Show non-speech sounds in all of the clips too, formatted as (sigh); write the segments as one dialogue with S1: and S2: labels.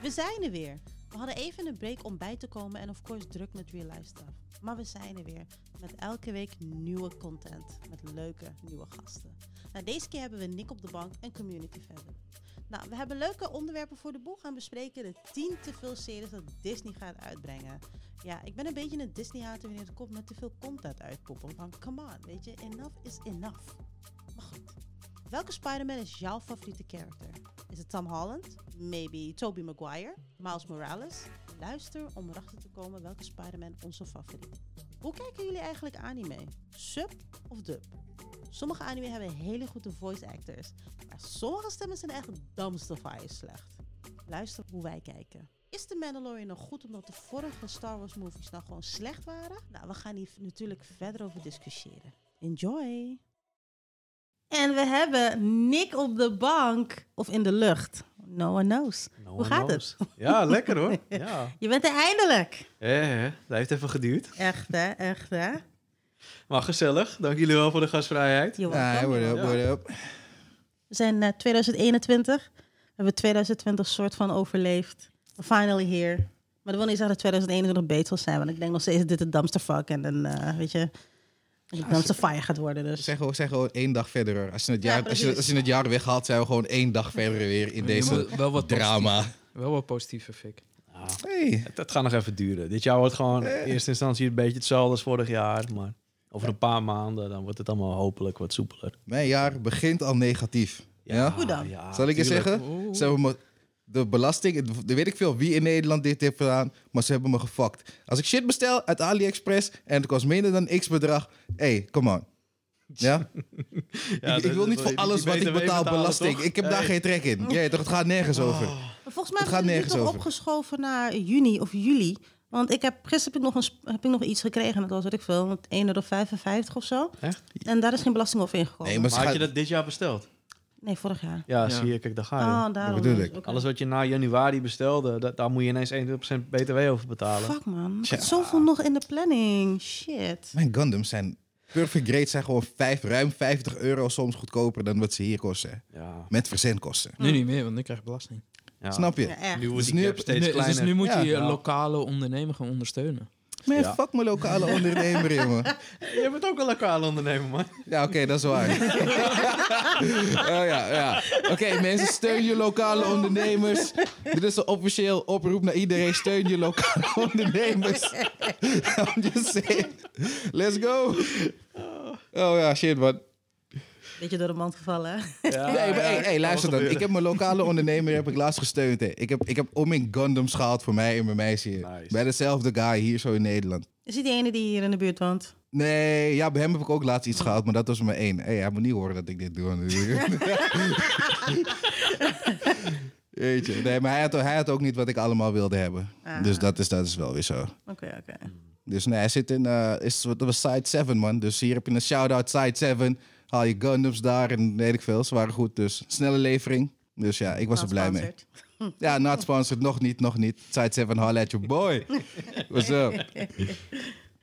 S1: We zijn er weer. We hadden even een break om bij te komen en of course druk met real life stuff. Maar we zijn er weer met elke week nieuwe content met leuke nieuwe gasten. Nou, deze keer hebben we Nick op de bank en Community verder. Nou, we hebben leuke onderwerpen voor de boel gaan bespreken. De 10 te veel series dat Disney gaat uitbrengen. Ja, ik ben een beetje een Disney-hater wanneer het komt met te veel content uitpoppen. Van come on, weet je, enough is enough. Maar goed, welke Spider-Man is jouw favoriete character? Is het Tom Holland? Maybe Tobey Maguire? Miles Morales? Luister om erachter te komen welke Spider-Man onze favoriet. Hoe kijken jullie eigenlijk anime? Sub of dub? Sommige anime hebben hele goede voice actors, maar sommige stemmen zijn echt damsterfire slecht. Luister hoe wij kijken. Is The Mandalorian nog goed omdat de vorige Star Wars movies nou gewoon slecht waren? Nou, we gaan hier natuurlijk verder over discussiëren. Enjoy! En we hebben Nick op de bank of in de lucht. No one knows.
S2: No
S1: Hoe
S2: one
S1: gaat
S2: knows.
S1: het?
S2: Nou, Ja, lekker
S1: (laughs)
S2: hoor. Ja.
S1: Je bent er eindelijk.
S2: Eh, eh, dat heeft even geduurd.
S1: Echt hè, echt hè.
S2: Maar gezellig. Dank jullie wel voor de gastvrijheid.
S1: You're
S3: Ja,
S1: welcome.
S3: word up,
S2: Ja.
S3: word up.
S1: We zijn eh, 2021. We hebben 2020 soort van overleefd. We're finally here. Maar dat wil niet zeggen dat 2021 beter zal zijn. Want ik denk nog steeds dat dit een dumpsterfuck en een, eh, weet je, een dumpsterfire gaat worden. Dus.
S3: Zeg gewoon, zeg gewoon één dag verder. hoor. Als je het
S1: Ja,
S3: jaar, als je,
S1: precies.
S3: als je het jaar weghaalt, zijn we gewoon één dag verder weer in
S4: Je
S3: deze
S4: moet wel wat
S3: drama.
S4: positief- Wel wat positiever, Fik.
S3: Hey.
S2: Het, het gaat nog even duren. Dit jaar wordt gewoon in eerste instantie een beetje hetzelfde als vorig jaar. Maar over een paar maanden dan wordt het allemaal hopelijk wat soepeler.
S3: Mijn jaar begint al negatief. Ja?
S1: Hoe dan?
S2: ja,
S3: Zal ik je
S2: tuurlijk.
S3: zeggen? Ze hebben me, de belasting, de weet ik veel wie in Nederland dit heeft gedaan, maar ze hebben me gefakt. Als ik shit bestel uit AliExpress en het kost minder dan x bedrag, hey, come on. Ja?
S2: Ja,
S3: ik,
S2: dat-
S3: ik wil niet
S2: dat-
S3: voor alles
S2: die
S3: wat ik
S2: BTW
S3: betaal
S2: betalen,
S3: belasting.
S2: toch?
S3: Ik heb daar
S2: Hey. Oh.
S3: geen trek in. Ja, toch, het gaat nergens over.
S1: Maar volgens mij hebben
S3: Het gaat
S1: we het nu
S3: nergens
S1: toch
S3: over.
S1: opgeschoven naar juni of juli. Want ik heb gisteren heb ik nog, een, sp- heb ik nog iets gekregen. Dat was wat ik veel, 1,55 euro of zo.
S2: Echt?
S1: En daar is geen belasting over ingekomen.
S3: Nee,
S1: Nee,
S3: maar ze
S2: Maar had
S3: gaan-
S2: je dat dit jaar besteld?
S1: vorig jaar.
S2: Ja,
S4: Ja.
S2: zie je. Kijk, daar ga je.
S1: Oh, daarom.
S3: Ah, bedoel ik.
S1: Oké.
S2: Alles wat je na januari bestelde, dat, daar moet je ineens 21% BTW over betalen.
S1: Fuck man, er zit zoveel nog in de planning. Shit.
S3: Mijn Gundams zijn... Perfect grade zijn gewoon vijf, ruim 50 euro soms goedkoper dan wat ze hier kosten.
S2: Ja,
S3: Met verzendkosten.
S4: Nu niet meer, want nu krijg je belasting.
S2: ja.
S3: Snap je?
S1: Ja, echt.
S2: Nu wordt
S3: Dus
S2: die
S3: nu
S2: gap
S3: heb-
S2: steeds
S4: Nee,
S2: kleiner.
S4: dus nu moet
S3: Ja.
S4: je je
S2: Ja.
S4: lokale ondernemer gaan ondersteunen.
S3: Man,
S2: Ja.
S3: fuck mijn lokale ondernemer, jongen.
S2: Je bent ook een lokale ondernemer, man.
S3: Ja, oké, dat is waar. (laughs) oh ja, ja. Oké, mensen, steun je lokale ondernemers. Dit is een officieel oproep naar iedereen. Steun je lokale (laughs) ondernemers. (laughs) I'm just saying. Let's go. Oh ja, shit, man.
S1: Beetje door de mand gevallen. hè?
S2: Ja,
S3: Nee, maar hey,
S2: ja,
S3: hey,
S2: kan
S3: luister
S2: wel
S3: dan.
S2: gebeuren.
S3: Ik heb mijn
S2: (laughs)
S3: lokale ondernemer heb ik laatst gesteund. Hè. Ik heb, ik heb om in Gundams gehaald voor mij en mijn meisje. hier.
S2: Nice.
S3: Bij dezelfde guy hier zo in Nederland.
S1: Is die die ene die hier in de buurt woont?
S3: Nee, ja, bij hem heb ik ook laatst
S2: Oh.
S3: iets gehaald, maar dat was maar één. Hey, hij moet niet horen dat ik dit
S2: (laughs)
S3: doe. natuurlijk. Jeetje. Nee, maar hij had, hij had ook niet wat ik allemaal wilde hebben.
S1: Ah.
S3: Dus dat is, dat is wel weer zo.
S1: Oké, oké.
S3: Dus nee, hij zit in, eh is, dat was Side 7, man. Dus hier heb je een shout-out Side 7. Haal je Gundams daar en weet ik veel. Ze waren goed, dus snelle levering. Dus ja, ik was er blij mee.
S1: Nou, Sponsored.
S3: Ja, not sponsored, nog niet, nog niet. Side 7, holla at your boy. What's up?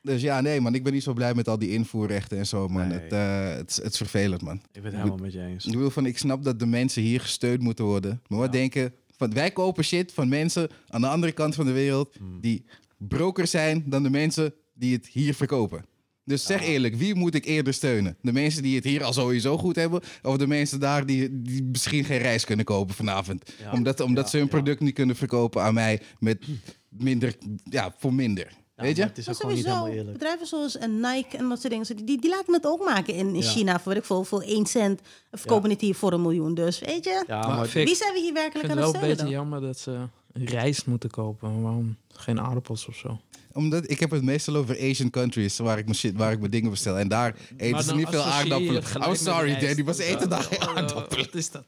S3: Dus ja, nee man, ik ben niet zo blij met al die invoerrechten en zo man.
S2: Nee.
S3: Het, eh, het, is- het is vervelend man.
S2: Ik ben het helemaal met je eens.
S3: Ik bedoel van, ik snap dat de mensen hier gesteund moeten worden. Maar wat denken, van, wij kopen shit van mensen aan de andere kant van de wereld
S2: Hmm.
S3: die broker zijn dan de mensen die het hier verkopen. Dus zeg
S2: Ah.
S3: eerlijk, wie moet ik eerder steunen? De mensen die het hier al sowieso goed hebben... of de mensen daar die, die misschien geen reis kunnen kopen vanavond?
S2: Ja.
S3: Omdat, omdat
S2: Ja,
S3: ze hun
S2: ja.
S3: product niet kunnen verkopen aan mij met minder, ja, voor minder.
S2: Ja,
S3: Weet je?
S2: maar Het is
S1: Maar
S2: ook gewoon niet helemaal
S1: sowieso,
S2: eerlijk.
S1: bedrijven zoals eh, Nike en dat soort dingen, die, die laten het ook maken in, in
S2: Ja.
S1: China voor, weet ik veel, voor 1 cent. En verkopen het hier voor een miljoen. Dus weet je,
S2: Ja,
S4: Maar
S2: maar
S4: Fik,
S1: wie zijn we hier
S4: ik
S1: werkelijk
S4: vind
S1: aan
S4: het
S1: het
S4: wel een
S1: steunen
S4: beetje
S1: dan?
S4: jammer dat ze rijst moeten kopen. Waarom geen aardappels of zo?
S3: Omdat ik heb het meestal over Asian countries waar ik mijn shit, waar ik mijn dingen bestel. En daar eten ze
S4: dan
S3: niet veel
S4: associeer je
S3: aardappelen.
S4: het gelijk
S3: I'm
S4: met
S3: sorry,
S4: rijst.
S3: Danny, maar ze
S4: Ja.
S3: eten daar geen
S4: Oh,
S3: aardappelen. Dus
S4: Wat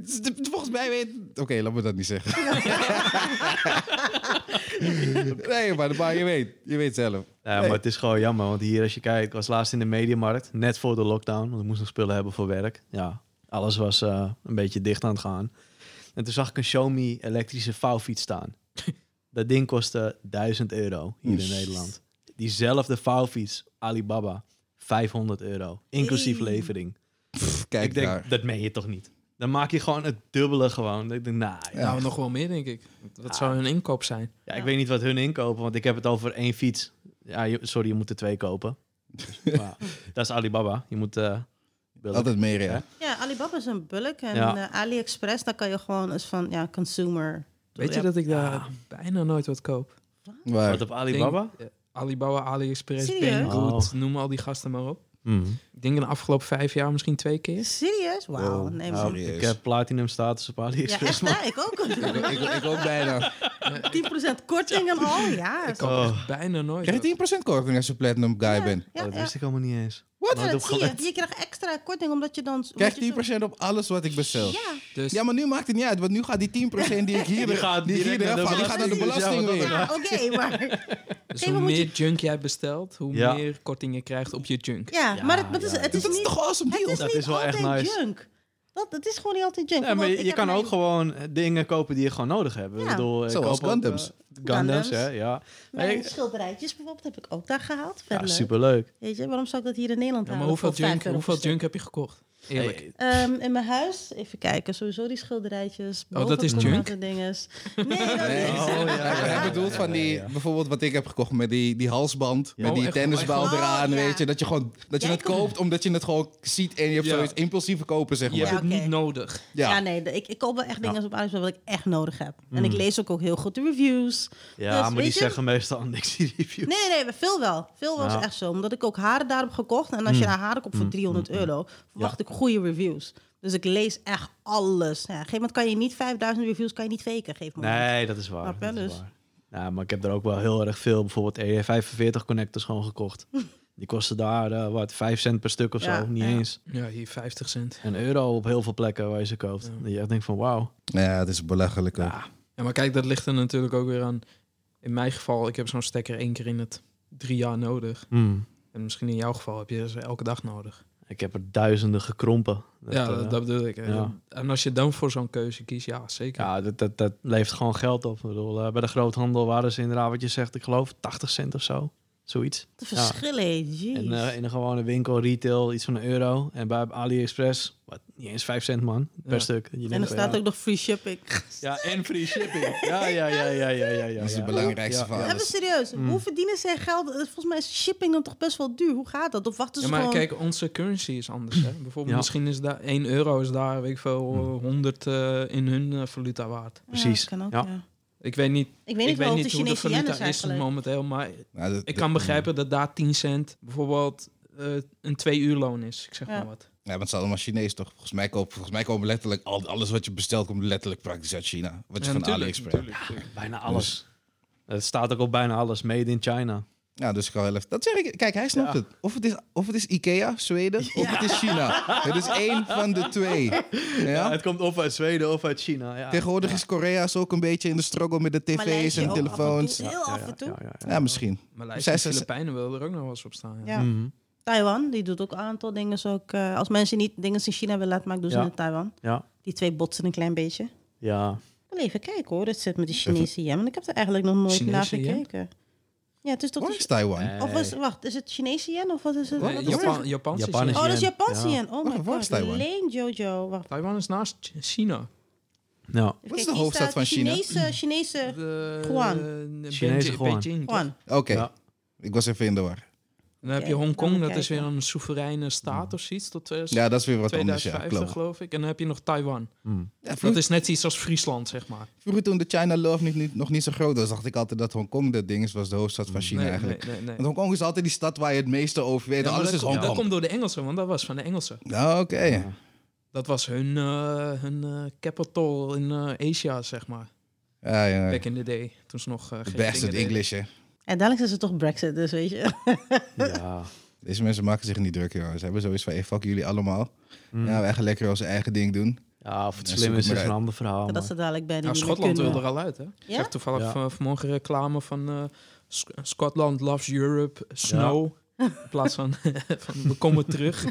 S4: is dat?
S3: Volgens mij weet. (laughs) Oké, laat me dat niet
S2: (laughs)
S3: zeggen. nee, maar, maar je weet, je weet zelf.
S2: Ja, maar het is gewoon jammer, want hier als je kijkt, ik was laatst in de mediamarkt, net voor de lockdown, want ik moest nog spullen hebben voor werk. Ja, alles was eh, een beetje dicht aan het gaan. En toen zag ik een Xiaomi elektrische vouwfiets staan. (laughs) Dat ding kostte 1000 euro hier in Nederland. Diezelfde vouwfiets, Alibaba, 500 euro, inclusief
S1: Hey.
S2: levering.
S3: Pff, kijk
S2: ik denk,
S3: daar.
S2: dat meen je toch niet? Dan maak je gewoon het dubbele gewoon. Ik denk, nou, ja.
S4: Nou, nog wel meer, denk ik. Wat zou hun inkoop zijn?
S2: Ja, ik weet niet wat hun inkopen, want ik heb het over één fiets. Ja, je- sorry, je moet er twee
S3: (laughs)
S2: kopen. maar, dat is Alibaba. Je moet... eh, billen.
S3: Altijd meer,
S2: Hè?
S3: ja.
S1: Ja, Alibaba is een bulk. En
S2: Ja.
S1: eh, AliExpress, daar kan je gewoon eens van, ja, consumer.
S4: Weet je
S1: Ja.
S4: dat ik daar bijna nooit wat koop?
S3: Waar?
S2: Wat op Alibaba?
S4: Ik denk, eh, Alibaba, AliExpress,
S1: Serieus?
S4: Banggood,
S3: Oh.
S4: noem al die gasten maar op.
S2: Mhm.
S4: Ik denk in de afgelopen vijf jaar misschien twee keer.
S1: Serieus? Wauw. Nee,
S2: Nou,
S1: man.
S2: ik heb platinum status op
S1: Ja,
S2: AliExpress.
S1: echt hè? Ik
S2: (laughs)
S1: ook. (laughs)
S3: Ik, ik, ik ook bijna.
S1: 10% korting en al, ja.
S4: Ik koop
S2: Oh.
S4: echt bijna nooit.
S3: Krijg
S4: wat.
S3: je 10% korting als je platinum guy bent?
S1: Ja,
S2: Oh, dat
S1: ja.
S2: wist ik allemaal niet eens.
S1: Wat?
S2: Nooit
S1: dat zie je.
S2: opgelet.
S1: Je krijgt extra korting omdat je dan...
S3: Krijg
S1: omdat je zo-
S3: 10% op alles wat ik bestel.
S1: Ja,
S4: Dus
S3: Ja, maar nu maakt het niet uit, want nu gaat die 10% die ik
S2: (laughs)
S3: hier,
S2: Die
S3: die
S2: gaat
S3: ik hier
S2: direct
S3: eraf
S2: naar de
S3: haal, die gaat naar de
S2: belasting.
S3: belasting
S2: Ja,
S1: ja
S3: weer.
S1: oké,
S2: (laughs)
S1: maar...
S4: Dus
S1: Hey,
S4: hoe
S1: maar moet
S4: meer
S1: je-
S4: junk jij bestelt, hoe
S2: Ja.
S4: meer korting je krijgt op je junk.
S1: Ja,
S2: Ja,
S1: maar het, maar het is,
S2: ja,
S1: het is
S3: Dat is
S1: niet,
S3: toch awesome
S1: het
S3: deal?
S1: is
S2: Dat
S1: niet
S2: is wel echt
S1: altijd
S2: nice.
S1: junk. Dat, het is gewoon niet altijd junk.
S2: Ja, maar
S1: want ik
S2: je, je
S1: heb
S2: kan
S1: mijn-
S2: ook gewoon eh, dingen kopen die je gewoon nodig hebt. Ik
S1: Ja.
S2: bedoel, ik
S3: Zoals
S2: koop ook,
S3: Gundams.
S2: eh, Gundams,
S1: Gundams.
S2: hè, ja.
S1: Mijn
S2: Nee,
S1: schilderijtjes bijvoorbeeld heb ik ook daar gehaald. Vet
S2: ja,
S1: leuk.
S2: superleuk.
S1: Weet je, waarom zou ik dat hier in Nederland
S4: Ja, maar
S1: halen
S4: hoeveel,
S1: voor vijf
S4: junk,
S1: euro per
S4: hoeveel
S1: stuk?
S4: junk heb je gekocht? Eerlijk.
S2: Hey,
S1: Ehm, in mijn huis, even kijken, sowieso die schilderijtjes.
S4: Oh, dat is
S1: bovenkomen dinges. Nee, dat
S3: Nee.
S1: is...
S2: Oh, ja, ja,
S3: Hij bedoelt van die, bijvoorbeeld wat ik heb gekocht met die, die halsband,
S4: Ja.
S3: met
S4: Oh,
S3: die
S4: echt?
S3: tennisbal
S1: Oh, echt?
S3: eraan,
S1: Oh, ja.
S3: weet je. Dat je, gewoon, dat je
S1: Jij
S3: het
S1: kon-
S3: koopt omdat je het gewoon ziet en je hebt
S4: Ja.
S3: zoiets impulsief kopen, zeg
S4: Je
S3: maar.
S4: hebt
S1: Ja,
S4: het niet
S1: oké.
S4: nodig.
S1: Ja.
S3: Ja,
S1: nee, de- ik, ik koop wel echt dingen op AliExpress wat ik echt nodig heb. En ik lees ook, ook heel goed de reviews.
S2: Mm. Ja,
S1: Dus,
S2: maar
S1: weet
S2: die
S1: je-
S2: zeggen meestal (laughs) niks die review.
S1: Nee, nee, nee, veel wel. Veel was
S2: Ja. Mm.
S1: echt zo. Omdat ik ook haren daarop gekocht. En als je daar haren koopt voor 300 euro, verwacht ik goede reviews. Dus ik lees echt alles. Ja, op een gegeven moment kan je niet 5000 reviews kan je niet faken. Geef me
S2: Nee, dat is waar.
S1: Maar
S2: dat is
S1: Palace.
S2: waar. Ja, maar ik heb er ook wel heel erg veel, bijvoorbeeld E45 connectors gewoon
S1: (laughs)
S2: gekocht. Die kosten daar, eh, wat, 5 cent per stuk of
S1: Ja,
S2: zo, niet
S1: ja.
S2: eens.
S4: Ja, hier 50 cent.
S2: Een euro op heel veel plekken waar je ze koopt.
S4: Ja.
S2: Dat je echt denkt van, wauw.
S3: ja het is belachelijk ook.
S2: Ja,
S4: Ja, maar kijk, dat ligt er natuurlijk ook weer aan. In mijn geval, ik heb zo'n stekker één keer in het drie jaar nodig.
S2: hmm.
S4: En misschien in jouw geval heb je ze elke dag nodig.
S2: Ik heb er duizenden gekrompen.
S4: ja,
S2: eh,
S4: dat, dat bedoel ik.
S2: ja.
S4: En als je dan voor zo'n keuze kiest, ja, zeker.
S2: Ja, dat, dat, dat levert gewoon geld op. Ik bedoel, eh, bij de groothandel waren ze inderdaad, wat je zegt, ik geloof 80 cent of zo. Zoiets.
S1: de verschillen, hé, jeez.
S2: En eh, in een gewone winkel, retail, iets van een euro. En bij AliExpress, wat, niet eens 5 cent man, per
S4: Ja.
S2: stuk. Je
S1: en
S2: denkt
S1: er
S2: van,
S1: staat
S2: ja.
S1: ook nog free shipping.
S2: Ja, en free shipping. Ja, ja, ja, ja, ja, ja. ja
S3: Dat is
S2: ja.
S3: het belangrijkste
S2: Ja,
S3: van
S2: ja.
S1: (laughs) Even
S3: alles.
S1: serieus, hoe verdienen zij geld? Eh, Volgens mij is shipping dan toch best wel duur. Hoe gaat dat? Of wachten
S4: Ja,
S1: ze
S4: maar
S1: gewoon...
S4: kijk, onze currency is anders. Hè? Bijvoorbeeld,
S2: Ja.
S4: misschien is daar 1 euro is daar, weet ik veel, eh, 100 eh, in hun eh, valuta waard.
S1: Ja,
S2: precies,
S1: kan ook,
S2: ja.
S1: ja.
S4: Ik weet niet,
S1: Ik weet
S4: ik
S1: niet
S4: weet
S1: wel
S4: niet
S1: de
S4: hoe de
S1: Chinese yen is
S4: valuta is
S1: eigenlijk.
S4: momenteel, maar
S3: Nou, dat-
S4: ik kan begrijpen dat daar 10 cent bijvoorbeeld eh, een 2 uur loon is. Ik zeg
S1: Ja.
S4: maar wat.
S3: Ja, want het is allemaal Chinees toch? Volgens mij, kopen, volgens mij komen letterlijk al, alles wat je bestelt, komt letterlijk praktisch uit China. Wat je
S4: Ja,
S3: van
S4: natuurlijk,
S3: AliExpress.
S4: natuurlijk, natuurlijk.
S2: Bijna
S3: Dus-
S2: alles. Het staat ook op bijna alles. Made in China.
S3: Ja, dus ik kan wel even. Dat zeg ik. Kijk, hij snapt
S2: Ja.
S3: het. Of het, is, of het is Ikea, Zweden, of het is China. Het is één van de twee.
S2: Ja,
S3: Ja?
S2: het komt of uit Zweden of uit China.
S4: Ah.
S2: Ja.
S3: Tegenwoordig is Korea's ook een beetje in de struggle met de tv's
S1: Maleisië
S3: en de
S1: ook af en toe.
S3: telefoons.
S1: Heel
S2: Ja,
S1: af en toe.
S2: Ja, ja, ja.
S3: Ja, misschien.
S4: Maleisië
S3: Zij-
S4: en
S3: zij-
S4: Filipijnen wil er ook nog wel eens op staan. ja.
S1: Ja.
S2: Mhm.
S1: Taiwan, die doet ook een aantal dingen. Zo ook, eh, als mensen niet dingen in China willen laten maken, doen ze
S2: Ja.
S1: in Taiwan.
S2: Ja.
S1: Die twee botsen een klein beetje.
S2: Ja.
S1: Wel even kijken hoor, dat zit met die Chinese yen. Want ik heb er eigenlijk nog nooit
S4: Chinese
S1: naar
S4: yen?
S1: gekeken. Ja, het is toch...
S3: Wat
S1: de-
S3: is Taiwan?
S2: Nee.
S1: of was, wacht, is het Chinese yen of wat is het?
S4: Nee,
S1: Wat is het?
S4: Japan, Japanse
S2: Japan is-
S1: Oh, dat is
S2: yen,
S1: Japanse
S2: ja.
S1: yen. Oh
S3: Wacht,
S1: my
S3: waar is
S1: god,
S3: Taiwan?
S1: Leen Jojo. Wacht,
S4: Taiwan is naast Ch- China.
S2: Nou,
S1: even
S3: Wat is
S1: kijken,
S3: de
S1: hier
S3: hoofdstad
S1: staat
S3: van China? Hmm.
S1: Chinese, Chinese...
S4: De,
S1: Guam.
S4: eh,
S2: Chinese
S4: Beijing-
S2: Guam.
S4: Beijing, toch?
S1: Juan.
S3: Oké,
S2: Ja.
S3: ik was even in de war.
S4: Dan heb je
S1: Oké,
S4: Hongkong,
S1: gaan we
S4: dat is weer
S1: kijken.
S4: een soevereine staat of zoiets tot 2000
S3: Ja, dat is weer wat anders. Ja,
S4: 2050,
S3: klopt.
S4: geloof ik. En dan heb je nog Taiwan.
S2: hm.
S3: Ja,
S4: Dat
S3: vroeger,
S4: is net iets als Friesland, zeg maar.
S3: vroeger toen de China Love niet, niet- nog niet zo groot was, dacht ik altijd dat Hongkong dat ding is, was de hoofdstad van China
S4: nee,
S3: eigenlijk.
S4: Nee, nee, nee.
S3: Want Hongkong is altijd die stad waar je het meeste over weet.
S4: Ja, maar
S3: Alles
S4: dat
S3: is dus
S4: komt- Dat
S3: Hongkong.
S4: komt door de Engelsen, want dat was van de Engelsen.
S3: Ja, oké.
S4: Dat was hun, eh, hun eh, capital in eh, Asia, zeg maar.
S3: Ja, ja.
S4: Back in the day, toen ze nog eh,
S3: The
S4: geen
S3: best at
S4: dingen deden.
S3: English, hè.
S1: En dadelijk is het toch Brexit, dus weet je. (laughs)
S2: ja.
S3: Deze mensen maken zich niet druk, joh. Ze hebben zoiets van, hey, fuck jullie allemaal.
S4: Hmm.
S2: Hm.
S3: Ja, wij gaan lekker onze eigen ding doen.
S2: Ja, of het
S3: Ja,
S2: slim
S3: zoek
S2: is,
S3: het
S2: is
S3: maar
S2: een ander verhaal.
S1: Dat
S2: maar-
S1: ze dadelijk bijna
S4: Nou,
S1: niet meer
S4: Schotland
S1: kunnen.
S4: wil er al uit, hè? Ik
S1: Ja?
S4: zag toevallig
S2: Ja.
S4: van- vanmorgen reclame van eh, Sc- Scotland loves Europe, (laughs) snow. In plaats van, van we komen terug.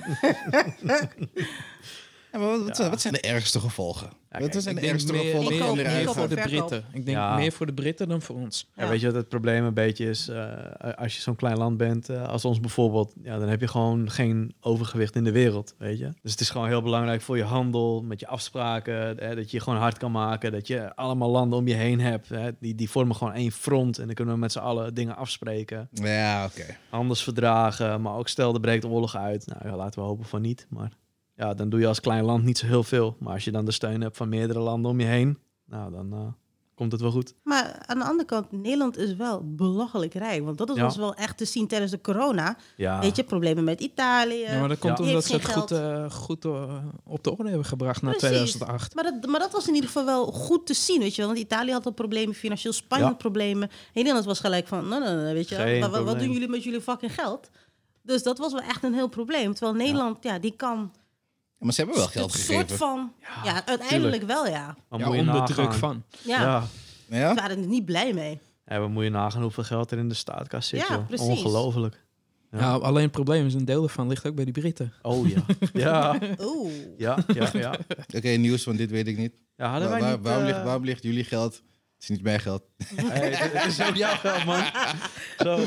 S3: Ja, maar wat, wat zijn-
S2: Ja.
S3: wat zijn de ergste gevolgen?
S2: kijk,
S3: wat zijn de
S4: Ik denk
S3: ergste
S4: meer,
S3: gevolgen
S4: meer-
S1: koop-
S3: van
S1: ik
S4: meer
S1: koop
S3: eruit
S4: voor
S3: gaan?
S4: de
S1: verkoop.
S4: Britten. Ik denk
S2: Ja.
S4: meer voor de Britten dan voor ons.
S2: Ja,
S1: Ja.
S2: weet je wat het probleem een beetje is? eh, als je zo'n klein land bent, eh, als ons bijvoorbeeld, ja, dan heb je gewoon geen overgewicht in de wereld, weet je. Dus het is gewoon heel belangrijk voor je handel, met je afspraken, eh, dat je je gewoon hard kan maken, dat je allemaal landen om je heen hebt. Hè, die, die vormen gewoon één front en dan kunnen we met z'n allen dingen afspreken.
S3: Ja, oké.
S2: Handelsverdragen, maar ook stel, er breekt oorlog uit. Nou ja, laten we hopen van niet, maar ja, dan doe je als klein land niet zo heel veel. Maar als je dan de steun hebt van meerdere landen om je heen, nou, dan eh, komt het wel goed.
S1: Maar aan de andere kant, Nederland is wel belachelijk rijk. Want dat is
S2: Ja.
S1: was wel echt te zien tijdens de corona.
S2: Ja.
S1: Weet je, problemen met Italië.
S4: Ja, maar dat komt
S1: Die
S4: omdat ze
S1: heeft
S4: het
S1: geen
S4: goed, eh, goed eh, op de orde hebben gebracht na
S1: Precies.
S4: 2008.
S1: Maar dat, maar dat was in ieder geval wel goed te zien, weet je wel. Want Italië had al problemen, financieel Spanje had
S2: Ja.
S1: problemen. En Nederland was gelijk van, nou, nou, nou, weet je wel,
S2: Geen
S1: wa- wa- wat,
S2: probleem.
S1: doen jullie met jullie fucking geld? Dus dat was wel echt een heel probleem. Terwijl Nederland, ja, die kan
S3: Maar ze hebben wel geld
S1: een soort
S3: gegeven.
S1: van... Ja, uiteindelijk wel, ja.
S2: Maar
S4: Ja,
S2: moet je
S4: onder
S2: nagaan.
S4: druk van.
S1: Ja,
S2: Ja.
S1: we
S3: Ja?
S1: waren er niet blij mee.
S2: Ja, we moet je nagaan hoeveel geld er in de staatkast zit.
S1: Ja,
S2: joh.
S1: precies.
S2: Ongelooflijk. Ja.
S4: Ja. alleen het probleem is, een deel daarvan ligt ook bij die Britten.
S2: Oh
S4: (laughs)
S2: ja. ja.
S1: Oeh.
S2: Ja, ja, ja.
S3: Oké, nieuws, want dit weet ik niet.
S2: Ja, hadden
S4: Nou,
S3: Waar-
S2: wij
S3: waar-
S2: niet...
S3: waarom,
S2: eh,
S3: ligt, waarom ligt jullie geld? Het is niet mijn geld.
S2: (laughs) hey, het is ook jouw geld, man. Zo.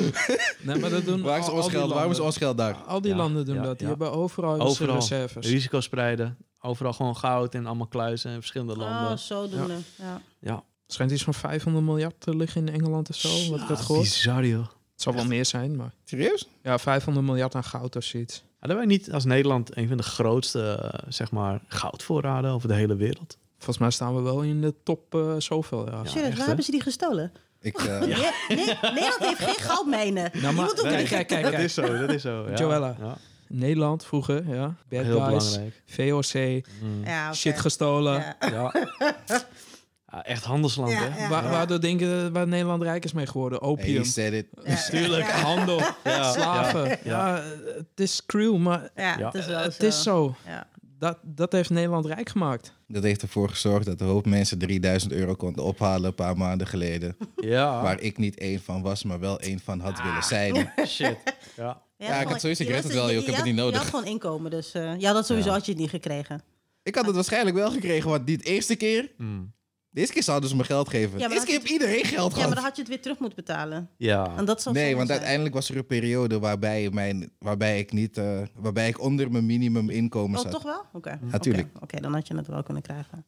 S4: Nee, maar dat doen
S3: Waar is
S4: al-
S3: ons
S4: al die
S3: geld? Waarom is
S4: landen.
S3: ons geld daar?
S4: Al die
S2: Ja,
S4: landen doen
S2: ja,
S4: dat. Die
S2: ja.
S4: hebben overal, hebben ze
S2: Overal.
S4: reserves.
S2: Risico spreiden. Overal gewoon goud in allemaal kluizen in verschillende landen.
S1: Oh, zodoende. Ja.
S2: ja.
S4: schijnt iets van 500 miljard te liggen in Engeland of zo. Wat ik had gehoord.
S2: Bizar, joh.
S4: Het zal wel meer zijn, maar...
S3: Serieus?
S4: Ja, 500 miljard aan goud of zoiets.
S2: Hadden wij niet als Nederland een van de grootste, eh, zeg maar, goudvoorraden over de hele wereld?
S4: Volgens mij staan we wel in de top eh, zoveel. Ja.
S2: Ja.
S1: Serieus,
S2: echt,
S1: waar
S2: hè?
S1: hebben ze die gestolen?
S3: Ik, eh,
S1: Want je- nee, Nederland heeft geen goudmijnen.
S4: Nou, maar,
S1: moet ook
S4: kijk,
S1: niet-
S4: kijk, kijk,
S2: Dat
S4: kijk.
S2: is zo, dat is zo. Ja.
S4: Joella.
S2: Ja.
S4: Nederland vroeger, ja. Bad
S2: Heel
S4: guys,
S2: belangrijk.
S4: VOC,
S2: Mm.
S1: Ja, oké.
S4: shit gestolen.
S1: Ja.
S2: Ja. Ja, echt handelsland,
S1: Ja,
S2: hè?
S1: ja.
S4: Wa- waardoor denk je, waar Nederland rijk is mee geworden?
S3: hey, you
S4: Opium,
S3: said it.
S4: natuurlijk, handel, slaven. Ja. het is cruel, maar
S1: Ja,
S2: Ja.
S1: het is wel
S4: het is zo.
S1: Ja.
S4: Dat, dat heeft Nederland rijk gemaakt.
S3: Dat heeft ervoor gezorgd dat een hoop mensen 3000 euro konden ophalen een paar maanden geleden.
S2: Ah. Ja.
S3: Waar ik niet één van was, maar wel één van had willen zijn.
S2: Shit. Ja.
S1: Je
S3: Ja,
S1: had
S3: ik had
S1: gewoon-
S3: sowieso, ik
S1: je
S3: red
S1: was-
S3: het wel,
S1: je
S3: joh, ik heb het
S1: had-
S3: niet nodig.
S1: Je had gewoon inkomen, dus eh, ja, dat sowieso had je het niet gekregen.
S3: Ik had het waarschijnlijk wel gekregen, want niet de eerste keer.
S2: Mm.
S3: De eerste keer zouden ze me geld geven.
S1: Ja,
S3: de
S1: maar
S3: eerste keer heeft iedereen geld
S1: Ja, maar
S3: gehad.
S1: dan had je het weer terug moeten betalen.
S2: Ja.
S1: En dat zou
S3: Nee,
S1: zonde
S3: want
S1: zijn.
S3: uiteindelijk was er een periode waarbij, mijn, waarbij, ik, niet, eh, waarbij ik onder mijn minimum inkomen
S1: Oh,
S3: zat.
S1: toch wel? Oké. Oké,
S3: Natuurlijk.
S1: Oké, dan had je het wel kunnen krijgen.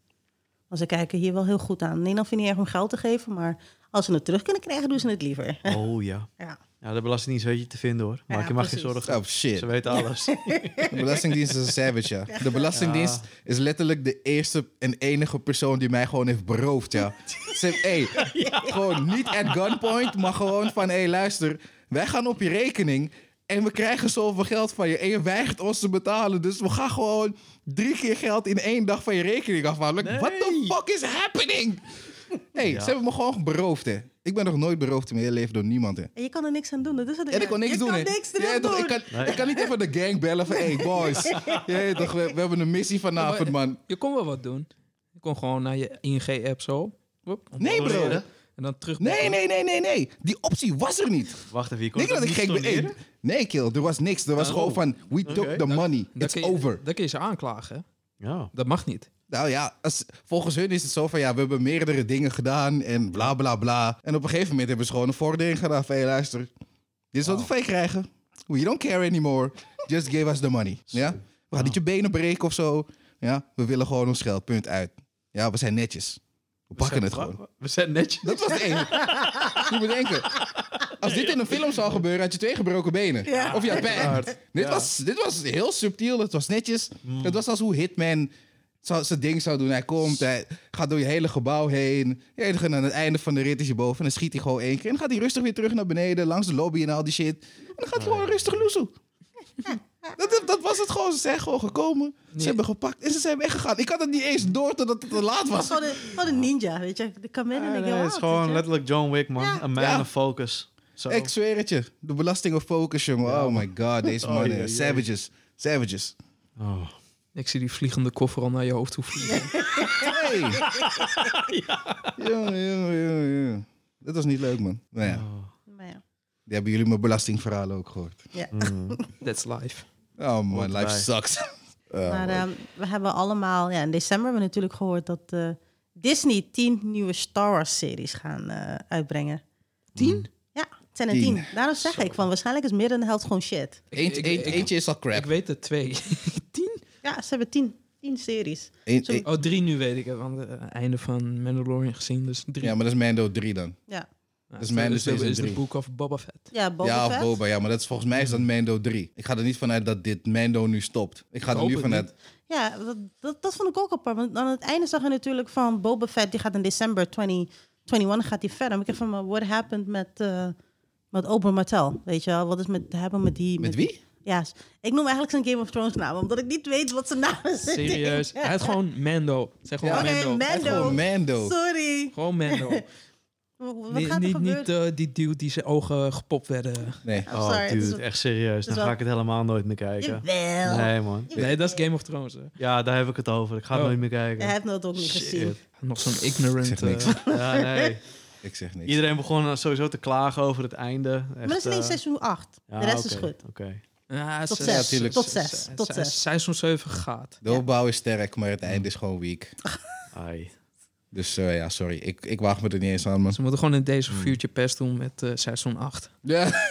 S1: Want ze kijken hier wel heel goed aan. Nederland vindt niet erg om geld te geven, maar als ze het terug kunnen krijgen, doen ze het liever.
S2: Oh ja.
S1: Ja.
S2: Ja, de Belastingdienst weet je te vinden hoor. Maak
S1: Ja,
S2: je mag
S1: precies.
S2: geen zorgen.
S3: Oh shit.
S2: Ze weten alles.
S3: De Belastingdienst is een savage, ja. De Belastingdienst is letterlijk de eerste en enige persoon die mij gewoon heeft beroofd, ja. Ze heeft, hey, gewoon niet at gunpoint, maar gewoon van, hé, hey, luister, wij gaan op je rekening en we krijgen zoveel geld van je en je weigert ons te betalen, dus we gaan gewoon drie keer geld in één dag van je rekening afhalen. Like, What the fuck is happening? hey,
S2: Ja.
S3: ze hebben me gewoon beroofd, hè. Ik ben nog nooit beroofd in mijn hele leven door niemand, hè.
S1: En je kan er niks aan doen. Dat is het.
S3: En ik kon niks
S1: je
S3: doen.
S1: Kan
S3: hè.
S1: niks
S3: Ja,
S1: eraan
S3: toch,
S1: doen.
S3: ik, kan, ik kan niet even de gang bellen van hey boys. Ja, toch, we, we hebben een missie vanavond, man.
S4: Je kon wel wat doen. Je kon gewoon naar je ING-app zo. Woep,
S3: Nee, bro.
S4: onboarderen En dan terug.
S3: Nee, nee, nee, nee, nee. Die optie was er niet.
S2: Wacht even, je kon
S3: Niet dat ik gek ben. Hey, Nee, kill. Er was niks. Er was
S2: Oh.
S3: gewoon van we took
S2: Oké.
S3: the money.
S4: Dan
S3: It's
S4: kun je-
S3: over.
S4: Dan kun je ze aanklagen.
S2: Ja.
S4: Dat mag niet.
S3: Nou ja, als, volgens hun is het zo van ja, we hebben meerdere dingen gedaan en bla bla bla. En op een gegeven moment hebben ze gewoon een vordering gedaan van hey, luister. Dit is wat wij krijgen. We don't care anymore. Just give us the money. Ja? We gaan niet je benen breken of zo. Ja? We willen gewoon ons geld. Punt uit. Ja, we zijn netjes. We pakken het gewoon.
S2: We zijn netjes.
S3: Dat was het enige. Je moet denken. Als dit in een film zou gebeuren, had je twee gebroken benen.
S1: Ja.
S3: Of je had pijn. Dit, was, dit was heel subtiel. Het was netjes. Het was als hoe Hitman zou- zijn ding zou doen. Hij komt, hij gaat door je hele gebouw heen. Je enige aan het einde van de rit is je boven. En dan schiet hij gewoon één keer. En dan gaat hij rustig weer terug naar beneden, langs de lobby en al die shit. En dan gaat hij gewoon rustig loezel. Dat, dat was het gewoon. Ze zijn gewoon gekomen. Ze hebben gepakt en ze zijn weggegaan. Ik had het niet eens door totdat het te laat was.
S1: Gewoon een, gewoon een ninja, weet je. De kan en ik
S2: Nee, het is gewoon letterlijk John Wick, man.
S1: Ja.
S2: Een man
S3: Ja.
S2: of focus. Zo.
S3: Ik zweer het je. De belasting of focus, jongen. Oh my god, deze
S2: Oh,
S3: mannen.
S2: jee, jee.
S3: Savages. Savages.
S2: Oh.
S4: Ik zie die vliegende koffer al naar je hoofd toe vliegen.
S3: Hey! Jongen, jongen, jongen, jongen. Dat was niet leuk, man. Nou ja,
S2: Oh.
S1: Maar ja.
S3: die hebben jullie mijn belastingverhalen ook gehoord.
S1: Ja.
S2: Mm.
S4: That's life.
S3: Oh man,
S2: Hoort
S3: life
S2: erbij.
S3: sucks. Eh,
S1: maar ehm, we hebben allemaal, ja, in december hebben we natuurlijk gehoord dat eh, Disney tien nieuwe Star Wars series gaan eh, uitbrengen. Mm.
S2: Tien?
S1: Ja, het zijn er
S3: Tien.
S1: tien. Daarom zeg ik van waarschijnlijk is meer dan de helft gewoon shit.
S3: eentje,
S4: Ik- ik-
S3: eentje- eentje is al crap.
S4: Ik weet er twee. Tien?
S1: Ja, ze hebben tien, tien series.
S3: Eén-
S1: zo-
S3: één-
S4: Oh, drie nu weet ik. hè, Want het einde van Mandalorian gezien, dus drie.
S3: ja, maar dat is Mando 3 dan.
S1: Ja,
S4: Ja,
S3: dus mijn
S4: dus
S3: season
S4: is de
S3: drie.
S4: Book of Boba Fett.
S1: ja Boba
S3: ja,
S1: Fett.
S3: of Boba. Ja, maar dat is, volgens mij is dat Mando 3. Ik ga er niet vanuit dat dit Mando nu stopt. Ik ga
S4: Ik
S3: er
S4: hoop
S3: nu
S4: het
S3: vanuit...
S1: Ja, dat, dat, dat vond ik ook apart. Want aan het einde zag je natuurlijk van Boba Fett, die gaat in december 2021 gaat die verder. Maar ik heb van, what happened met, eh met Ober Martel? Weet je wel, wat is met, hebben met die...
S3: Met wie?
S1: Ja, s- ik noem eigenlijk zijn Game of Thrones naam, omdat ik niet weet wat zijn naam is. (laughs)
S4: Serieus. Hij heet gewoon Mando. Zeg gewoon
S1: Ja. Oké,
S4: Mando.
S1: Mando.
S3: Het is gewoon Mando.
S1: Sorry.
S4: Gewoon
S1: (laughs)
S4: Mando.
S1: W- w- Wat
S4: niet
S1: gaat er
S4: niet,
S1: gebeuren?
S4: niet eh, die dude die zijn ogen gepopt werden.
S3: Nee.
S1: I'm sorry,
S2: Oh,
S1: het is
S2: dude,
S1: wel-
S2: echt serieus.
S1: het is
S2: Dan
S1: wel-
S2: ga ik het helemaal nooit meer kijken.
S1: Jawel.
S2: Nee, man.
S4: Nee, dat is Game of Thrones. Hè.
S2: Ja, daar heb ik het over. Ik ga het
S4: Oh.
S2: nooit meer
S1: Hij
S2: kijken.
S1: heeft dat ook niet
S2: Shit.
S1: gezien.
S4: Nog zo'n
S3: Ik
S4: ignorant.
S3: zeg niks.
S4: eh,
S1: (laughs)
S2: Ja, nee.
S3: Ik zeg niks.
S2: Iedereen begon eh, sowieso te klagen over het einde. Echt,
S1: Maar dat is alleen
S2: eh,
S1: seizoen 8.
S2: ja,
S1: de rest is
S2: oké,
S1: goed.
S2: Oké.
S4: ja,
S1: Tot
S4: ze-
S1: zes,
S4: ze- ze-
S1: tot
S4: ze-
S1: zes,
S4: ze-
S1: tot
S4: ze-
S1: zes.
S4: Seizoen 7 gaat.
S3: De opbouw is sterk, maar het einde is gewoon weak.
S2: Ai.
S3: Dus eh, ja, sorry. Ik, ik waag me er niet eens aan, man.
S4: Ze moeten gewoon in deze future pest doen met eh, seizoen 8.
S3: Ja,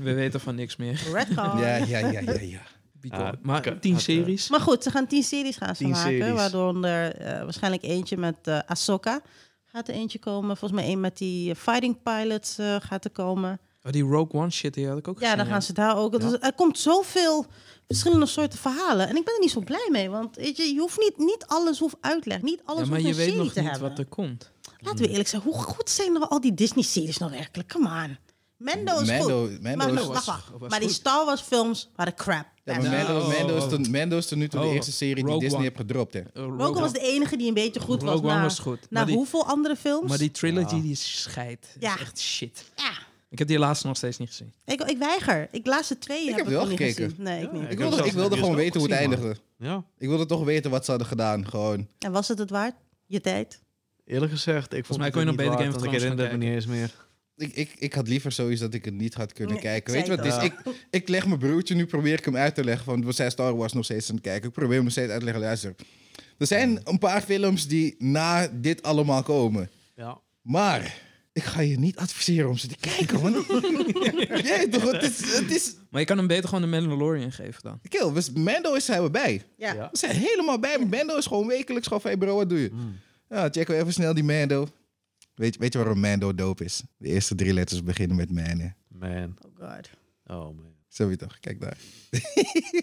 S4: We weten van niks meer.
S1: Redcon.
S3: ja, ja, ja, ja.
S1: (laughs)
S3: ja.
S4: Because-
S2: Ah,
S4: maar
S2: kut.
S4: 10
S2: Had, eh,
S4: series.
S1: Maar goed, ze gaan 10 series gaan ze
S2: 10
S1: maken.
S2: series.
S1: Waaronder eh, waarschijnlijk eentje met eh Ahsoka gaat er eentje komen. Volgens mij een met die eh, Fighting Pilots eh, gaat er komen.
S4: Oh, die Rogue One shit, die had ik ook
S1: Ja,
S4: gezien.
S1: dan gaan ze daar ook. Dus er komt zoveel verschillende soorten verhalen. En ik ben er niet zo blij mee. Want weet je, je hoeft niet, niet alles hoeft uitleg. Niet alles
S4: Ja, maar
S1: hoeft
S4: je
S1: een
S4: weet
S1: serie
S4: nog
S1: te
S4: niet
S1: hebben.
S4: wat er komt. Eh,
S1: Laten we eerlijk zijn, hoe goed zijn nou al die Disney-series nou werkelijk? Come on. Mendo is
S3: Mando,
S1: goed.
S3: Mando
S1: maar
S3: is-
S1: wacht,
S4: was-
S1: wacht.
S4: was
S1: maar die
S4: goed.
S1: Star Wars films waren crap.
S3: Ja, maar
S1: Echt.
S4: Nee.
S3: Mando,
S4: Oh,
S3: Mando,
S4: oh,
S3: is tot, Mando is tot nu toe de
S4: Oh,
S3: eerste serie die
S4: Rogue
S3: Disney
S4: One.
S3: heeft gedropt, hè.
S4: Eh, Rogue
S1: Rogue One was de enige die een beetje goed was.
S4: Rogue One
S1: na,
S4: was goed.
S1: Na
S4: Maar die-
S1: hoeveel andere films?
S4: Maar die trilogy die is scheid. Ja.
S1: Ja.
S4: Is echt shit.
S1: Ja.
S4: Ik heb die laatste nog steeds niet gezien.
S1: Ik, ik weiger. Ik laatste twee
S3: Ik
S1: heb
S3: heb
S1: ik
S3: wel
S1: nog niet
S3: gekeken.
S1: gezien. Nee, ik
S2: Ja,
S1: niet.
S3: Ik
S2: heb
S3: wilde,
S2: zelfs
S3: ik wilde
S2: de
S3: gewoon
S2: bioscoop
S3: weten hoe het
S2: gezien, man.
S3: eindigde.
S2: Ja.
S3: Ik wilde toch weten wat ze hadden gedaan, gewoon.
S1: En was het het waard? Je tijd?
S2: Eerlijk gezegd, ik vond
S4: mij
S2: het
S4: kon je nog
S2: niet
S4: beter
S2: waard,
S4: Game of
S2: want Ik
S4: Thrones
S2: herinner
S4: gaan
S2: het me niet eens meer.
S3: Ik, ik, ik had liever zoiets dat ik het niet had kunnen
S1: Nee,
S3: kijken.
S1: zei
S3: Weet je wat?
S1: ik
S3: Dus
S2: al.
S3: ik, ik leg mijn broertje nu, probeer ik hem uit te leggen. Want we zijn Star Wars nog steeds aan het kijken. Ik probeer hem nog steeds uit te leggen. Luister, er zijn een paar films die na dit allemaal komen.
S2: Ja.
S3: Maar ik ga je niet adviseren om ze te kijken, man. Jeet toch, het is... Het is
S4: Maar je kan hem beter gewoon de Mandalorian geven dan.
S3: kill, we- Mando is zijn we bij.
S1: Ja.
S2: Ja.
S3: We zijn helemaal bij. Mando is gewoon wekelijks gewoon van, hey bro, wat doe je? Ja, checken we even snel die Mando. Weet, weet je waarom Mando dope is? De eerste drie letters beginnen met man, hè.
S2: Man.
S1: Oh god.
S2: Oh, man.
S3: Zo je toch, kijk daar. (laughs)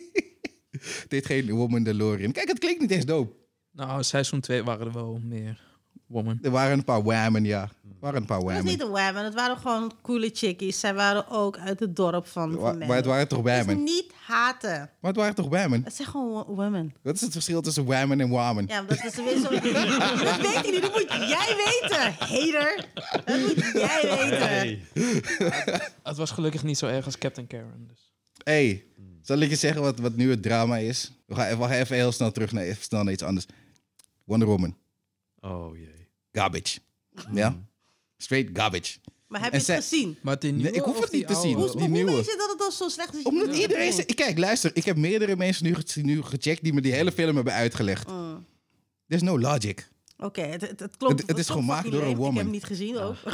S3: Dit geen Woman DeLorean. Kijk, het klinkt niet eens dope.
S4: Nou, seizoen 2 waren er wel meer woman.
S3: Er waren een paar whammen, ja. Er waren een paar
S1: Het was
S3: whammen.
S1: niet een wham. Het waren gewoon coole chickies. Zij waren ook uit het dorp van,
S3: Wa-
S1: van Mando.
S3: maar het waren toch
S1: Het is
S3: whammen?
S1: niet haten.
S3: Maar het waren toch whammen?
S1: Het zijn gewoon wo- women.
S3: Wat is het verschil tussen whammen en whammen?
S1: Ja, maar dat is weer zo.
S3: (laughs)
S1: dat weet hij niet. Dat moet jij weten, hater. Dat moet jij weten.
S4: Het was gelukkig niet zo erg als Captain Karen. Dus.
S3: Hey, zal ik je zeggen wat, wat nu het drama is? We gaan, we gaan even heel snel terug naar, even snel naar iets anders. Wonder Woman.
S2: Oh, jee.
S3: Garbage. Ja? Straight garbage.
S1: Maar heb je het
S3: En zij-
S1: gezien?
S4: Maar die
S3: Nee, ik hoef
S4: of
S3: het
S4: die
S3: niet te
S4: oude?
S3: zien.
S1: Hoe,
S3: die
S1: hoe
S3: nieuwe.
S1: weet je dat het al zo slecht is? Mm. dat je
S3: Omdat
S1: het
S3: iedereen...
S1: weet?
S3: ze- Kijk, luister. Ik heb meerdere mensen nu, ge- nu gecheckt die me die hele film hebben uitgelegd.
S1: Mm.
S3: There's no logic.
S1: Oké, het, het, het klopt.
S3: Het- het is gemaakt door een
S1: Ik
S3: woman.
S1: heb hem niet gezien ook. Ja,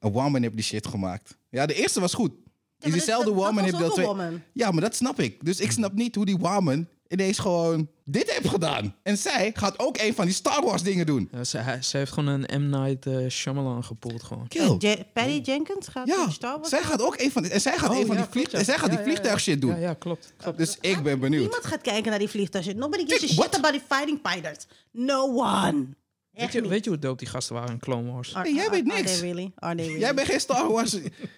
S3: Een woman heeft die shit gemaakt. Ja, de eerste was goed.
S1: maar
S3: is diezelfde
S1: dat- dat
S3: woman
S1: was
S3: heeft
S1: ook
S3: deel
S1: een
S3: twee.
S1: woman.
S3: Ja, maar dat snap ik. Dus ik snap niet hoe die woman ineens gewoon dit heeft gedaan. En zij gaat ook een van die Star Wars dingen doen.
S4: Ja, ze, hij- ze heeft gewoon een M. Night eh, Shyamalan gepoeld gewoon.
S3: Kill.
S1: Je- Patty Jenkins gaat
S3: Ja,
S1: in Star Wars.
S3: zij gaat ook een van die, en zij gaat
S4: Oh,
S3: een van
S4: ja,
S3: die, vlieg,
S4: klopt, ja.
S3: en zij gaat
S4: Ja,
S3: die
S4: ja, ja.
S3: vliegtuigshit doen.
S4: Ja, ja, klopt.
S3: Dus ik ben benieuwd.
S1: Niemand gaat kijken naar die vliegtuigen. Nobody gives a
S3: Dude,
S1: shit
S3: what?
S1: about die fighting pilots. No one.
S4: Weet
S1: Echt
S4: je,
S1: niet.
S4: weet je hoe dope die gasten waren in Clone Wars?
S1: Are-
S3: Nee, jij
S1: are-
S3: weet
S1: Are
S3: niks.
S1: they really? Are they really?
S3: (laughs) Jij bent geen Star Wars.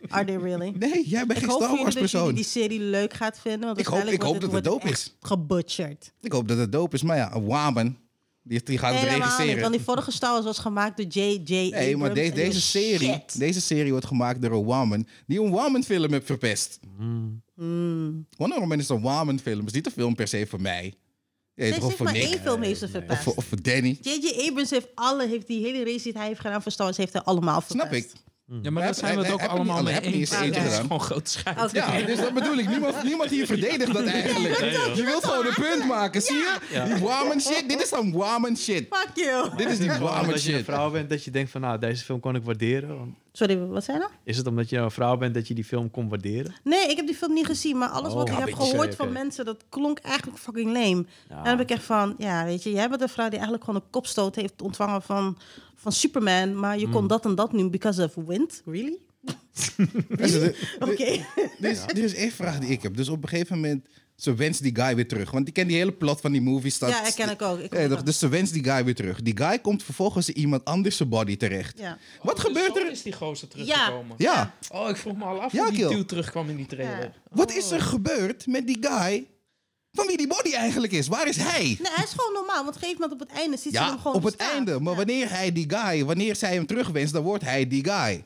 S1: Are they
S3: (laughs)
S1: really?
S3: Nee, jij bent
S1: Ik
S3: geen
S1: hoop
S3: Star
S1: voor
S3: Wars
S1: jullie dat jullie
S3: persoon.
S1: die serie leuk gaat vinden. Want
S3: Ik hoop- ik
S1: waarschijnlijk
S3: hoop dat het
S1: wordt
S3: dope
S1: wordt
S3: is.
S1: echt Gebutcherd.
S3: Ik hoop dat het dope is, maar ja, een woman. Die, die gaat het
S1: Helemaal niet,
S3: regisseren.
S1: want die vorige Star Wars was gemaakt door J.J.
S3: Nee, maar
S1: Abrams
S3: de-
S1: en
S3: deze,
S1: die-
S3: serie,
S1: Shit.
S3: deze serie wordt gemaakt door een woman die een woman film heeft verpest.
S1: Hmm.
S3: Wonder Woman is een woman film. Het is niet een film per se voor mij. Ja,
S1: Ze
S3: toch, of
S1: heeft
S3: voor
S1: maar
S3: Nick.
S1: één film heeft ze
S3: Of,
S1: verpest.
S3: voor- of voor Danny.
S1: J.J. Abrams heeft alle, heeft die hele race die hij heeft gedaan voor Star Wars, heeft hij allemaal verpest.
S3: Snap ik.
S4: Ja, maar
S3: Wij
S4: daar zijn we het ook
S3: hebben- wij-
S4: allemaal
S3: wij
S4: mee
S3: hebben niet
S4: eens.
S3: eens
S4: Het
S1: eerder
S4: is
S3: gedaan.
S4: gewoon groot schijt.
S1: Oké.
S3: Ja,
S1: (laughs)
S3: dus dat bedoel ik. Niemand, niemand hier verdedigt dat eigenlijk. je wilt gewoon een punt maken, zie je? Die woman shit, dit is dan woman shit.
S1: Fuck you.
S3: Dit is die woman
S2: Omdat je een
S3: shit.
S2: vrouw bent, dat je denkt van, nou, deze film kon ik waarderen. Want
S1: Sorry, wat zei je nou?
S2: Is het omdat je nou een vrouw bent dat je die film kon waarderen?
S1: Nee, ik heb die film niet gezien, maar alles
S2: Oh,
S1: wat ik
S2: een
S1: heb
S2: beetje,
S1: gehoord
S2: oké.
S1: van mensen, dat klonk eigenlijk fucking lame. En dan heb ik echt van, ja, weet je, jij bent een vrouw die eigenlijk gewoon een kopstoot heeft ontvangen van, van Superman, maar je
S3: Mm.
S1: kon dat en dat nu because of wind. Really?
S3: Dus er-
S1: Oké.
S3: er is- er is één vraag die ik heb. Dus op een gegeven moment, ze wenst die guy weer terug. Want ik ken die hele plot van die movie. Staat,
S1: Ja, ik ken ik ook. Ik
S3: Ja, toch? dus ze wenst die guy weer terug. Die guy komt vervolgens in iemand anders zijn body
S1: (laughs)
S3: terecht.
S1: ja.
S3: Wat
S4: dus
S3: gebeurt er?
S4: Oh, is die gozer teruggekomen.
S1: teruggekomen.
S3: Ja,
S4: Oh, ik vroeg me al af
S3: Ja,
S4: hoe die
S3: Kiel.
S4: dude terugkwam in die trailer.
S3: wat is
S1: Oh.
S3: er gebeurd met die guy van wie die body eigenlijk is? Waar is hij?
S1: Nee, hij is gewoon normaal, want op een gegeven moment op het einde ziet ze
S3: Ja,
S1: hem gewoon
S3: op het
S1: staan.
S3: einde. Maar
S1: Ja.
S3: wanneer hij die guy, wanneer zij hem terugwenst, dan wordt hij die guy.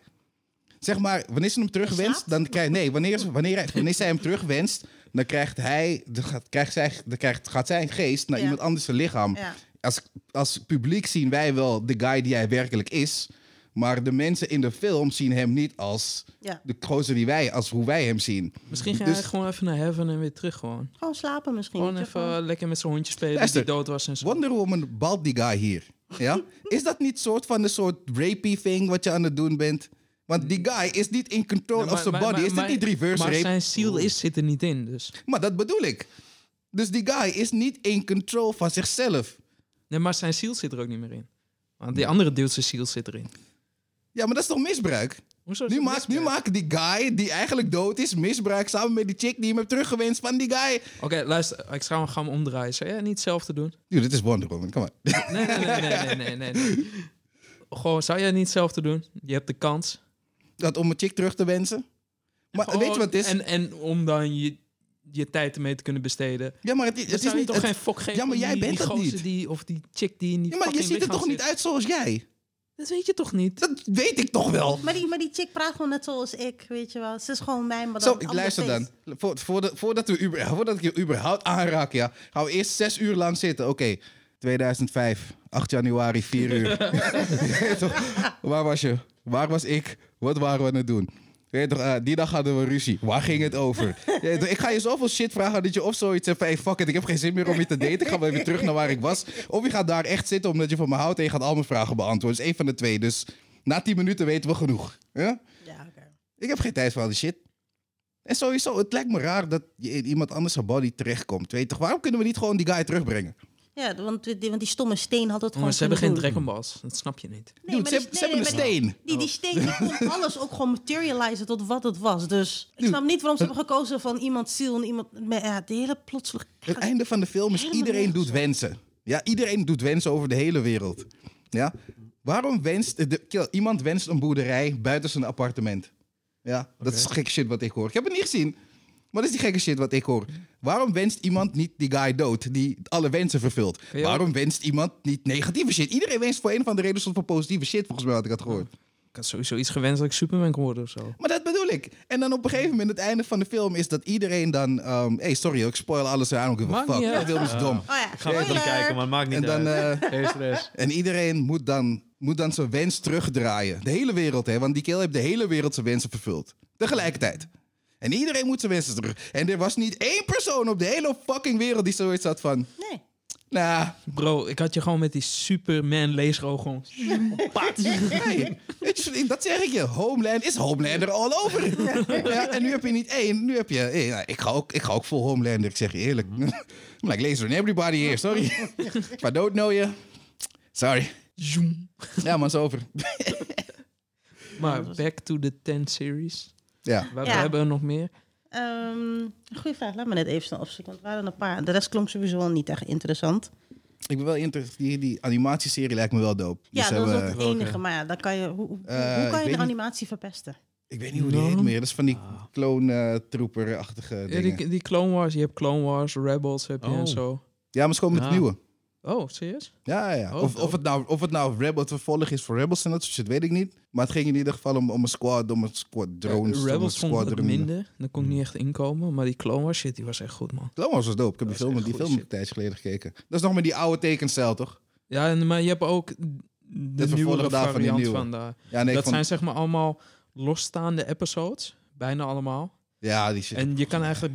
S3: Zeg maar, wanneer ze hem terugwenst,
S1: Geslaagd?
S3: dan krijgt... Nee, wanneer, ze- wanneer, hij- wanneer zij hem terugwenst, dan krijgt hij... Dan gaat, krijgt zij, dan krijgt, gaat zijn geest naar
S1: Ja.
S3: iemand anders zijn lichaam.
S1: Ja.
S3: Als, als publiek zien wij wel de guy die hij werkelijk is. Maar de mensen in de film zien hem niet als
S1: Ja.
S3: de gozer die wij, als hoe wij hem zien.
S4: Misschien ging
S3: Dus-
S4: hij gewoon even naar Heaven en weer terug gewoon.
S1: Gewoon slapen misschien.
S4: Gewoon
S1: weet je,
S4: even eh, lekker met zijn hondje spelen
S3: Luister,
S4: die dood was en zo.
S3: Wonder Woman balt die guy hier.
S4: (laughs)
S3: Ja? Is dat niet soort van een soort rapey thing wat je aan het doen bent? Want die guy is niet in control
S4: Ja, maar-
S3: of zijn
S4: Nou, maar-
S3: body.
S4: maar-
S3: is dit
S4: maar-
S3: niet reverse
S4: Maar
S3: rape? Oh.
S4: zijn ziel is, zit er niet in, dus.
S3: Maar dat bedoel ik. Dus die guy is niet in control van zichzelf.
S4: Nee, maar zijn ziel zit er ook niet meer in. Want die andere dude, zijn ziel zit erin.
S3: Ja, maar dat is toch misbruik?
S4: Hoezo is
S3: Nu
S4: het
S3: maakt, nu
S4: misbruik?
S3: maakt die guy die eigenlijk dood is misbruik samen met die chick die hem heeft teruggewenst van die guy.
S4: Oké, luister, ik ga hem gaan omdraaien. Zou jij niet hetzelfde doen?
S3: Dude, dit is Wonder Woman, kom maar.
S4: Nee, nee, nee, nee, nee, nee, nee, nee. Gewoon, zou jij niet hetzelfde doen? Je hebt de kans.
S3: (laughs) Dat om een chick terug te wensen. Maar
S4: Gewoon-
S3: Eh, weet je wat het is?
S4: Oh, En, en om dan je, je tijd ermee te kunnen besteden.
S3: ja, maar het,
S4: Het,
S3: het
S4: is
S3: is niet...
S4: toch
S3: het-
S4: geen fok geven
S3: Ja, maar
S4: om
S3: jij
S4: die-
S3: bent
S4: die
S3: dat
S4: gozer
S3: niet.
S4: Die, of die chick die in die
S3: ja, maar je
S4: fucking
S3: ziet er
S4: lichaam
S3: toch niet
S4: zit.
S3: uit zoals jij?
S4: Dat weet je toch niet?
S3: Dat weet ik toch wel.
S1: Maar die, maar die chick praat gewoon net zoals ik, weet je wel. Ze is gewoon mijn, maar dan
S3: Zo,
S1: een
S3: ik
S1: ander
S3: luister
S1: face.
S3: dan. Vo- voordat- voordat, we uber, voordat ik je überhaupt aanraak, ja, gaan we eerst zes uur lang zitten. Oké, 2005, 8 januari, 4
S1: (laughs)
S3: uur. (laughs) Weet je toch? Waar was je? Waar was ik? Wat waren we aan het doen? Weet je toch, eh, die dag hadden we ruzie. Waar ging het
S1: (laughs)
S3: over? Je weet toch, ik ga je zoveel shit vragen dat je of zoiets hebt van... Hey, fuck it, ik heb geen zin meer om je te daten. Ik ga wel weer terug naar waar ik was. Of je gaat daar echt zitten omdat je van me houdt... en je gaat al mijn vragen beantwoorden. Dat is één van de twee. Dus na 10 minuten weten we genoeg. Ja?
S1: Ja, oké.
S3: Ik heb geen tijd voor al die shit. En sowieso, het lijkt me raar dat je in iemand anders zijn body terechtkomt. Weet je toch, waarom kunnen we niet gewoon die guy terugbrengen?
S1: Ja, want die, want die stomme steen had het gewoon
S4: Jongens, ze hebben geen
S1: kunnen doen.
S4: Dragon Balls. Dat snap je niet.
S1: Nee,
S3: Dude,
S1: maar
S3: ze,
S1: die-
S3: hebben- ze
S1: nee, nee,
S3: hebben een
S1: maar
S3: steen. Oh.
S1: Die, die steen die
S3: (laughs)
S1: kon alles ook gewoon materialisen tot wat het was. Dus ik
S3: Dude.
S1: snap niet waarom ze hebben gekozen van iemands ziel en iemand... Maar ja, de hele plotseling...
S3: Het einde van de film is
S1: Helemaal
S3: iedereen
S1: nergens
S3: doet wensen. Ja, iedereen doet wensen over de hele wereld. Ja? Waarom wenst... De, kill, iemand wenst een boerderij buiten zijn appartement. Ja, dat is gekke shit wat ik hoor. Ik heb het niet gezien. Maar dat is die gekke shit wat ik hoor. Waarom wenst iemand niet die guy dood die alle wensen vervult?
S4: je ook-
S3: Waarom wenst iemand niet negatieve shit? Iedereen wenst voor een van de redenen soort van positieve shit, volgens mij had ik dat gehoord.
S4: Ik had sowieso iets gewenst dat ik Superman kon worden of zo.
S3: Maar dat bedoel ik. En dan op een gegeven moment, het einde van de film, is dat iedereen dan... ehm hey, sorry, hoor, ik spoil alles aan. Ik
S4: Maakt
S3: fuck.
S4: niet
S3: Ja,
S4: uit.
S3: film is dom.
S1: Oh ja,
S2: Ik ga het niet
S1: spoiler.
S2: kijken, maar het maakt niet
S3: En dan...
S2: uit.
S3: eh,
S2: Geen stress.
S3: En iedereen moet dan, moet dan zijn wens terugdraaien. De hele wereld, hè? Want die keel heeft de hele wereld zijn wensen vervuld. Tegelijkertijd. En iedereen moet zijn wensen terug. En er was niet één persoon op de hele fucking wereld die zoiets had van.
S1: Nee.
S3: Nou,
S4: Bro, ik had je gewoon met die Superman laseroog gewoon... Pat.
S3: nee. Weet je, dat zeg ik je. Homeland is Homelander all over. Ja, en nu heb je niet één. Nu heb je. eh, nou, ik, ga ook, ik ga ook vol Homelander, ik zeg je eerlijk. (laughs) I'm like laser in everybody here,
S1: (laughs)
S3: sorry. If I don't know you. Sorry.
S4: Zoom.
S3: Ja, man, is over.
S4: Maar back to the 10 series.
S3: Ja.
S4: Waar
S1: Ja.
S4: we hebben we nog meer?
S1: Ehm goeie vraag, laat me net even snel opzoeken. Want er waren een paar. De rest klonk sowieso al niet echt interessant.
S3: Ik ben wel inter... die, die animatieserie lijkt me wel dope.
S1: Ja,
S3: Dus
S1: dat is
S3: hebben-
S1: ook het enige. Maar ja, dan kan je, hoe, hoe-
S3: Eh,
S1: hoe
S3: ik
S1: kan
S3: weet
S1: je
S3: niet.
S1: een animatie verpesten?
S3: Ik weet niet hoe die heet meer. Dat is van die
S2: Ah.
S3: clone-trooper-achtige
S4: Ja,
S3: dingen.
S4: die, die Clone Wars, je hebt Clone Wars, Rebels heb je
S2: Oh.
S4: en zo.
S3: Ja, maar ze komen met
S2: Ja.
S3: het nieuwe.
S4: Oh, serieus?
S3: Ja, ja. of,
S4: Oh,
S3: of,
S4: dope.
S3: het nou, of het nou Rebel het vervolg is voor Rebels en dat soort shit, weet ik niet. Maar het ging in ieder geval om, om een squad, om een squadron.
S4: Ja, Eh, Rebels
S3: om een
S4: vond ik minder. Daar kon ik niet echt inkomen. Maar die Clone Wars shit, die was echt goed, man.
S3: Clone Wars was dope. Ik heb
S4: Dat
S3: die
S4: is
S3: film,
S4: echt
S3: die
S4: goede
S3: film een
S4: shit.
S3: tijdje geleden gekeken. Dat is nog met die oude tekencel, toch?
S4: Ja, en, maar je hebt ook de
S3: vervolg
S4: nieuwere
S3: daarvan, die
S4: variant
S3: nieuwe.
S4: van de...
S3: Ja, nee, ik
S4: dat
S3: vond-
S4: zijn zeg maar allemaal losstaande episodes. Bijna allemaal.
S3: ja, die shit.
S4: En je kan eigenlijk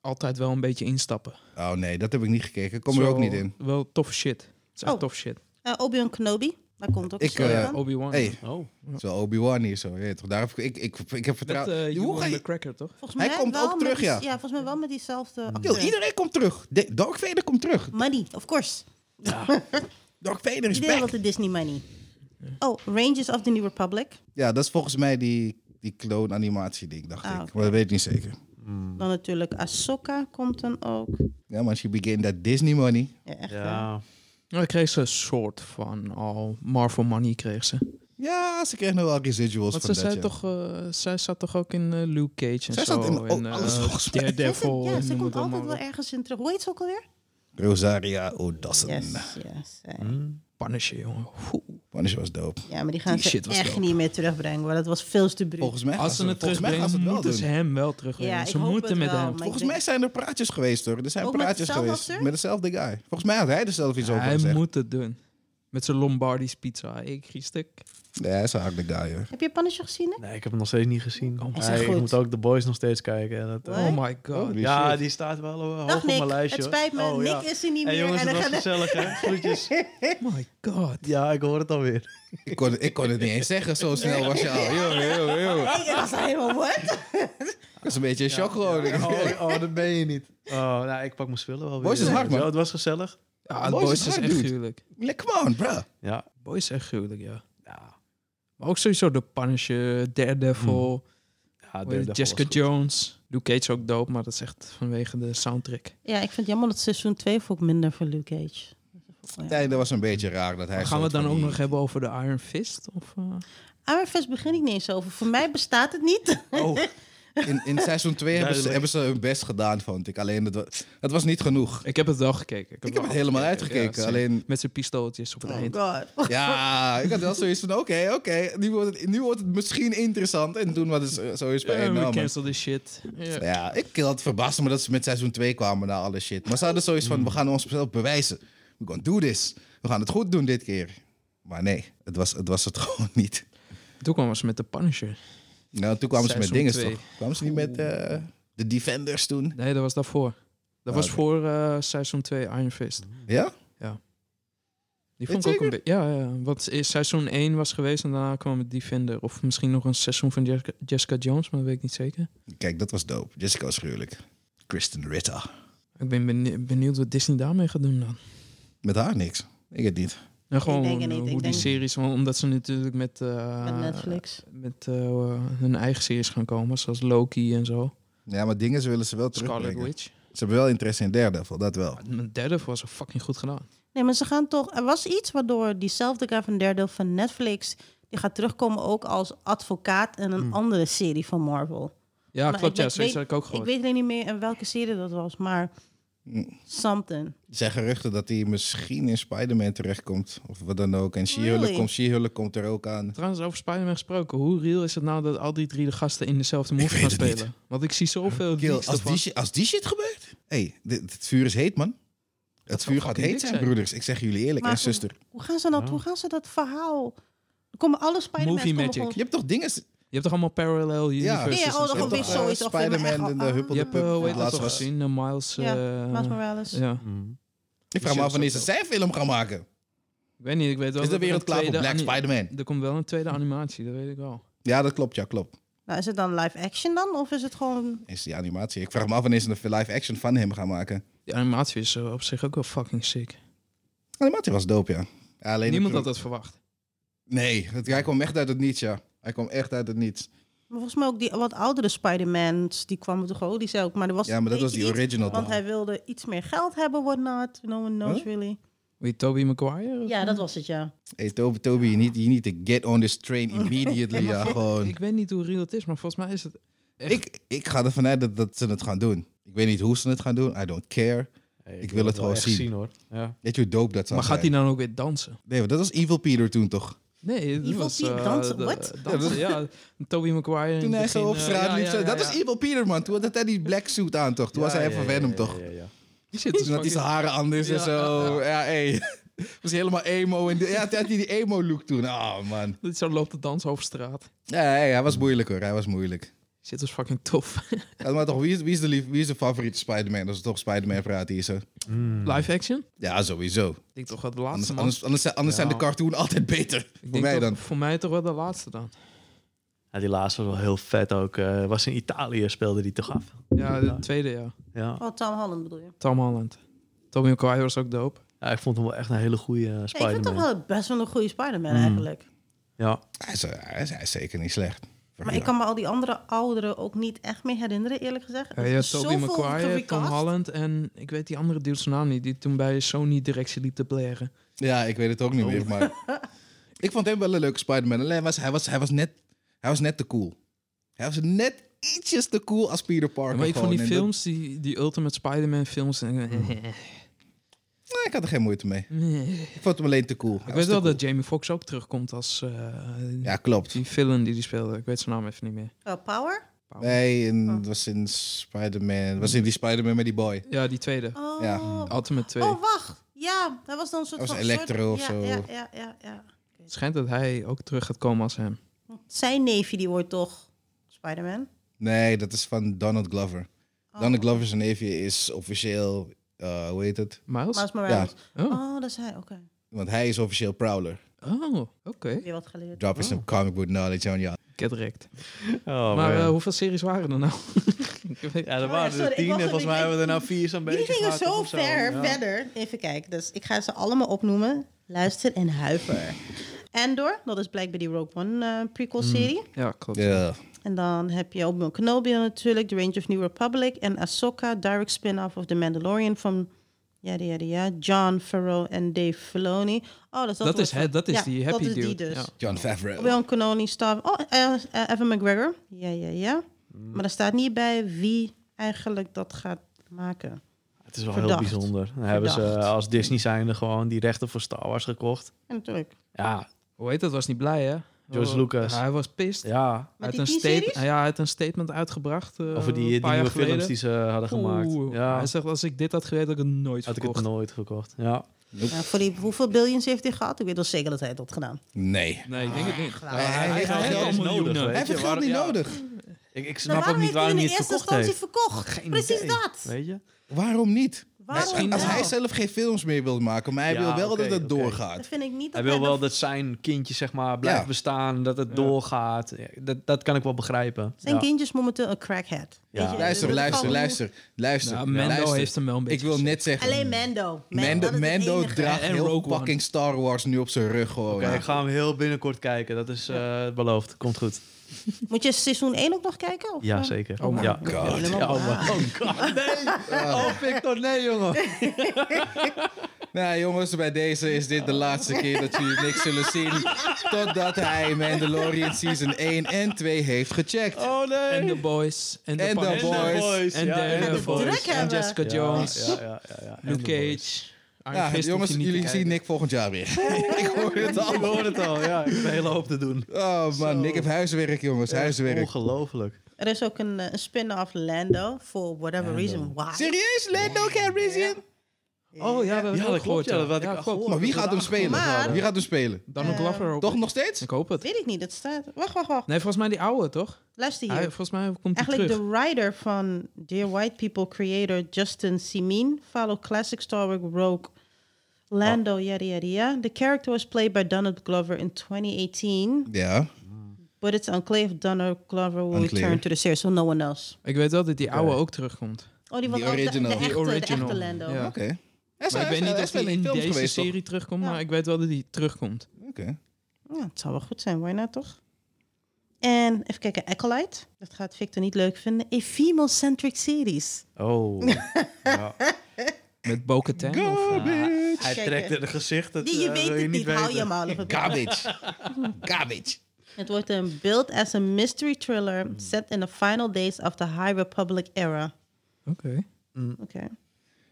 S4: altijd wel een beetje instappen.
S3: Oh nee, dat heb ik niet gekeken. Ik kom er
S4: Zo
S3: ook niet in.
S4: Wel toffe shit. Het is echt
S1: Oh.
S4: tof shit.
S1: Eh, Obi-Wan Kenobi, daar komt ook
S3: Ik,
S1: een serie
S3: eh,
S1: van.
S4: Obi-Wan.
S3: Hey,
S2: Oh,
S3: Het is wel Obi-Wan hier zo. je weet toch? Daar heb ik, ik, ik, ik heb
S4: Met
S3: vertrouwen.
S4: eh
S3: nou, Hoe
S4: Ewan
S3: ga je-
S4: McGregor, toch?
S1: Volgens mij
S3: hij komt
S1: wel
S3: ook
S1: met
S3: terug,
S1: die-
S3: ja.
S1: Ja, volgens mij wel met diezelfde
S3: Yo,
S1: acteur.
S3: iedereen komt terug. De- Darth Vader komt terug.
S1: Money, of course.
S3: Darth Vader is
S1: Iedereen
S3: back.
S1: wat de Disney money. Oh, Rangers of the New Republic.
S3: Ja, dat is volgens mij die, die clone animatie ding, dacht
S1: Ah,
S3: ik.
S1: oké.
S3: Maar dat weet ik niet zeker.
S1: Dan natuurlijk Ahsoka komt dan ook.
S3: Ja, maar als je begin dat Disney money.
S1: Ja, echt hè?
S2: ja.
S4: Nou, ik kreeg ze een soort van al Marvel Money kreeg ze.
S3: Ja, ze krijgen nog wel residuals
S4: Want
S3: van
S4: ze
S3: dat,
S4: zei
S3: ja.
S4: toch, eh, zij zat toch ook in eh, Luke Cage en
S3: Zij
S4: zo.
S3: zat in
S4: en,
S3: al-
S4: eh,
S3: alles volgens mij.
S1: Zij zit-
S4: Daredevil.
S1: Ja,
S4: en
S1: ze
S4: noem
S1: komt
S4: het allemaal
S1: altijd wel
S4: op.
S1: ergens in terug. Hoe heet ze ook alweer?
S3: Rosaria O'Dawson.
S1: Yes, yes. eh.
S2: Hm?
S4: Punisher, jongen. Oeh.
S3: Punisher was dope.
S1: Ja, maar die gaan
S4: Die
S1: ze
S4: shit was
S1: echt
S4: dope.
S1: niet meer terugbrengen. Want dat was veel te bruut.
S3: Volgens mij,
S4: Als ze het
S3: volgens mij gaan ze
S4: terugbrengen,
S3: het wel
S4: moeten
S3: doen.
S4: ze hem wel terugbrengen.
S1: Ja, ik
S4: ze
S1: hoop
S4: moeten
S1: het
S4: met
S1: wel,
S4: hem.
S1: maar-
S3: Volgens
S1: Ik
S3: mij zijn er praatjes geweest hoor. Er zijn
S1: Ook met
S3: praatjes
S1: dezelfde
S3: geweest.
S1: acteur?
S3: Met dezelfde guy. Volgens mij had hij er zelf iets over
S4: Hij
S3: gezegd.
S4: moet het doen. Met zijn Lombardi's pizza. Ik stuk.
S3: Nee, hij is een harde guy hoor.
S1: Heb je Punisher gezien? Nick?
S2: Nee, ik heb hem nog steeds niet gezien.
S4: Oh,
S1: is
S2: Hey,
S1: echt
S2: ik
S1: goed.
S2: moet ook The Boys nog steeds kijken. En dat, eh,
S1: What?
S4: Oh my god.
S3: Holy
S2: ja,
S3: shit.
S2: die staat wel eh, hoog
S1: Dag
S2: op mijn
S1: Nick,
S2: lijstje.
S1: het
S2: hoor.
S1: spijt me.
S2: Oh,
S1: Nick
S2: ja.
S1: is er niet
S2: Hey,
S1: meer.
S2: jongens,
S1: en
S2: het
S1: dan
S2: was
S1: gaan de-
S2: gezellig, hè?
S1: (laughs)
S2: Groetjes.
S4: Oh my god.
S2: Ja, ik hoor het alweer.
S3: Ik kon, ik kon het niet eens zeggen, zo snel was je al. Yo, yo,
S4: (laughs)
S3: yo.
S1: Ik was helemaal wat?
S3: Dat is een beetje een shock gewoon.
S2: Ja,
S3: (laughs)
S2: oh, oh, dat ben je niet. Oh, nou, ik pak mijn spullen wel weer.
S3: Boys is hard, man.
S2: Ja, het was gezellig.
S4: Ja, het
S3: Boys
S4: boys,
S3: is
S4: is
S3: hard,
S4: echt
S3: dude.
S4: gruwelijk.
S3: Like, come on, bro.
S2: Ja.
S4: Boys is echt gruwelijk, ja.
S2: Ja,
S4: Maar ook sowieso de Punisher,
S2: ja
S4: Daredevil, hoe heet het,
S2: Daredevil
S4: Jessica
S2: was goed.
S4: Jones. Luke Cage is ook dope, maar dat is echt vanwege de soundtrack.
S1: Ja, ik vind het jammer dat seizoen 2 vond ik minder voor Luke Cage.
S3: Nee, dat was een beetje raar dat hij...
S4: gaan we
S3: soort
S4: het dan
S3: van
S4: ook
S3: die-
S4: nog hebben over de Iron Fist? Of, eh?
S1: Ironfest begin ik niet eens over. Voor mij bestaat het niet.
S2: Oh,
S3: In, in seizoen 2 hebben, ze,
S2: Duidelijk.
S3: hebben ze hun best gedaan, vond ik. Alleen, het, wa- het was niet genoeg.
S4: Ik heb het wel gekeken.
S3: Ik heb
S4: wel
S3: het helemaal
S4: afgekeken,
S3: uitgekeken.
S4: ja,
S3: alleen, Oh,
S4: Met zijn pistooltjes op het eind.
S1: Oh, god.
S3: ja, ik had wel zoiets van, oké, oké. nu, wordt het, nu wordt het misschien interessant. En toen was het zo- eh, zoiets bij
S4: Ja, Eh, we
S3: één naam.
S4: cancel this shit. Ja.
S3: Ja, ik had verbaasd me dat ze met seizoen 2 kwamen na alle shit. Maar ze hadden zoiets van, we gaan onszelf bewijzen. We gaan do this. We gaan het goed doen dit keer. Maar nee, het was het, was het (laughs) gewoon niet.
S4: Toen kwamen ze met de Punisher.
S3: Nou, toen kwamen ze met
S4: Seizoen
S3: dingen,
S4: twee.
S3: toch? Kwamen ze niet met eh, de Defenders toen?
S4: Nee, dat was daarvoor. Dat
S3: Ah,
S4: was
S3: oké.
S4: voor eh, seizoen 2 Iron Fist.
S3: Ja?
S4: Die
S3: Weet
S4: vond ik ook
S3: zeker?
S4: een beetje... Ja, ja, want eerst seizoen 1 was geweest en daarna kwam het Defender. Of misschien nog een seizoen van Jessica, Jessica Jones, maar dat weet ik niet zeker.
S3: Kijk, dat was dope. Jessica was gruwelijk. Kristen Ritter.
S4: Ik ben benie- benieuwd wat Disney daarmee gaat doen dan.
S3: Met haar niks. Ik het niet.
S4: En gewoon
S1: denk het niet,
S4: hoe
S1: ik
S4: die
S1: denk-
S4: series... want Omdat ze natuurlijk met... eh,
S1: Met Netflix.
S4: Met eh, hun eigen series gaan komen, zoals Loki en zo.
S3: Ja, maar dingen ze willen ze wel
S4: Scarlet
S3: terugbrengen.
S4: Witch.
S3: Ze hebben wel interesse in Daredevil, dat wel.
S4: Mijn derde was er fucking goed gedaan.
S1: Nee, maar ze gaan toch... Er was iets waardoor diezelfde guy van derde van Netflix... die gaat terugkomen ook als advocaat in
S3: Mm.
S1: een andere serie van Marvel.
S4: Ja,
S1: Maar
S4: klopt.
S1: ik
S4: Ja,
S1: weet-
S4: zoiets
S1: weet-
S4: had ik ook
S1: Ik
S4: gehoord.
S1: weet alleen niet meer in welke serie dat was, maar... Something.
S3: Er zijn geruchten dat hij misschien in Spider-Man terechtkomt. Of wat dan ook. En She-Hulk
S1: Really?
S3: komt, She-Hulk komt er ook aan.
S4: Trouwens, over Spider-Man gesproken. Hoe real is het nou dat al die drie de gasten in dezelfde movie
S3: weet
S4: gaan
S3: het niet.
S4: spelen? Want ik zie zoveel
S3: Kill,
S4: leaks
S3: als,
S4: ervan.
S3: die, shi- als die shit gebeurt... Hé, hey, dit- het vuur is heet, man. Het
S4: zou
S3: vuur gaat
S4: fucking
S3: heet
S4: dik
S3: zijn,
S4: zijn.
S3: broeders. Ik zeg jullie eerlijk.
S1: Maar
S3: en
S1: goed.
S3: zuster.
S1: Hoe gaan ze dat,
S3: Oh.
S2: Ja.
S1: hoe gaan ze dat verhaal... Er komen alle Spider-Man's
S4: Movie
S1: komen
S4: magic.
S1: gewoon-
S3: Je hebt toch dingen...
S4: Je hebt toch allemaal parallel universes?
S1: Ja, oh,
S4: en
S1: dat
S4: zo?
S1: gewoon weer
S3: toch, eh,
S1: zoiets. of helemaal echt
S3: Spider-Man en
S1: al-
S3: de Huppel
S4: Je
S3: de
S4: hebt,
S3: Pup.
S4: eh, hoe heet
S3: Het
S4: dat
S3: laatste
S4: toch
S3: was...
S4: gezien? Eh, Miles...
S1: Ja,
S4: eh,
S1: Miles Morales.
S4: Ja.
S2: Mm.
S3: Ik vraag me af wanneer ze zijn film gaan maken.
S4: Ik weet niet, ik weet wel...
S3: Is de
S4: dat er
S3: wereld
S4: een
S3: klaar voor
S4: tweede
S3: Black
S4: ani-
S3: Spider-Man?
S4: Er komt wel een tweede animatie, dat weet ik wel.
S3: Ja, dat klopt. Ja, klopt.
S1: Nou, is het dan live action dan? Of is het gewoon...
S3: Is die animatie. Ik vraag me af wanneer ze een live action van hem gaan maken.
S4: Die animatie is eh, op zich ook wel fucking sick.
S3: Animatie was dope, ja. Ja, Alleen
S4: Niemand
S3: ik-
S4: had dat verwacht.
S3: Nee, het- hij kwam echt uit het niets, ja. Hij kwam echt uit het niets.
S1: Maar volgens mij ook die wat oudere Spider-Mans, die kwamen toch ook, die zei ook, maar er was
S3: Ja, maar dat
S1: weet
S3: was
S1: je
S3: die
S1: iets,
S3: original
S1: Want
S3: toch?
S1: hij wilde iets meer geld hebben, whatnot. No one knows
S3: Huh?
S1: really.
S4: Wie, Tobey Maguire?
S1: Ja, dat was het, ja.
S3: Hey, Toby, Toby, you need, you need to get on this
S1: (laughs)
S3: train immediately. ja, gewoon.
S4: Ik weet niet hoe real het is, maar volgens mij is het... echt-
S3: Ik, ik ga ervan uit dat, dat ze het gaan doen. Ik weet niet hoe ze het gaan doen. I don't care.
S2: Hey,
S3: Ik wil het
S2: wel
S3: gewoon
S2: echt
S3: zien.
S2: hoor. Ja.
S3: Weet je hoe dope dat zou
S4: Maar gaat hij
S3: zijn?
S4: dan ook weer dansen?
S3: Nee, want dat was Evil Peter toen toch?
S4: Nee, dat
S1: Evil
S4: was...
S1: Pete
S4: eh,
S1: dansen,
S4: de-
S1: what?
S4: dansen, ja. Tobey Maguire in
S3: Toen
S4: het
S3: hij zo
S4: begin,
S3: op
S4: eh,
S3: straat
S4: ja,
S3: liep.
S4: ja,
S3: zo,
S4: ja,
S3: dat
S4: ja.
S3: was Evil Peter, man. Toen had hij die black suit aan, toch? Toen was hij even Venom, toch?
S2: Ja, ja, ja.
S4: Die zit dus
S3: Toen had hij zijn haren anders en
S4: Ja,
S3: zo. Ja, hey. was hij helemaal emo. En ja, toen had hij die emo-look toen. Oh, man.
S4: Dit zo loopt de dans over straat. (laughs)
S3: Ja, hij, hij was moeilijk, hoor. Hij was moeilijk.
S4: Shit was fucking tof.
S3: Ja, maar toch, wie is, wie is, de, lief, wie is de favoriete Spider-Man? Als we toch Spider-Man praten hier, zo.
S2: Mm.
S4: Live action? Ik
S3: Ja, sowieso.
S4: denk toch wel de laatste,
S3: Anders,
S4: man.
S3: anders, anders, zijn- anders zijn de
S2: Ja.
S3: cartoon altijd beter.
S4: Ik
S3: Voor
S4: denk
S3: mij
S4: toch-
S3: dan.
S4: Voor mij toch wel de laatste dan.
S2: Ja, die laatste was wel heel vet ook. Eh, was in Italië speelde die toch af.
S4: Ja, de tweede, ja.
S2: Ja.
S1: Oh, Tom Holland bedoel je?
S4: Tom Holland. Tommy O'Kwai was ook dope.
S2: ja, ik vond hem wel echt een hele goede eh,
S1: Ja, ik vind
S2: Spider-Man.
S1: toch wel best wel een goede Spider-Man
S3: Mm,
S1: eigenlijk.
S2: Ja,
S3: Hij is, eh, hij is, hij is zeker niet slecht.
S1: Maar ik kan me al die andere ouderen ook niet echt meer herinneren, eerlijk gezegd.
S4: Ja,
S1: Er
S4: je had
S1: is
S4: Tobey
S1: zoveel
S4: Maguire,
S1: gerecast.
S4: Tom Holland en ik weet die andere dude zijn naam niet, die toen bij Sony directie liep te blaren.
S3: Ja, ik weet het ook niet meer.
S1: (laughs)
S3: Maar ik vond hem wel een leuke Spider-Man. Alleen was, hij, was, hij, was net, hij was net te cool. Hij was net ietsjes te cool als Peter Parker.
S4: maar ik vond
S3: gewoon.
S4: die
S3: En dat-
S4: films, die, die Ultimate Spider-Man films... en-
S1: (laughs)
S4: eh,
S3: nee, ik had er geen moeite mee. Ik vond hem alleen te cool. Hij
S4: Ik
S3: was
S4: weet
S3: te
S4: wel
S3: cool.
S4: dat Jamie Foxx ook terugkomt als eh,
S3: Ja, klopt.
S4: die villain die die speelde. Ik weet zijn naam even niet meer.
S1: Eh, Power?
S3: Nee, en
S1: Oh.
S3: het was in Spider-Man. was in die Spider-Man met die boy.
S4: Ja, die tweede.
S1: Oh.
S3: Ja.
S4: Ultimate 2.
S1: oh, wacht. Ja, dat was dan een soort
S3: Dat was
S1: van...
S3: Electro of
S1: soort,
S3: zo.
S1: Ja, ja, ja, ja.
S4: Het schijnt dat hij ook terug gaat komen als hem.
S1: Zijn neefje, die wordt toch Spider-Man?
S3: Nee, dat is van Donald Glover.
S1: Oh.
S3: Donald Glover zijn neefje is officieel, eh, hoe heet het?
S4: Miles?
S1: Miles Morales.
S4: Oh,
S1: Oh, dat is hij. Oké.
S3: Want hij is officieel Prowler.
S4: oh oké.
S1: Weer wat geleerd.
S3: Drop is some comic book knowledge on you.
S4: Get wrecked.
S2: Oh,
S4: maar
S2: man.
S4: eh, hoeveel series waren er nou? (laughs) Ik weet-
S2: ja, er
S1: Oh,
S2: waren
S1: ja, sorry,
S2: er
S1: ik
S2: tien
S1: was
S2: en
S1: er
S2: volgens
S1: niet-
S2: mij hebben we er nou vier zo'n beetje
S1: Die gingen
S2: gehad
S1: zo
S2: of
S1: ver
S2: ja.
S1: verder. Even kijken. Dus ik ga ze allemaal opnoemen. Luister en
S3: (laughs)
S1: huiver. Andor, dat is blijkbaar die Rogue One eh, prequel-serie.
S4: ja, klopt.
S3: Ja.
S1: En dan heb je Obi-Wan Kenobi natuurlijk, The Range of New Republic en Ahsoka, direct spin-off of The Mandalorian van ja, ja, ja, John Farrow en Dave Filoni. Oh, dat is dat,
S4: Dat is
S1: wat-
S4: het- dat is
S1: ja,
S4: die happy
S1: dat is Die
S4: dude,
S1: dus.
S4: ja.
S3: John Favreau.
S1: Obi-Wan Kenobi staat. Oh, eh, eh, Evan McGregor. Ja, ja, ja. Maar er staat niet bij wie eigenlijk dat gaat maken.
S2: Het is wel
S1: Verdacht.
S2: heel bijzonder. Dan hebben ze
S1: Verdacht.
S2: als Disney zijnde gewoon die rechten voor Star Wars gekocht.
S1: En natuurlijk.
S2: Ja,
S4: Hoe heet dat? Was niet blij, hè?
S2: George
S4: Oh,
S2: Lucas.
S4: Hij was pissed.
S2: ja.
S1: Met
S4: Hij
S1: die
S4: had een
S1: tien
S4: state- ja, hij had een statement uitgebracht. eh,
S2: Over die,
S4: een
S2: die
S4: paar
S2: nieuwe
S4: jaar geleden.
S2: films die ze hadden gemaakt.
S4: Oeh,
S2: ja,
S4: Hij zegt, als ik dit had geweten, had ik het nooit
S2: had ik
S4: verkocht.
S2: het nooit gekocht. Ja.
S1: Nou, voor die, hoeveel billions heeft hij gehad? Ik weet wel zeker dat hij dat gedaan.
S3: Nee.
S4: Nee, ik denk het niet.
S1: Hij-
S3: Ah, hij heeft
S4: had
S3: het
S4: al
S3: geld
S2: niet
S4: miljoenen.
S2: nodig,
S3: Hij
S2: weet
S3: heeft het
S2: je,
S3: geld
S2: waar-
S3: niet
S2: ja.
S3: nodig.
S2: Ik, ik
S1: Maar
S2: snap ook
S1: waarom
S2: niet
S1: heeft hij
S2: waarom
S1: in
S2: hij het
S1: eerste
S2: verkocht
S1: instantie
S2: heeft.
S1: verkocht? Precies
S2: idee,
S1: dat.
S2: Weet je?
S3: Waarom niet?
S1: Waarom nou?
S4: Misschien
S3: Als
S1: wel?
S3: hij zelf geen films meer wil maken, maar hij
S2: Ja,
S3: wil wel dat
S2: oké,
S3: het
S2: oké.
S1: Dat
S3: doorgaat.
S1: vind ik niet
S2: Hij
S1: dat
S2: wil wel
S1: dat-
S2: dat zijn kindje zeg maar blijft
S3: Ja.
S2: bestaan, dat het
S4: Ja.
S2: doorgaat. Ja, Dat, dat kan ik wel begrijpen.
S1: Zijn
S2: Ja.
S1: kindjes momenteel een crackhead.
S2: Ja.
S1: Weet je,
S3: Luister,
S1: dat
S3: luister,
S1: kan-
S3: luister, luister.
S4: Ja, Mendo
S3: luister.
S4: heeft hem wel een beetje
S3: Ik wil net zeggen,
S1: Alleen Mendo.
S3: Mendo,
S1: dat is het
S3: Mendo
S1: enige.
S3: draagt
S4: En
S3: heel
S4: Rogue One.
S3: fucking Star Wars nu op zijn rug gewoon.
S2: Oké, ik ga hem heel binnenkort kijken. Dat is eh, beloofd. Komt goed.
S1: Moet je seizoen 1 ook nog kijken? Of?
S2: Ja, zeker.
S4: Oh my
S2: ja.
S3: God.
S1: Helemaal
S2: Ja, oh,
S1: waar.
S2: my- oh god, nee. Oh Victor, nee jongen.
S3: Nou jongens, bij deze is dit de laatste keer dat jullie niks zullen zien. Totdat hij Mandalorian Season 1 en 2 heeft gecheckt.
S2: Oh nee.
S4: En de boys. En de
S3: En de
S4: Punisher,
S3: boys.
S4: En
S2: ja,
S4: de
S2: en de
S1: boys.
S4: boys.
S1: Druk
S4: En
S1: hebben.
S4: Jessica
S2: Ja,
S4: Jones.
S2: Ja, ja, ja, ja. En
S4: Luke
S2: de boys.
S4: Cage. Iron
S3: Ja,
S4: Fist hoef
S3: jongens,
S4: je niet te
S3: jullie zien
S4: kijken.
S3: Nick volgend jaar
S4: (laughs)
S3: weer. ik hoor het
S2: Ik
S3: al.
S2: hoor het al, ja. Ik heb een hele hoop te doen.
S3: Oh man, Nick heeft huiswerk jongens, huiswerk.
S2: Ongelooflijk.
S1: Er is ook een, eh, een spin-off Lando. For whatever reason. Why?
S3: Serieus? Lando Calrissian?
S4: Oh ja, dat heb ik
S2: Ja,
S4: ook
S2: dat
S4: gehoord.
S2: klopt. Ja, dat had ik al gehoord.
S3: Maar wie gaat hem spelen?
S1: Maar-
S3: Wie gaat hem spelen?
S4: Dan een Glover ook.
S3: Eh, Toch nog steeds?
S4: Ik hoop het.
S1: Weet ik niet. Dat staat... Wacht, wacht, wacht.
S4: Nee, volgens mij die oude, toch?
S1: Luister
S4: Hij,
S1: hier.
S4: volgens mij komt hij
S1: Eigenlijk
S4: terug.
S1: de writer van Dear White People creator Justin Simin. Follow classic Star Wars Rogue
S2: Oh.
S1: Lando, yada yada yada. The character was played by Donald Glover in 2018.
S3: Ja.
S1: But it's unclear if Donald Glover will
S3: Unclear.
S1: return to the series, so no one else.
S4: Ik weet wel dat die oude ook terugkomt.
S1: Oh, die,
S3: Die
S1: was al- de-
S3: original.
S1: De,
S3: Die
S1: echte,
S4: original.
S1: de echte Lando.
S4: Ja.
S3: Oké. Hij is-
S4: Maar ik
S3: hij is-
S4: weet niet
S3: hij
S4: of
S3: is
S4: hij
S3: wel
S4: in
S3: films
S4: deze
S3: geweest, toch?
S4: serie terugkomt,
S1: Ja.
S4: maar ik weet wel dat hij terugkomt.
S3: Oké.
S1: Ja, het zou wel goed zijn, why not toch? En even kijken, Acolyte. Dat gaat Victor niet leuk vinden. A female-centric series.
S2: Oh. ja.
S4: Met Bo-Katan. of-
S2: Hij
S1: Kijk,
S2: trekt
S1: hè.
S2: in het gezicht. Dat,
S1: Die je
S2: eh,
S1: weet
S2: wil
S1: het niet, hou je
S2: weten.
S1: maar op het
S3: Garbage.
S4: (laughs)
S3: Garbage.
S1: Het wordt een build as a mystery thriller set in the final days of the High Republic era.
S4: Oké.
S1: Oké.
S4: Dus we
S3: Maar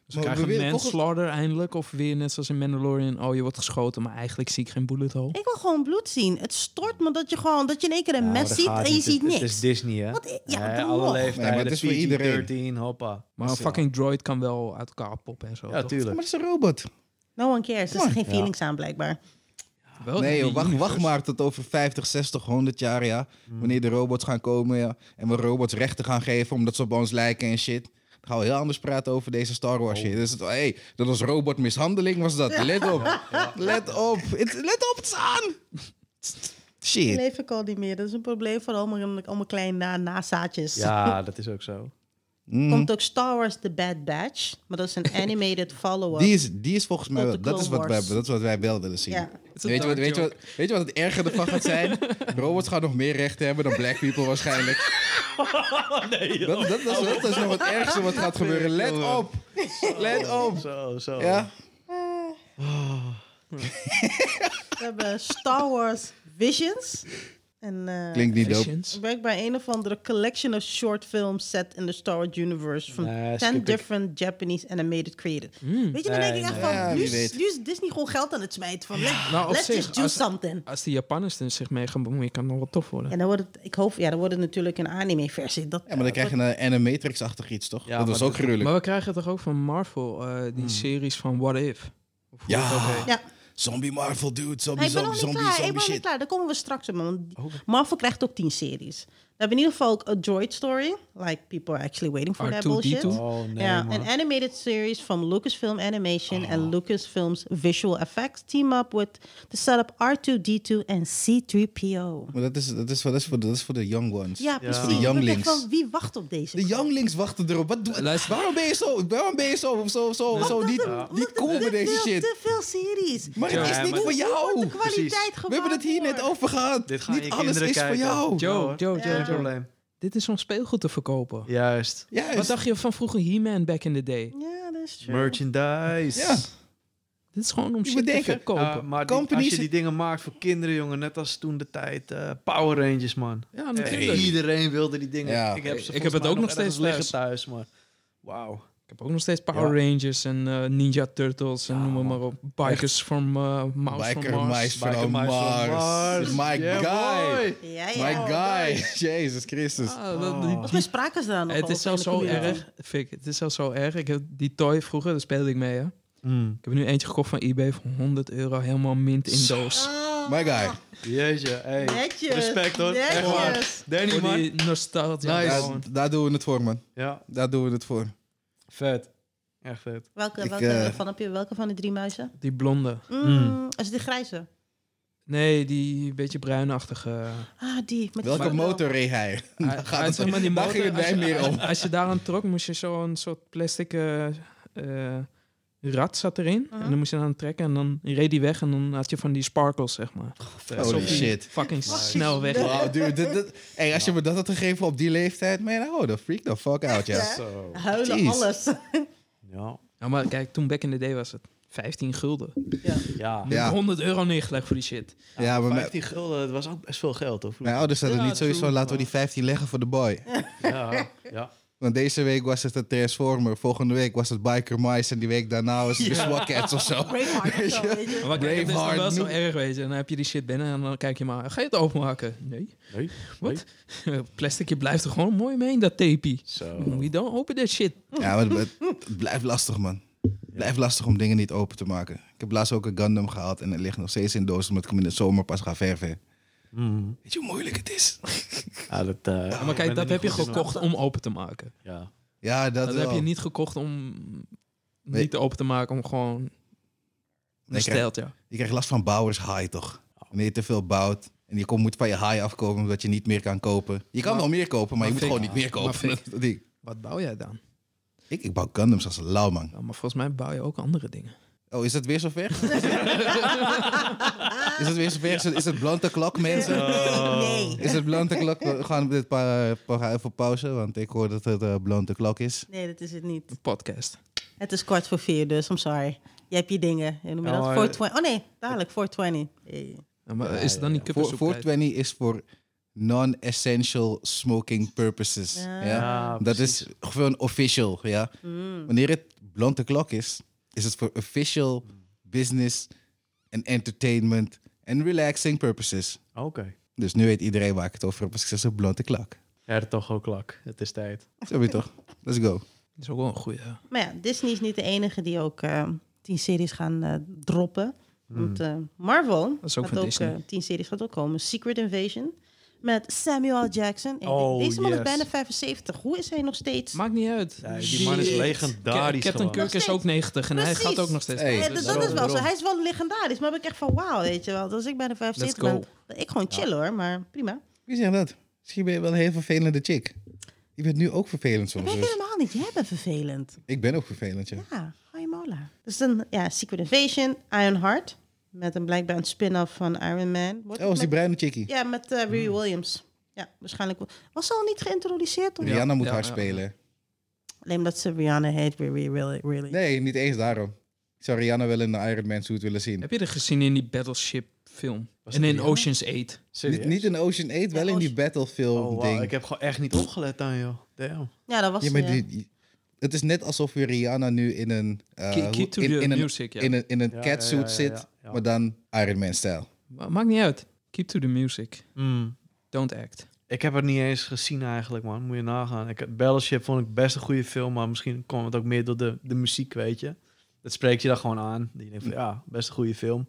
S3: we
S4: krijgen
S3: willen
S4: een
S3: volgens-
S4: manslaughter eindelijk. Of weer net zoals in Mandalorian. Oh, je wordt geschoten, maar eigenlijk zie ik geen bullet hole.
S1: Ik wil gewoon bloed zien. Het stort me dat je gewoon dat je in één keer een
S2: Nou,
S1: mes
S2: dat
S1: ziet
S2: gaat
S1: en je
S2: niet.
S1: ziet
S2: Het-
S1: niks.
S2: Het is Disney, hè?
S1: Wat i- ja,
S2: Nee,
S1: wat
S2: alle
S1: nog?
S2: leeftijden,
S3: Nee, maar het is voor iedereen.
S2: 13, hoppa.
S4: Maar een
S3: Is, ja.
S4: fucking droid kan wel uit elkaar poppen en zo.
S2: Ja,
S4: toch?
S3: Maar
S2: tuurlijk.
S3: het is een robot.
S1: No one cares. Er
S3: Mooi.
S1: zitten geen
S2: Ja.
S1: feelings aan, blijkbaar.
S4: Wel
S3: nee,
S4: in
S3: joh,
S4: die
S3: wacht,
S4: universe. Hmm.
S3: wacht maar tot over 50, 60, 100 jaar, ja. Wanneer de robots gaan komen ja, en we robots rechten gaan geven omdat ze op ons lijken en shit. Dan gaan we heel anders praten over deze Star Wars
S4: Oh.
S3: shit. Dus, het- hey, dat was robotmishandeling, was dat. Let op. Let op. Het- let op, het is aan. Shit.
S1: Leef ik al niet meer. Dat is een probleem voor allemaal, allemaal kleine na, nazaadjes.
S2: Ja, dat is ook zo.
S3: Mhm.
S1: Komt ook Star Wars The Bad Batch. Maar dat is
S3: (laughs)
S1: een animated follow-up.
S3: Die is, die is volgens mij
S1: Tot
S3: wel,
S1: de
S3: dat is, wat
S1: Clone
S3: wij,
S1: Wars.
S3: dat is wat wij wel willen zien.
S1: Ja.
S4: Het is een
S3: Weet je, wat,
S4: dark
S3: weet, je wat,
S4: joke.
S3: weet je wat het erger ervan gaat
S2: (laughs)
S3: zijn? Robots gaan nog meer rechten hebben dan black people waarschijnlijk. dat, dat, dat, is, dat is nog het ergste wat gaat gebeuren. Let op. Let op.
S2: Zo, zo.
S3: Ja?
S1: We hebben Star Wars Visions. En, eh
S3: Klinkt niet dope.
S4: Visions.
S1: Ik werk bij een of andere collection of short films set in the Star Wars universe from
S2: Nee,
S1: 10
S2: skip ik.
S1: different Japanese animated creators.
S4: Hmm.
S1: Weet je, dan
S2: Nee,
S1: denk ik echt
S2: nee.
S1: van,
S3: Ja,
S1: nu
S3: wie
S1: is,
S3: weet.
S1: nu is Disney gewoon geld aan het smijten. Van, let,
S4: Nou, op
S1: let's
S4: zich,
S1: just do
S4: als-
S1: something.
S4: Als die Japanners er zich mee gaan bemoeien, kan dat wel tof worden.
S1: En dan wordt het, ik hoop, ja, dan wordt het natuurlijk een anime-versie. Dat,
S3: Ja, maar dan krijg je een animatrix-achtig iets, toch?
S2: Ja,
S3: dat was
S2: maar
S3: ook
S2: dat-
S3: gruwelijk.
S4: Maar we krijgen toch ook van Marvel eh, die series van What If? Of
S3: Hmm.
S4: hoe
S3: Ja.
S4: het ook heet.
S1: ja.
S3: Zombie Marvel, dude.
S1: Nee,
S3: Zombie,
S1: ik ben nog
S3: zombie,
S1: niet
S3: zombie,
S1: klaar. ik
S3: zombie
S1: ben nog niet
S3: shit. Oh,
S1: klaar. Daar komen we straks op. Want die- Marvel krijgt ook tien series. We hebben in ieder geval ook A Droid Story. Like, people are actually waiting for that
S4: R2D2.
S1: bullshit.
S2: Oh, nee,
S1: ja,
S2: man.
S1: an animated series from Lucasfilm Animation
S4: Oh.
S1: and Lucasfilm's visual effects team up with to set up R2D2 en C3PO.
S3: Maar dat is, dat, is voor, dat, is voor, dat is voor de young ones.
S1: Ja,
S3: voor
S1: precies.
S3: de
S1: Ik dacht
S3: younglings.
S1: Van, wie wacht op deze?
S3: De younglings wachten erop. Wat, doe-
S4: Luister.
S3: waarom ben je zo, waarom ben je zo, zo, zo, zo niet, niet cool met deze shit?
S1: Te veel series.
S3: Maar het
S2: Ja,
S3: is
S2: maar-
S3: niet
S1: Hoe
S3: voor
S1: wordt
S3: jou.
S1: de kwaliteit
S2: precies.
S1: gemaakt?
S3: We hebben het hier net
S1: over.
S3: over gehad.
S2: Dit gaan
S3: Niet
S2: je
S3: alles
S2: kinderen
S3: is
S2: kijken.
S3: voor jou.
S2: Ja,
S4: Joe,
S2: hoor.
S4: Joe,
S1: Ja.
S4: Joe, Joe.
S2: Probleem.
S4: Dit is om speelgoed te verkopen.
S2: Juist.
S3: Juist.
S4: Wat dacht je van vroeger He-Man back in the day?
S1: Ja, dat is true.
S2: Merchandise.
S3: Ja.
S4: Dit is gewoon om
S3: Je ah,
S4: shit te
S3: bedenken.
S4: verkopen.
S2: Ja, maar die-
S3: Companies-
S2: als je die dingen maakt voor kinderen, jongen, net als toen de tijd eh, Power Rangers, man.
S4: ja,
S2: Echt,
S4: natuurlijk.
S2: Iedereen wilde die dingen.
S3: Ja.
S2: Ik heb, ze
S4: Ik heb
S2: volgens
S4: het
S2: mij
S4: ook nog
S2: ergens
S4: steeds
S2: liggen
S4: thuis.
S2: thuis, maar wauw.
S4: Ik heb ook nog steeds Power Rangers en eh, Ninja Turtles en
S2: Ja,
S4: noem maar,
S2: man.
S4: maar op. Bikers from eh, Mouse
S3: Biker
S4: from Mars.
S3: Mice
S2: Biker
S3: from
S2: Mice
S3: Mars.
S2: from Mars.
S3: My
S2: Yeah,
S3: guy.
S2: boy.
S1: Ja, ja.
S3: My guy. (laughs) Jezus Christus.
S4: Ah, dat- die-
S1: Volgens mij spraken ze daar nog
S4: het
S1: over
S4: is zelfs
S1: in de
S4: zo
S1: community.
S4: erg, Fik, het is zelfs zo erg. Ik heb die toy vroeger, daar speelde ik mee. Hè.
S2: Mm.
S4: Ik heb er nu eentje gekocht van eBay voor 100 euro, helemaal mint in doos.
S1: Ah,
S3: My guy.
S2: Jeetje, hey.
S1: Netjes.
S2: Respect hoor. Echt
S1: Netjes.
S2: waar. Danny,
S4: Voor
S2: man.
S4: die nostalgie.
S2: Nice.
S4: Ja,
S3: Daar,
S4: gewoon.
S3: daar doen we het voor, man.
S2: Ja,
S3: Daar doen we het voor.
S2: vet. Echt vet.
S1: Welke,
S3: Ik,
S1: welke,
S3: eh,
S1: van, heb je, welke van de drie muizen?
S4: Die blonde.
S1: Mm, Is het de grijze?
S4: Nee, die beetje
S3: (laughs)
S4: bruinachtige.
S1: Ah, die. Met die
S3: Welke
S1: van-
S3: motor reed hij?
S4: Hij-
S3: Daar, gaat
S4: hij-
S3: het,
S4: zeg maar, die
S3: daar
S4: motor,
S3: ging het
S4: als
S3: mij
S4: je-
S3: meer (laughs)
S4: (laughs)
S3: om.
S4: Als je daaraan trok, moest je zo'n soort plastic eh, eh, rad zat erin. En dan moest je aan trekken en dan reed die weg en dan had je van die sparkles, zeg maar.
S2: Vet.
S3: Holy
S4: Alsof die
S3: shit.
S4: Fucking snel weg.
S3: Wow, dude. dit- dit- hey, als je me dat had gegeven op die leeftijd, man, oh, dan freak the fuck out, ja.
S2: Zo.
S1: Huilen
S3: Jeez.
S1: alles.
S2: Ja.
S4: Ja, Nou, maar kijk, toen back in the day was het 15 gulden.
S2: Ja.
S3: Ja.
S4: 100 euro neergelegd voor die shit.
S3: Ja, maar mijn,
S2: 15 gulden, dat was ook best veel geld, hoor.
S3: mijn ouders hadden
S4: Ja,
S3: niet sowieso,
S4: true,
S3: laten we die 15 leggen voor de boy.
S2: Ja, ja.
S3: Want deze week was het de Transformer, volgende week was het Biker Mice en die week daarna was het de SWAT Cats of
S4: (laughs)
S1: (laughs)
S3: zo.
S1: Braveheart of zo, weet je.
S4: Maar kijk, het is dan
S3: Braveheart,
S4: wel zo
S3: noem-
S4: erg, weet je. En dan heb je die shit binnen en dan kijk je maar, ga je het openmaken? Nee. (laughs)
S2: Nee.
S4: Wat? Plasticje blijft er gewoon mooi mee in dat tapie.
S2: Zo.
S4: We don't open that shit.
S3: Oh. Ja, maar het, het blijft lastig, man. Het blijft lastig om dingen niet open te maken. Ik heb laatst ook een Gundam gehaald en het ligt nog steeds in doos omdat ik hem in de zomer pas ga verven.
S2: Mm.
S3: Weet je hoe moeilijk het
S4: (laughs)
S3: is?
S2: Ja, dat, eh,
S4: Hmm. Ja, maar
S2: ik ben er
S4: kijk, dat
S2: niet
S4: heb je
S2: goed in.
S4: gekocht om open te maken.
S2: Ja.
S3: Ja, dat,
S4: Dat
S3: wel.
S4: heb je niet gekocht om
S3: Nee.
S4: niet open te maken, om gewoon
S3: krijg-
S4: besteld, ja.
S3: Je krijgt last van bouwers high, toch? Wanneer je te veel bouwt en je kom- moet van je high afkomen omdat je niet meer kan kopen. Je kan wel meer kopen, maar, je moet
S4: fik-
S3: gewoon niet meer
S4: maar
S3: kopen. (laughs)
S4: fik-
S3: Dat ding.
S4: Wat bouw jij dan?
S3: Ik, ik bouw Gundams als een lauw, man.
S4: Ja, maar volgens mij bouw je ook andere dingen.
S3: Oh, is dat weer zover? (laughs) is dat weer zover? Is het, is het blante klok, mensen?
S1: (laughs) Nee.
S3: Is het blante klok? We gaan dit pa- pa- even pauze, want ik hoor dat het eh, blante klok is.
S1: Nee, dat is het niet.
S4: Een podcast.
S1: Het is kwart voor vier, dus I'm sorry. Je hebt je dingen. Je noemt
S2: Ja,
S1: dat
S2: Nou, maar-
S1: 420. Oh nee, dadelijk 420. Hey.
S4: Ja, maar is het dan niet
S3: Voor,
S4: kippensoep?
S3: voor
S4: dus tijd?
S3: 20 is voor non-essential smoking purposes.
S1: Ja.
S3: Ja.
S2: Ja,
S3: dat is gewoon official. Ja. Wanneer het blonde klok is, is het voor official business en entertainment en relaxing purposes.
S2: Oké.
S3: Dus nu weet iedereen waar ik het over heb als ik zeg blonde klok.
S2: Hertog ook lak. Het is tijd.
S3: Zo weet je toch? Let's go.
S4: Dat is ook wel een goeie. ja.
S1: Maar ja, Disney is niet de enige die ook eh, tien series gaan eh, droppen. Want eh, Marvel
S4: Dat is ook
S1: gaat
S4: van
S1: ook
S4: Disney.
S1: eh, tien series gaat ook komen. Secret Invasion met Samuel L. Jackson. Ik denk,
S2: Oh,
S1: Deze man is
S2: yes.
S1: bijna 75. Hoe is hij nog steeds?
S4: Maakt niet uit.
S2: Ja, die man is
S4: Shit.
S2: legendarisch
S4: Ca- Captain
S2: gewoon.
S4: Kirk is ook 90 en hij
S1: Precies.
S4: gaat ook nog steeds.
S3: Hey,
S1: Eh,
S2: dat
S1: dat,
S2: is
S1: dat
S2: wel
S1: is wel zo.
S2: waarom.
S1: Hij is wel legendarisch. Maar ben ik echt van wauw, weet je wel. Dus ik ben er 75
S4: go.
S1: ben. ben Ik gewoon chill hoor, maar prima.
S3: Wie zegt dat? Misschien ben je wel een heel vervelende chick. Je bent nu ook vervelend
S1: Dat
S3: soms.
S1: ben ik
S3: dus
S1: helemaal niet. Jij bent vervelend.
S3: ik ben ook vervelend, ja.
S1: Ja, hoi mola. Dus dan, ja, Secret Invasion, Ironheart. Met een blijkbaar een spin-off van Iron Man. Wordt
S3: Oh, is die
S1: met-
S3: bruine chickie.
S1: Ja, met eh Riri
S2: Hmm.
S1: Williams. Ja, waarschijnlijk. wel. Was ze al niet geïntroduceerd? Of?
S3: Rihanna moet
S4: Ja,
S3: haar
S4: ja, ja.
S3: spelen.
S1: Alleen omdat ze Rihanna heet, Riri really, really.
S3: Nee, niet eens daarom. Ik zou Rihanna wel in de Iron Man suit willen zien.
S4: Heb je dat gezien in die Battleship film?
S2: Was
S4: en
S2: dat
S4: in
S2: die?
S4: Ocean's 8.
S3: Niet,
S2: Serieus?
S3: niet in Ocean 8, wel in die
S1: Ocean-
S3: Battlefield
S2: Oh, wauw,
S3: ding.
S2: ik heb gewoon echt niet opgelet dan, joh. Damn.
S1: Ja, dat was eh,
S3: Ja,
S1: ze,
S3: maar
S1: ja.
S3: die- die- het is net alsof we Rihanna nu in een... eh,
S4: Key, key
S3: hoe-
S4: to
S3: in,
S4: the
S3: in een,
S4: music, ja.
S3: in een, in een
S2: Ja,
S3: catsuit
S2: ja, ja, ja,
S3: zit,
S2: ja.
S3: maar dan Iron Man-stijl.
S4: Ma- Maakt niet uit. Keep to the music.
S2: Mm.
S4: Don't act.
S2: Ik heb het niet eens gezien eigenlijk, man. Moet je nagaan. Ik, Battleship vond ik best een goede film, maar misschien kwam het ook meer door de, de muziek, weet je. Dat spreekt je dan gewoon aan. Je denkt van, ja, best een goede film.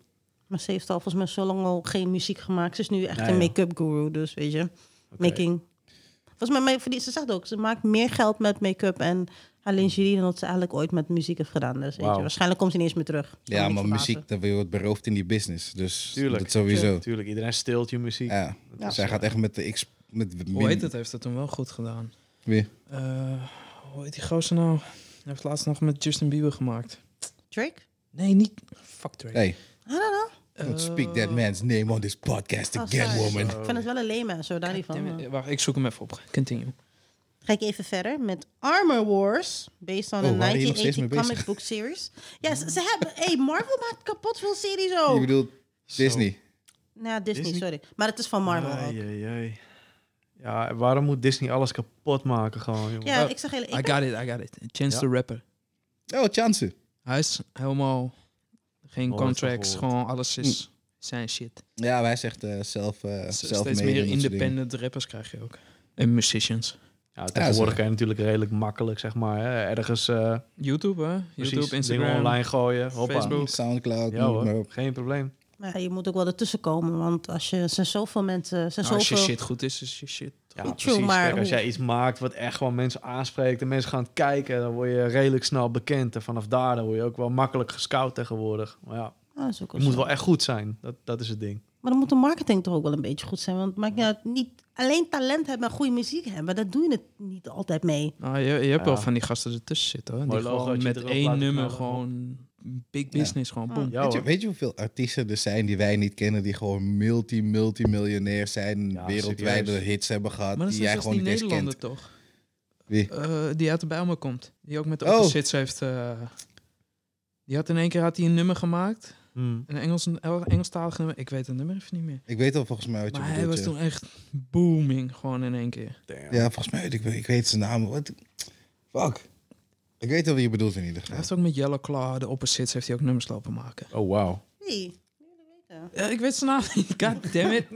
S1: Maar ze heeft al volgens mij zo lang al geen muziek gemaakt. Ze is nu echt
S2: Ja,
S1: een
S2: ja.
S1: make-up guru, dus weet je.
S2: Oké.
S1: Making. Volgens mij, maar voor die- ze zegt ook, ze maakt meer geld met make-up en haar lingerie dan dat ze eigenlijk ooit met muziek heeft gedaan. Dus weet je,
S2: Wauw.
S1: waarschijnlijk komt ze niet eens meer terug. Zou me
S3: Ja,
S1: niks
S3: maar
S1: verbazen.
S3: muziek, dan word je beroofd in die business. Dus
S2: Tuurlijk.
S3: dat sowieso.
S2: Tuurlijk, iedereen steelt je muziek. eh,
S3: Ja.
S2: Ja.
S3: Zij gaat echt met de X... Met
S4: Hoe heet het? Heeft het toen wel goed gedaan.
S3: Wie?
S4: Eh, hoe heet die gozer nou? Hij heeft laatst nog met Justin Bieber gemaakt.
S1: Drake?
S4: Nee, niet... Fuck Drake. Eh,
S3: Hey,
S1: I don't know.
S3: don't speak that man's name on this podcast
S1: Oh,
S3: again,
S1: sorry.
S3: woman.
S1: Ik vind het wel een lema, zo daar niet van.
S4: Damn, Wacht, ik zoek hem even op. Continue.
S1: Ga ik even verder met Armor Wars, based on
S3: Oh,
S1: a
S3: waren hier nog
S1: 1980
S3: steeds mee bezig?
S1: comic book series. Ja, ze, ze hebben... hey, Marvel maakt kapot veel series
S3: Je
S4: Oh.
S1: ook.
S3: bedoelt Disney.
S1: Nou, Disney,
S2: Disney? Ah,
S1: sorry. Maar het is van Marvel ook.
S2: Ai, ai, ai. Ja, waarom moet Disney alles kapot maken gewoon, jongen?
S1: Ja,
S4: Oh,
S1: ik zeg heel...
S4: I
S1: Ik ben,
S4: got it, I got it. Chance
S2: Ja.
S4: the Rapper.
S3: Oh, Chance.
S4: Hij is helemaal... Geen
S2: Nooit van
S4: contracts,
S2: gehoord.
S4: gewoon alles is zijn shit.
S3: Ja, maar hij zegt eh, zelf eh,
S4: S-
S3: zelf mede
S4: Steeds
S3: en dat
S4: meer
S3: soort dingen.
S4: independent rappers krijg je ook. En musicians.
S2: Ja, tegenwoordig
S3: zo.
S2: kan je natuurlijk redelijk makkelijk, zeg maar, hè, ergens eh
S4: YouTube, hè? YouTube,
S2: precies, dingen
S4: Instagram.
S2: online gooien. Hoppa.
S4: Facebook. independent-
S3: Soundcloud,
S2: Ja
S3: noem het maar
S2: hoor,
S3: op.
S2: geen probleem.
S1: maar je moet ook wel ertussen komen, want als je... Er zijn zoveel mensen... Er zijn
S4: Nou, als je
S1: zoveel...
S4: shit goed is, is je shit.
S2: Ja,
S1: True,
S2: precies.
S1: maar
S2: Kijk, als
S1: hoe-
S2: jij iets maakt wat echt gewoon mensen aanspreekt en mensen gaan het kijken, dan word je redelijk snel bekend. En vanaf daar dan word je ook wel makkelijk gescout tegenwoordig. Maar ja,
S1: Ah, dat is ook
S2: je
S1: wel
S2: moet
S1: zo.
S2: wel echt goed zijn. Dat, dat is het ding.
S1: Maar dan moet de marketing toch ook wel een beetje goed zijn. Want het maakt niet uit, niet alleen talent hebben en goede muziek hebben. Dat doe je het niet altijd mee.
S4: Nou, je, je
S2: Ja.
S4: hebt wel van die gasten ertussen zitten, hoor. Die
S2: Mooi
S4: gewoon
S2: logootje
S4: met
S2: erop
S4: één
S2: laten
S4: nummer
S2: knallen.
S4: gewoon big business,
S1: Ah.
S4: gewoon boom.
S2: Ja,
S3: Weet je,
S2: hoor.
S3: weet je hoeveel artiesten er zijn die wij niet kennen, die gewoon multi-multimiljonair zijn,
S2: Ja,
S3: wereldwijde
S2: serieus.
S3: hits hebben gehad,
S4: Maar dat
S3: die
S4: is
S3: jij
S4: net als
S3: gewoon
S4: die
S3: niet eens
S4: Nederlander
S3: kent.
S4: toch?
S3: Wie?
S4: Eh, die uit de Bijlmer komt. Die ook met de
S3: Oh.
S4: Opposites heeft... eh, die had in één keer had hij een nummer gemaakt.
S2: Hmm.
S4: Een Engels, een Engelstalig nummer. Ik weet het nummer even niet meer.
S3: Ik weet al volgens mij wat je
S4: Maar hij
S3: bedoelt.
S4: was
S3: ja.
S4: toen echt booming, gewoon in één keer.
S2: Damn.
S3: Ja, volgens mij, weet ik, ik weet zijn naam. Wat? Fuck. Ik weet al wie je bedoelt in ieder
S4: Hij
S3: geval.
S4: heeft ook met Yellow Claw, de Opposites, heeft hij ook nummers lopen maken.
S2: Oh, wauw.
S1: Nee.
S4: Eh, ik weet zijn naam niet. God damn
S3: (laughs)
S4: it.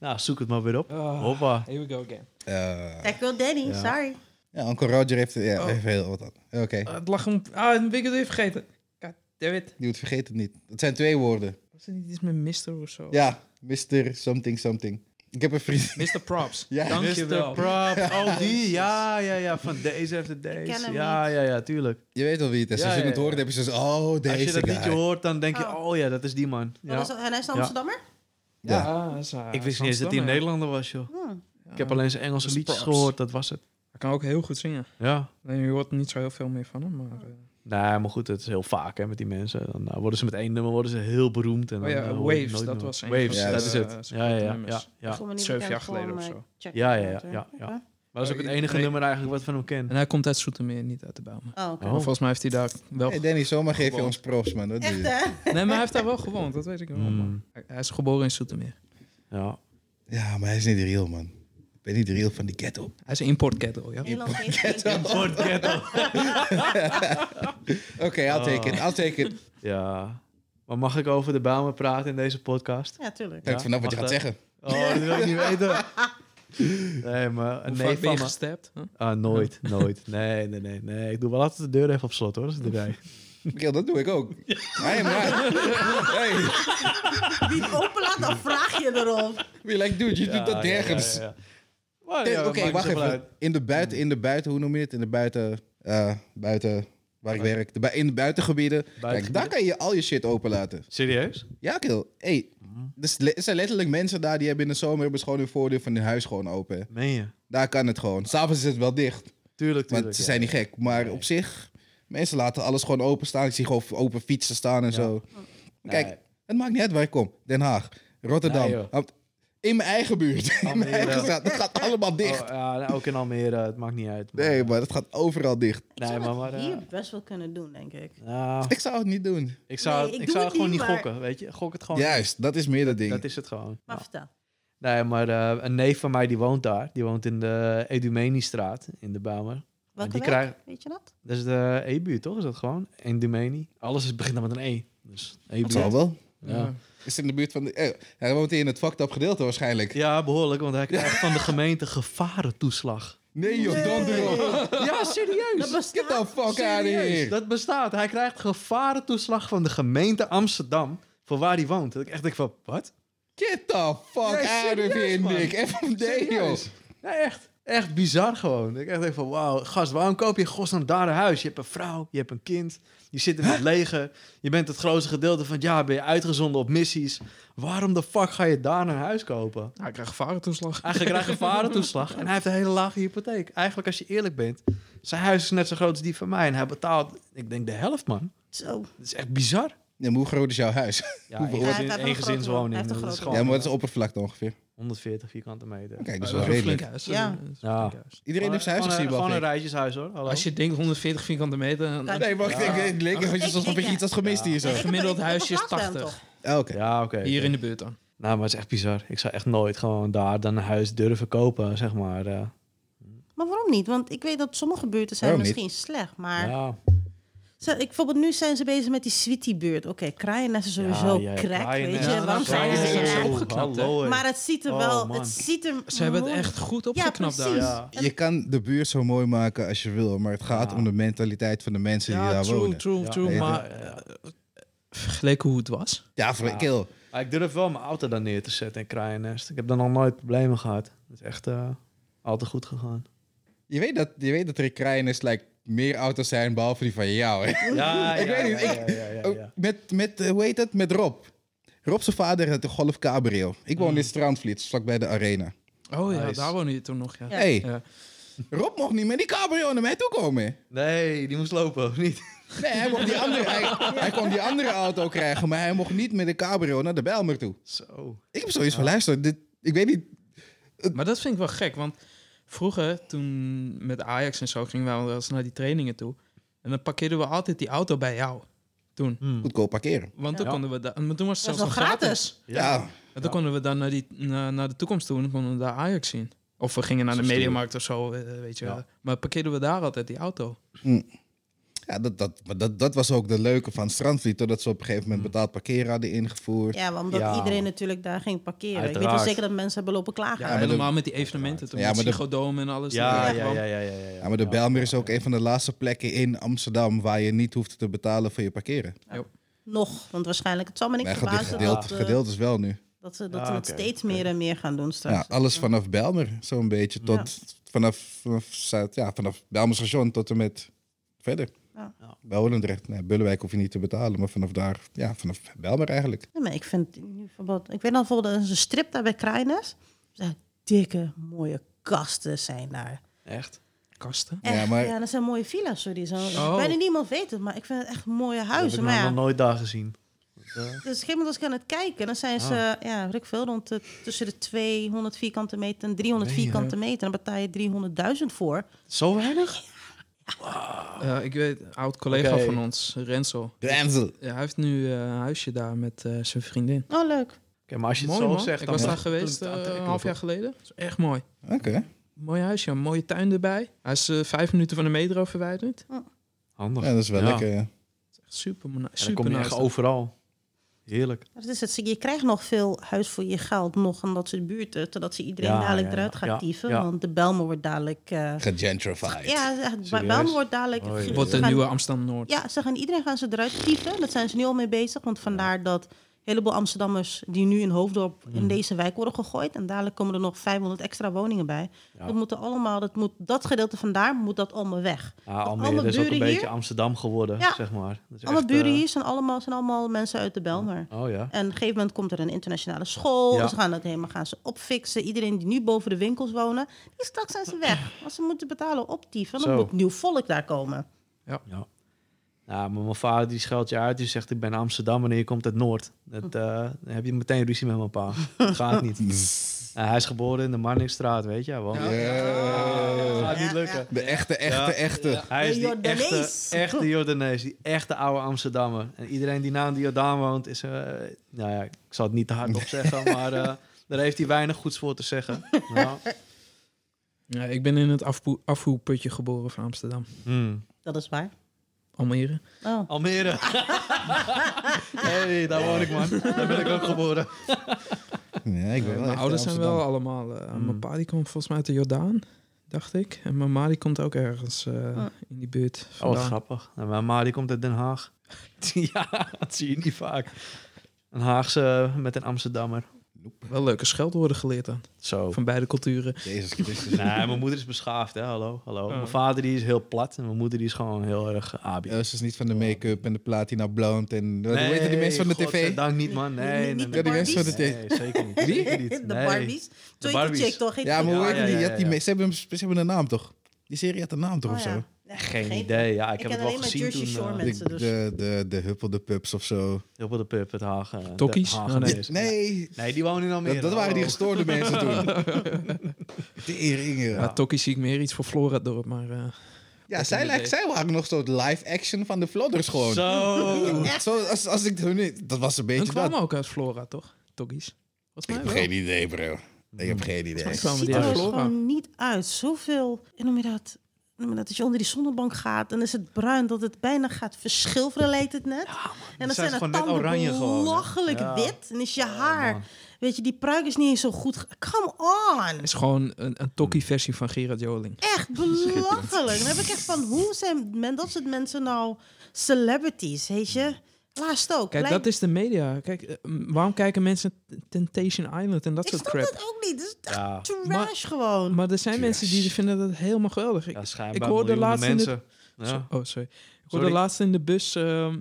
S2: Nou, zoek het maar weer op.
S4: Ah,
S2: Hoppa.
S4: here we go again.
S3: Eh,
S1: Tackle Danny,
S2: Ja.
S1: sorry.
S3: ja, Uncle Roger heeft, ja,
S4: Oh.
S3: heeft heel wat aan. Oké,
S2: Oh.
S4: Ah, het lag om... Ah, ben ik het weer vergeten. God damn it.
S3: die vergeet het niet. Het zijn twee woorden.
S4: Was het niet iets met Mr. of zo?
S2: Oh.
S3: Ja, Mr. Something Something. Ik heb een vriend.
S4: Mr. Props.
S3: Ja,
S4: Dankjewel.
S2: Prop. Oh, die. Ja, ja, ja. Van deze after
S1: Ik ken
S2: days.
S1: hem
S2: Ja, ja, ja. Tuurlijk.
S3: (laughs) Je weet al wie het is.
S2: Ja,
S3: Als je
S2: ja,
S3: het
S2: ja.
S3: hoort, heb je zo'n oh, deze
S2: Als je dat
S3: guy.
S2: liedje hoort, dan denk je,
S1: Oh.
S2: oh ja, dat is die man.
S1: Ja.
S2: Ja.
S1: en hij is een
S2: Ja.
S1: Amsterdammer?
S3: Ja.
S4: Ah, dat is, eh,
S2: Ik wist niet eens dat hij een
S4: Amsterdammer.
S2: Nederlander was,
S1: Hm,
S2: joh. Ik heb
S4: Ja.
S2: alleen zijn Engelse
S4: Dus
S2: liedjes
S4: props.
S2: gehoord, dat was het.
S4: Hij kan ook heel goed zingen.
S2: Ja.
S4: Nee, je hoort niet zo heel veel meer van hem, maar... eh,
S2: Nee, Nou, maar goed, het is heel vaak hè, met die mensen. Dan eh, worden ze met één nummer worden ze heel beroemd. En
S4: Oh
S2: dan,
S4: ja,
S2: eh, hoor je
S4: Waves,
S2: nooit
S4: dat
S2: meer.
S4: was een
S2: Waves,
S3: van
S2: dat
S3: zijn,
S2: is
S4: eh,
S2: het.
S4: zijn
S2: Ja, ja,
S4: grote
S2: ja, ja,
S4: nummers.
S2: ja.
S1: Voor me niet
S4: Zeven
S1: bekend,
S4: jaar geleden
S1: voor
S4: of
S1: mij.
S4: zo.
S1: Check
S2: Ja,
S1: it
S2: ja,
S1: out,
S2: ja,
S1: hè.
S2: ja, ja.
S1: Oké.
S2: Maar dat is ook het
S4: Oh,
S2: enige
S4: nee.
S2: nummer eigenlijk wat van hem ken.
S4: En hij komt uit Zoetermeer, niet uit de Bijlmer.
S1: Oh, oké.
S2: Oh.
S4: Maar Volgens mij heeft hij daar wel...
S3: Hey Danny, zomaar geef je
S4: Gewoon.
S3: ons props, man. Dat doe
S1: Echt,
S3: je.
S1: hè?
S4: Nee, maar hij heeft daar wel gewoond, dat weet ik wel.
S3: Hmm.
S2: Mm.
S4: maar Hij, hij is geboren in Zoetermeer.
S2: Ja.
S3: Ja, maar hij is niet real, man. Ik ben niet real van die ghetto.
S4: Hij is een importkettle, ja.
S1: Nederland heeft geen-
S3: Oké, I'll take it. I'll take it.
S2: ja. Maar mag ik over de Bijlmer praten in deze
S4: (laughs)
S2: podcast?
S1: Ja, tuurlijk.
S3: Kijk vanaf wat je
S2: mag
S3: gaat
S2: dat?
S3: zeggen.
S2: Oh, dat wil ik niet weten. Nee, maar een
S4: Hoe
S2: neef
S4: vaak ben
S2: van
S4: je
S2: me...
S4: gestapt? Huh?
S2: Ah, nooit, nooit. Nee, nee, nee, nee. Ik doe wel altijd de deur even op slot, hoor. Dat is de rij.
S3: Michiel, dat doe ik
S2: (laughs)
S3: ook. I am right. Hey,
S1: Wie het open laat, dan vraag je erop.
S3: we like, dude, je doet dat nergens.
S2: Ja, ja, Maar
S3: Eh,
S2: ja,
S3: Oké,
S2: maakt
S3: wacht
S2: niet zoveel
S3: even.
S2: uit. Hmm.
S3: In de buiten, in de buiten, hoe noem je het? In de buiten, eh, buiten waar ik werk. De bui- in de buitengebieden. Kijk, daar
S2: Buitengebieden?
S3: kan je al je shit open laten.
S2: Serieus?
S3: Ja, Kil. Hey,
S2: Hmm.
S3: er is le- er zijn letterlijk mensen daar die hebben in de zomer hebben ze gewoon hun voordeur van hun huis gewoon open. hè.
S2: Meen je?
S3: Daar kan het gewoon. S'avonds is het wel dicht,
S2: Tuurlijk, tuurlijk.
S3: want ze
S2: ja.
S3: zijn niet gek. Maar op zich, mensen laten alles gewoon open staan. Ik zie gewoon open fietsen staan en zo. Maar Kijk,
S2: Nee. Oh,
S3: het maakt niet uit waar ik kom. Den Haag, Rotterdam.
S2: Nee, joh.
S3: Am- in mijn eigen buurt. In mijn
S2: Almere.
S3: eigen stad. Dat gaat allemaal dicht.
S2: Oh, ja, nou, ook in Almere, het maakt niet uit. maar-
S3: Nee, maar dat gaat overal dicht.
S1: Ik zou
S2: Nee,
S1: dat
S2: maar- maar,
S1: hier
S2: eh,
S1: best wel kunnen doen, denk ik.
S3: (laughs)
S2: Nou,
S3: Ik zou het niet doen.
S2: ik zou,
S1: Nee, ik
S2: ik
S1: doe
S2: zou
S1: het
S2: het gewoon
S1: niet,
S2: niet
S1: maar-
S2: gokken, weet je. Gok het gewoon.
S3: Juist, dat is meer dat ding.
S2: Dat is het gewoon.
S1: Maar
S2: Ja.
S1: vertel.
S2: Nee, Nou, maar eh, een neef van mij die woont daar. Die woont in de Edumeni-straat in de Bijlmer.
S1: Welke
S2: die
S1: weg?
S2: krijgen-
S1: Weet je dat?
S2: Dat is de E-buurt, toch? Is dat gewoon? Edumeni. Alles is, begint dan met een E. Dus
S3: Het
S2: E-buurt.
S3: zal wel.
S2: Ja.
S3: Is in de buurt van... De, eh, hij woont hier in het fucked up gedeelte waarschijnlijk.
S2: ja, behoorlijk, want hij
S3: (laughs)
S2: krijgt van de gemeente gevarentoeslag.
S3: Nee joh, don't do it.
S2: Ja, serieus.
S1: Dat bestaat.
S3: Get the fuck out of
S2: Serieus,
S3: here.
S2: dat bestaat. Hij krijgt gevarentoeslag van de gemeente Amsterdam voor waar hij woont. Dat ik echt denk van, wat?
S3: Get the fuck
S2: Nee,
S3: out of
S2: serieus,
S3: here,
S2: man.
S3: Nick. Even nee joh.
S2: Serieus. Nee, echt. Echt bizar gewoon. Dat Ik echt denk van, wauw, gast, waarom koop je in godsnaam daar een huis? Je hebt een vrouw, je hebt een kind, je zit in het leger, je bent het grootste gedeelte van het jaar, ben je uitgezonden op missies. Waarom de fuck ga je daar een huis kopen?
S4: Hij krijgt gevarentoeslag.
S2: Eigenlijk krijgt hij een varentoeslag en hij heeft een hele lage hypotheek. Eigenlijk, als je eerlijk bent, zijn huis is net zo groot als die van mij en hij betaalt, ik denk, de helft, man.
S1: Zo.
S2: Dat is echt bizar.
S3: Nee, maar hoe groot is jouw huis?
S2: Ja,
S3: Hoeveel
S2: één
S1: Ja,
S2: gezin-
S1: hij heeft wel
S2: één
S1: een grote woning. Hij
S2: gezinswoning.
S1: heeft een
S2: Dat is
S1: grote
S2: gewoon
S3: Ja, maar dat is oppervlakte ongeveer.
S2: 140 vierkante meter.
S3: Kijk, dat is
S4: Dat
S3: wel
S4: is een flink
S3: redelijk.
S4: huis.
S1: Ja.
S4: dat is
S2: Ja.
S4: een flink huis.
S3: Iedereen heeft zijn huis gezien,
S2: Gewoon
S3: behalve
S2: een
S3: ik.
S2: rijtjeshuis, hoor. Hallo.
S4: Als je denkt 140 vierkante meter, dan-
S3: Nee, wacht,
S2: Ja.
S3: ik, ik leek alsof je-
S1: Ik-
S3: alsof
S1: ik-
S3: ik iets had gemist hier zo.
S1: Nee, ik heb-
S4: Gemiddeld
S1: ik heb
S4: huisje is
S1: een gasthuis
S4: 80.
S1: toch?
S3: Ah, Oké.
S2: Ja, oké.
S4: hier in de buurt dan.
S2: Nou, maar het is echt bizar. Ik zou echt nooit gewoon daar dan een huis durven kopen, zeg maar. eh.
S1: Maar waarom niet? Want ik weet dat sommige buurten zijn
S3: Waarom niet?
S1: misschien slecht, maar...
S2: ja,
S1: Zo, ik, bijvoorbeeld nu zijn ze bezig met die Sweetie-buurt. Oké, Kraaiennest is sowieso
S2: ja, ja,
S1: crack, weet
S2: Kraaiennest.
S1: je.
S4: Ja,
S1: Waarom
S4: dat
S1: zijn
S4: is
S1: ze
S4: sowieso
S1: crack?
S4: opgeknapt, hè?
S2: Hallo, hé.
S1: Maar het ziet er
S2: Oh,
S1: wel...
S2: man.
S1: het ziet er
S4: Ze hebben het
S1: mooi-
S4: echt goed
S1: Ja,
S4: opgeknapt
S1: precies.
S4: daar.
S2: Ja.
S3: Je kan de buurt zo mooi maken als je wil, maar het gaat
S2: Ja.
S3: om de mentaliteit van de mensen die daar
S4: true,
S3: wonen.
S4: true,
S2: Ja.
S4: true.
S3: Ja.
S4: Maar eh, vergeleken hoe het was.
S3: Ja, voor
S2: Ja.
S3: kill.
S2: Maar ik durf wel mijn auto daar neer te zetten in Kraaiennest. Ik heb dan nog nooit problemen gehad. Het is echt eh, altijd goed gegaan.
S3: Je weet dat, je weet dat er in Krijnis like, meer auto's zijn, behalve die van jou. Hè?
S2: Ja,
S3: Ik weet niet, ik-
S2: ja, ja, ja, ja.
S3: Met, met, eh, hoe heet dat? Met Rob. Rob zijn vader had de Golf Cabrio. Ik woon in Strandvliet, vlakbij de arena.
S4: Oh ja,
S2: Nice.
S4: daar woonde je toen nog. Ja.
S1: Ja.
S3: hey,
S4: Ja.
S3: Rob mocht niet met die cabrio naar mij toe komen. hè?
S2: Nee, die moest lopen, of niet? (laughs)
S3: Nee, hij, mocht die andere, hij, hij kon die andere auto krijgen, maar hij mocht niet met de cabrio naar de Bijlmer toe.
S2: Zo.
S3: Ik heb zoiets van, luister, dit, ik weet niet...
S4: Maar dat vind ik wel gek, want vroeger toen met Ajax en zo gingen we wel eens naar die trainingen toe. En dan parkeerden we altijd die auto bij jou. Toen.
S2: Hm.
S3: Goedkoop parkeren.
S4: Want toen
S2: Ja.
S4: konden we daar. Maar toen was het
S1: Dat
S4: zelfs
S1: is
S4: nog
S1: nog
S4: gratis.
S1: gratis.
S3: Ja,
S4: En toen konden we dan naar, die, naar, naar de toekomst toe en konden we daar Ajax zien. Of we gingen naar de
S2: Zo stoer.
S4: mediamarkt of zo, eh, weet je
S2: Ja.
S4: wel. Maar parkeerden we daar altijd die auto.
S3: ja dat, dat, maar dat, dat was ook de leuke van Strandvliet, totdat ze op een gegeven moment betaald parkeren hadden ingevoerd.
S1: Ja, want omdat
S2: Ja.
S1: iedereen natuurlijk daar ging parkeren. Ik weet
S2: Uiteraard.
S1: wel zeker dat mensen hebben lopen klagen.
S4: Ja,
S3: maar
S4: helemaal met die evenementen. Toen
S3: Ja,
S4: met
S3: maar de-
S4: Psychodome en alles.
S2: Ja,
S4: daar
S2: ja,
S4: kwam.
S2: ja, ja, ja, ja.
S3: Ja, maar de Bijlmer is ook een van de laatste plekken in Amsterdam waar je niet hoeft te betalen voor je parkeren.
S1: Nog, want waarschijnlijk... Het zal me niks
S3: Nee, dit
S1: verbazen
S3: gedeelte,
S1: dat,
S3: het
S1: eh,
S3: gedeelte is wel nu.
S1: dat ze dat
S2: Ah,
S1: ze het
S2: oké,
S1: steeds
S2: oké.
S1: meer en meer gaan doen
S3: Ja,
S1: straks.
S3: alles vanaf Bijlmer, zo'n beetje, tot vanaf, vanaf, Zuid- ja, vanaf Bijlmer station tot en met verder.
S1: Ja.
S2: Ja.
S3: Bij Holendrecht, nee, Bullenwijk hoef je niet te betalen, maar vanaf daar, ja, vanaf Bijlmer eigenlijk.
S1: Nee, maar ik vind het nu verbod. Ik weet dan bijvoorbeeld, er is een strip daar bij Kraaiennest. Er zijn dikke, mooie kasten zijn daar.
S2: Echt?
S4: Kasten.
S3: Ja,
S1: Echt, ja,
S3: maar-
S1: dat zijn mooie villa's, sorry. Zo.
S4: Oh.
S1: Bijna niemand weet het, maar ik vind het echt mooie
S2: Huizen,
S1: huizen.
S2: heb
S1: Maar
S2: ik nog-
S1: ja,
S2: nog nooit daar gezien. Eh,
S1: dus op een gegeven moment was ik aan het kijken. Dan zijn ze,
S2: Ah.
S1: ja, weet ik veel, rond de, tussen de 200 vierkante meter en 300
S2: Meen je?
S1: vierkante meter. Dan betaal je 300.000 voor.
S2: Zo weinig?
S4: Eh, ik weet, een oud collega
S2: Oké.
S4: van ons, Renzo.
S3: De Enzel.
S4: Ja, hij heeft nu eh, een huisje daar met eh, zijn vriendin.
S1: Oh, leuk.
S2: Oké, maar als je het
S4: Mooi
S2: zo
S4: man.
S2: zegt...
S4: ik
S2: dan
S4: was
S2: moet
S4: daar
S2: het natuurlijk
S4: geweest eh, een
S2: aantrekkelijk
S4: half jaar
S2: worden.
S4: geleden. Dat is echt mooi.
S3: Oké.
S4: Mooi huisje, een mooie tuin erbij. Hij is eh, vijf minuten van de metro verwijderd.
S2: Handig.
S3: Ja, dat is wel
S2: Ja.
S3: lekker, ja.
S4: Echt Super,
S2: En dan
S4: super
S2: kom je
S4: nice.
S2: echt overal. Heerlijk.
S1: Dat is het. Je krijgt nog veel huis voor je geld, nog aan dat soort buurten, totdat ze iedereen
S2: Ja,
S1: dadelijk
S2: ja,
S1: eruit
S2: ja.
S1: gaat
S2: Ja,
S1: dieven.
S2: ja.
S1: Want de Belmer wordt dadelijk. eh,
S3: Gegentrified.
S1: ja, echt,
S2: Serieus?
S1: Belmer wordt dadelijk.
S2: Oh, jee.
S4: Wordt de
S1: ze gaan-
S4: nieuwe Amsterdam-Noord.
S1: Ja, ze gaan iedereen gaan ze eruit dieven. Dat zijn ze nu al mee bezig. Want vandaar dat een heleboel Amsterdammers die nu in Hoofddorp
S2: Mm.
S1: in deze wijk worden gegooid. En dadelijk komen er nog 500 extra woningen bij.
S2: Ja.
S1: Dat, moeten allemaal, dat, moet, dat gedeelte vandaar moet dat allemaal weg.
S2: Ja,
S1: allemaal
S2: Almere is ook
S1: buren
S2: een
S1: hier?
S2: beetje Amsterdam geworden,
S1: Ja.
S2: zeg maar. Dat is
S1: Alle
S2: echt,
S1: buren
S2: eh,
S1: hier zijn allemaal, zijn allemaal mensen uit de Belmer.
S2: Oh ja.
S1: En op een gegeven moment komt er een internationale school.
S2: Ja.
S1: Ze gaan dat helemaal gaan ze opfixen. Iedereen die nu boven de winkels wonen, die straks zijn ze weg. Want ze moeten betalen op die. Dan
S2: Zo.
S1: moet nieuw volk daar komen.
S2: Ja. Ja, maar mijn vader die scheldt je uit. Die zegt, ik ben Amsterdam en je komt uit Noord. Dat, eh, dan heb je meteen ruzie met mijn pa. Dat gaat
S3: (laughs)
S2: niet. Ja, hij is geboren in de Marnixstraat, weet je wel.
S4: Ja.
S2: Dat
S3: Yeah.
S2: gaat niet lukken.
S3: De echte, echte,
S2: Ja.
S3: echte.
S2: Hij is
S1: De
S2: die
S1: Jordanees.
S2: echte, echte Jordanees, die echte oude Amsterdammer. En iedereen die na een Jordaan woont is... eh, nou ja, ik zal het niet te hard op zeggen, maar eh, daar heeft hij weinig goeds voor te zeggen. Nou, Ja.
S4: Ja, ik ben in het afpo- afvoerputje geboren van Amsterdam.
S2: Hmm.
S1: Dat is waar.
S4: Almere.
S1: Oh.
S2: Almere. hey, daar woon ik, man. Daar ben ik ook geboren.
S3: Ja, ik ben wel
S4: mijn
S3: echt
S4: ouders
S3: in
S4: zijn wel
S3: Amsterdam.
S4: allemaal... eh,
S2: Mm.
S4: Mijn pa die komt volgens mij uit de Jordaan, dacht ik. En mijn ma die komt ook ergens eh, in die buurt
S2: Oh, wat
S4: vandaan.
S2: grappig. Nou, mijn ma die komt uit Den Haag. (laughs) ja, dat zie je niet vaak. Een Haagse met een Amsterdammer.
S4: Wel leuke scheldwoorden geleerd dan.
S2: Zo.
S4: Van beide culturen.
S3: Jezus Christus.
S2: (laughs) Nee, mijn moeder is beschaafd, hè. Hallo, hallo.
S4: Oh.
S2: Mijn vader die is heel plat en mijn moeder die is gewoon heel erg eh, abi.
S3: Ja, ze is niet van de make-up en de platina blond en... Hoe
S2: Nee,
S3: heet die mensen van de tv?
S2: Dank niet, man. Nee,
S1: Niet- niet
S2: nee,
S1: de
S2: nee,
S3: Ja, die mensen van de
S2: nee,
S3: tv.
S2: nee, zeker niet.
S1: (laughs)
S2: Zeker niet.
S1: De
S2: Nee.
S1: Barbies. Twee
S2: Barbies.
S1: chick toch? Heet
S3: Ja, maar hoe
S2: Ja,
S3: heet
S2: ja,
S3: die?
S2: ja,
S3: Je had die
S2: ja.
S3: me- Ze hebben hem- ze hebben een naam, toch? Die serie had een naam, toch?
S1: Oh,
S3: of
S1: ja.
S3: zo?
S1: Ja,
S2: Geen idee. Ja, ik
S1: ken
S2: heb het wel
S1: alleen maar
S2: gezien
S1: Jersey
S2: toen.
S1: Shore
S2: eh,
S1: mensen.
S3: De,
S1: dus.
S3: de, de, de Huppel de Pups of zo.
S2: heel veel de pub, het Haag. eh, Den
S4: Tokkies?
S2: Haag
S4: Oh, nee.
S2: is-
S3: Nee,
S2: Nee, die wonen nou in Almere.
S3: dat, dat waren die
S2: hallo.
S3: gestoorde mensen toen.
S2: (laughs)
S3: De eringen.
S4: Ja,
S3: Ja,
S4: Tokkie zie ik meer iets voor Floradorp, maar... eh,
S3: zij, lijkt, zij waren nog zo'n live action van de Flodders gewoon.
S1: (laughs)
S2: Zo.
S3: Zo, als, als ik hun niet... Dat was een
S4: hun
S3: beetje dat.
S4: kwamen ook uit Flora, toch? Tokkies. Volgens
S3: Ik
S4: mij
S3: heb
S4: wel.
S3: geen idee, bro. Ik heb geen idee.
S1: Het
S4: kwamen
S1: ziet
S4: die
S1: er
S4: uit
S1: dus
S4: Flora.
S1: gewoon niet uit. Zoveel. En noem je dat? Noem je dat? Als je onder die zonnebank gaat, dan is het bruin dat het bijna gaat verschilveren, lijkt het net. en
S2: zijn
S1: dan zijn
S2: ze
S1: het
S2: gewoon net
S1: tanden
S2: oranje gewoon, hè?
S1: belachelijk
S2: Ja.
S1: wit. En is je
S2: man.
S1: haar... Weet je, die pruik is niet eens zo goed. ge- Come on!
S4: is gewoon een, een Tokkie-versie van Gerard Joling.
S1: Echt belachelijk. Dan heb ik echt van, hoe zijn men, dat soort mensen nou celebrities, weet je? Laatst ook.
S4: Kijk,
S1: Blijf-
S4: dat is de media. Kijk, eh, m- waarom kijken mensen t- Temptation Island en dat
S1: ik
S4: soort
S1: snap
S4: crap?
S1: dat ook niet. Dat is echt
S2: Ja.
S1: trash
S4: Maar-
S1: gewoon.
S4: Maar er zijn mensen die vinden dat helemaal geweldig. Ik,
S2: Ja, schijnbaar
S4: ik hoorde
S2: miljoenen
S4: laatst in de-
S2: mensen. Ja.
S4: Oh, sorry. Ik hoorde
S2: Sorry.
S4: laatst in de bus ehm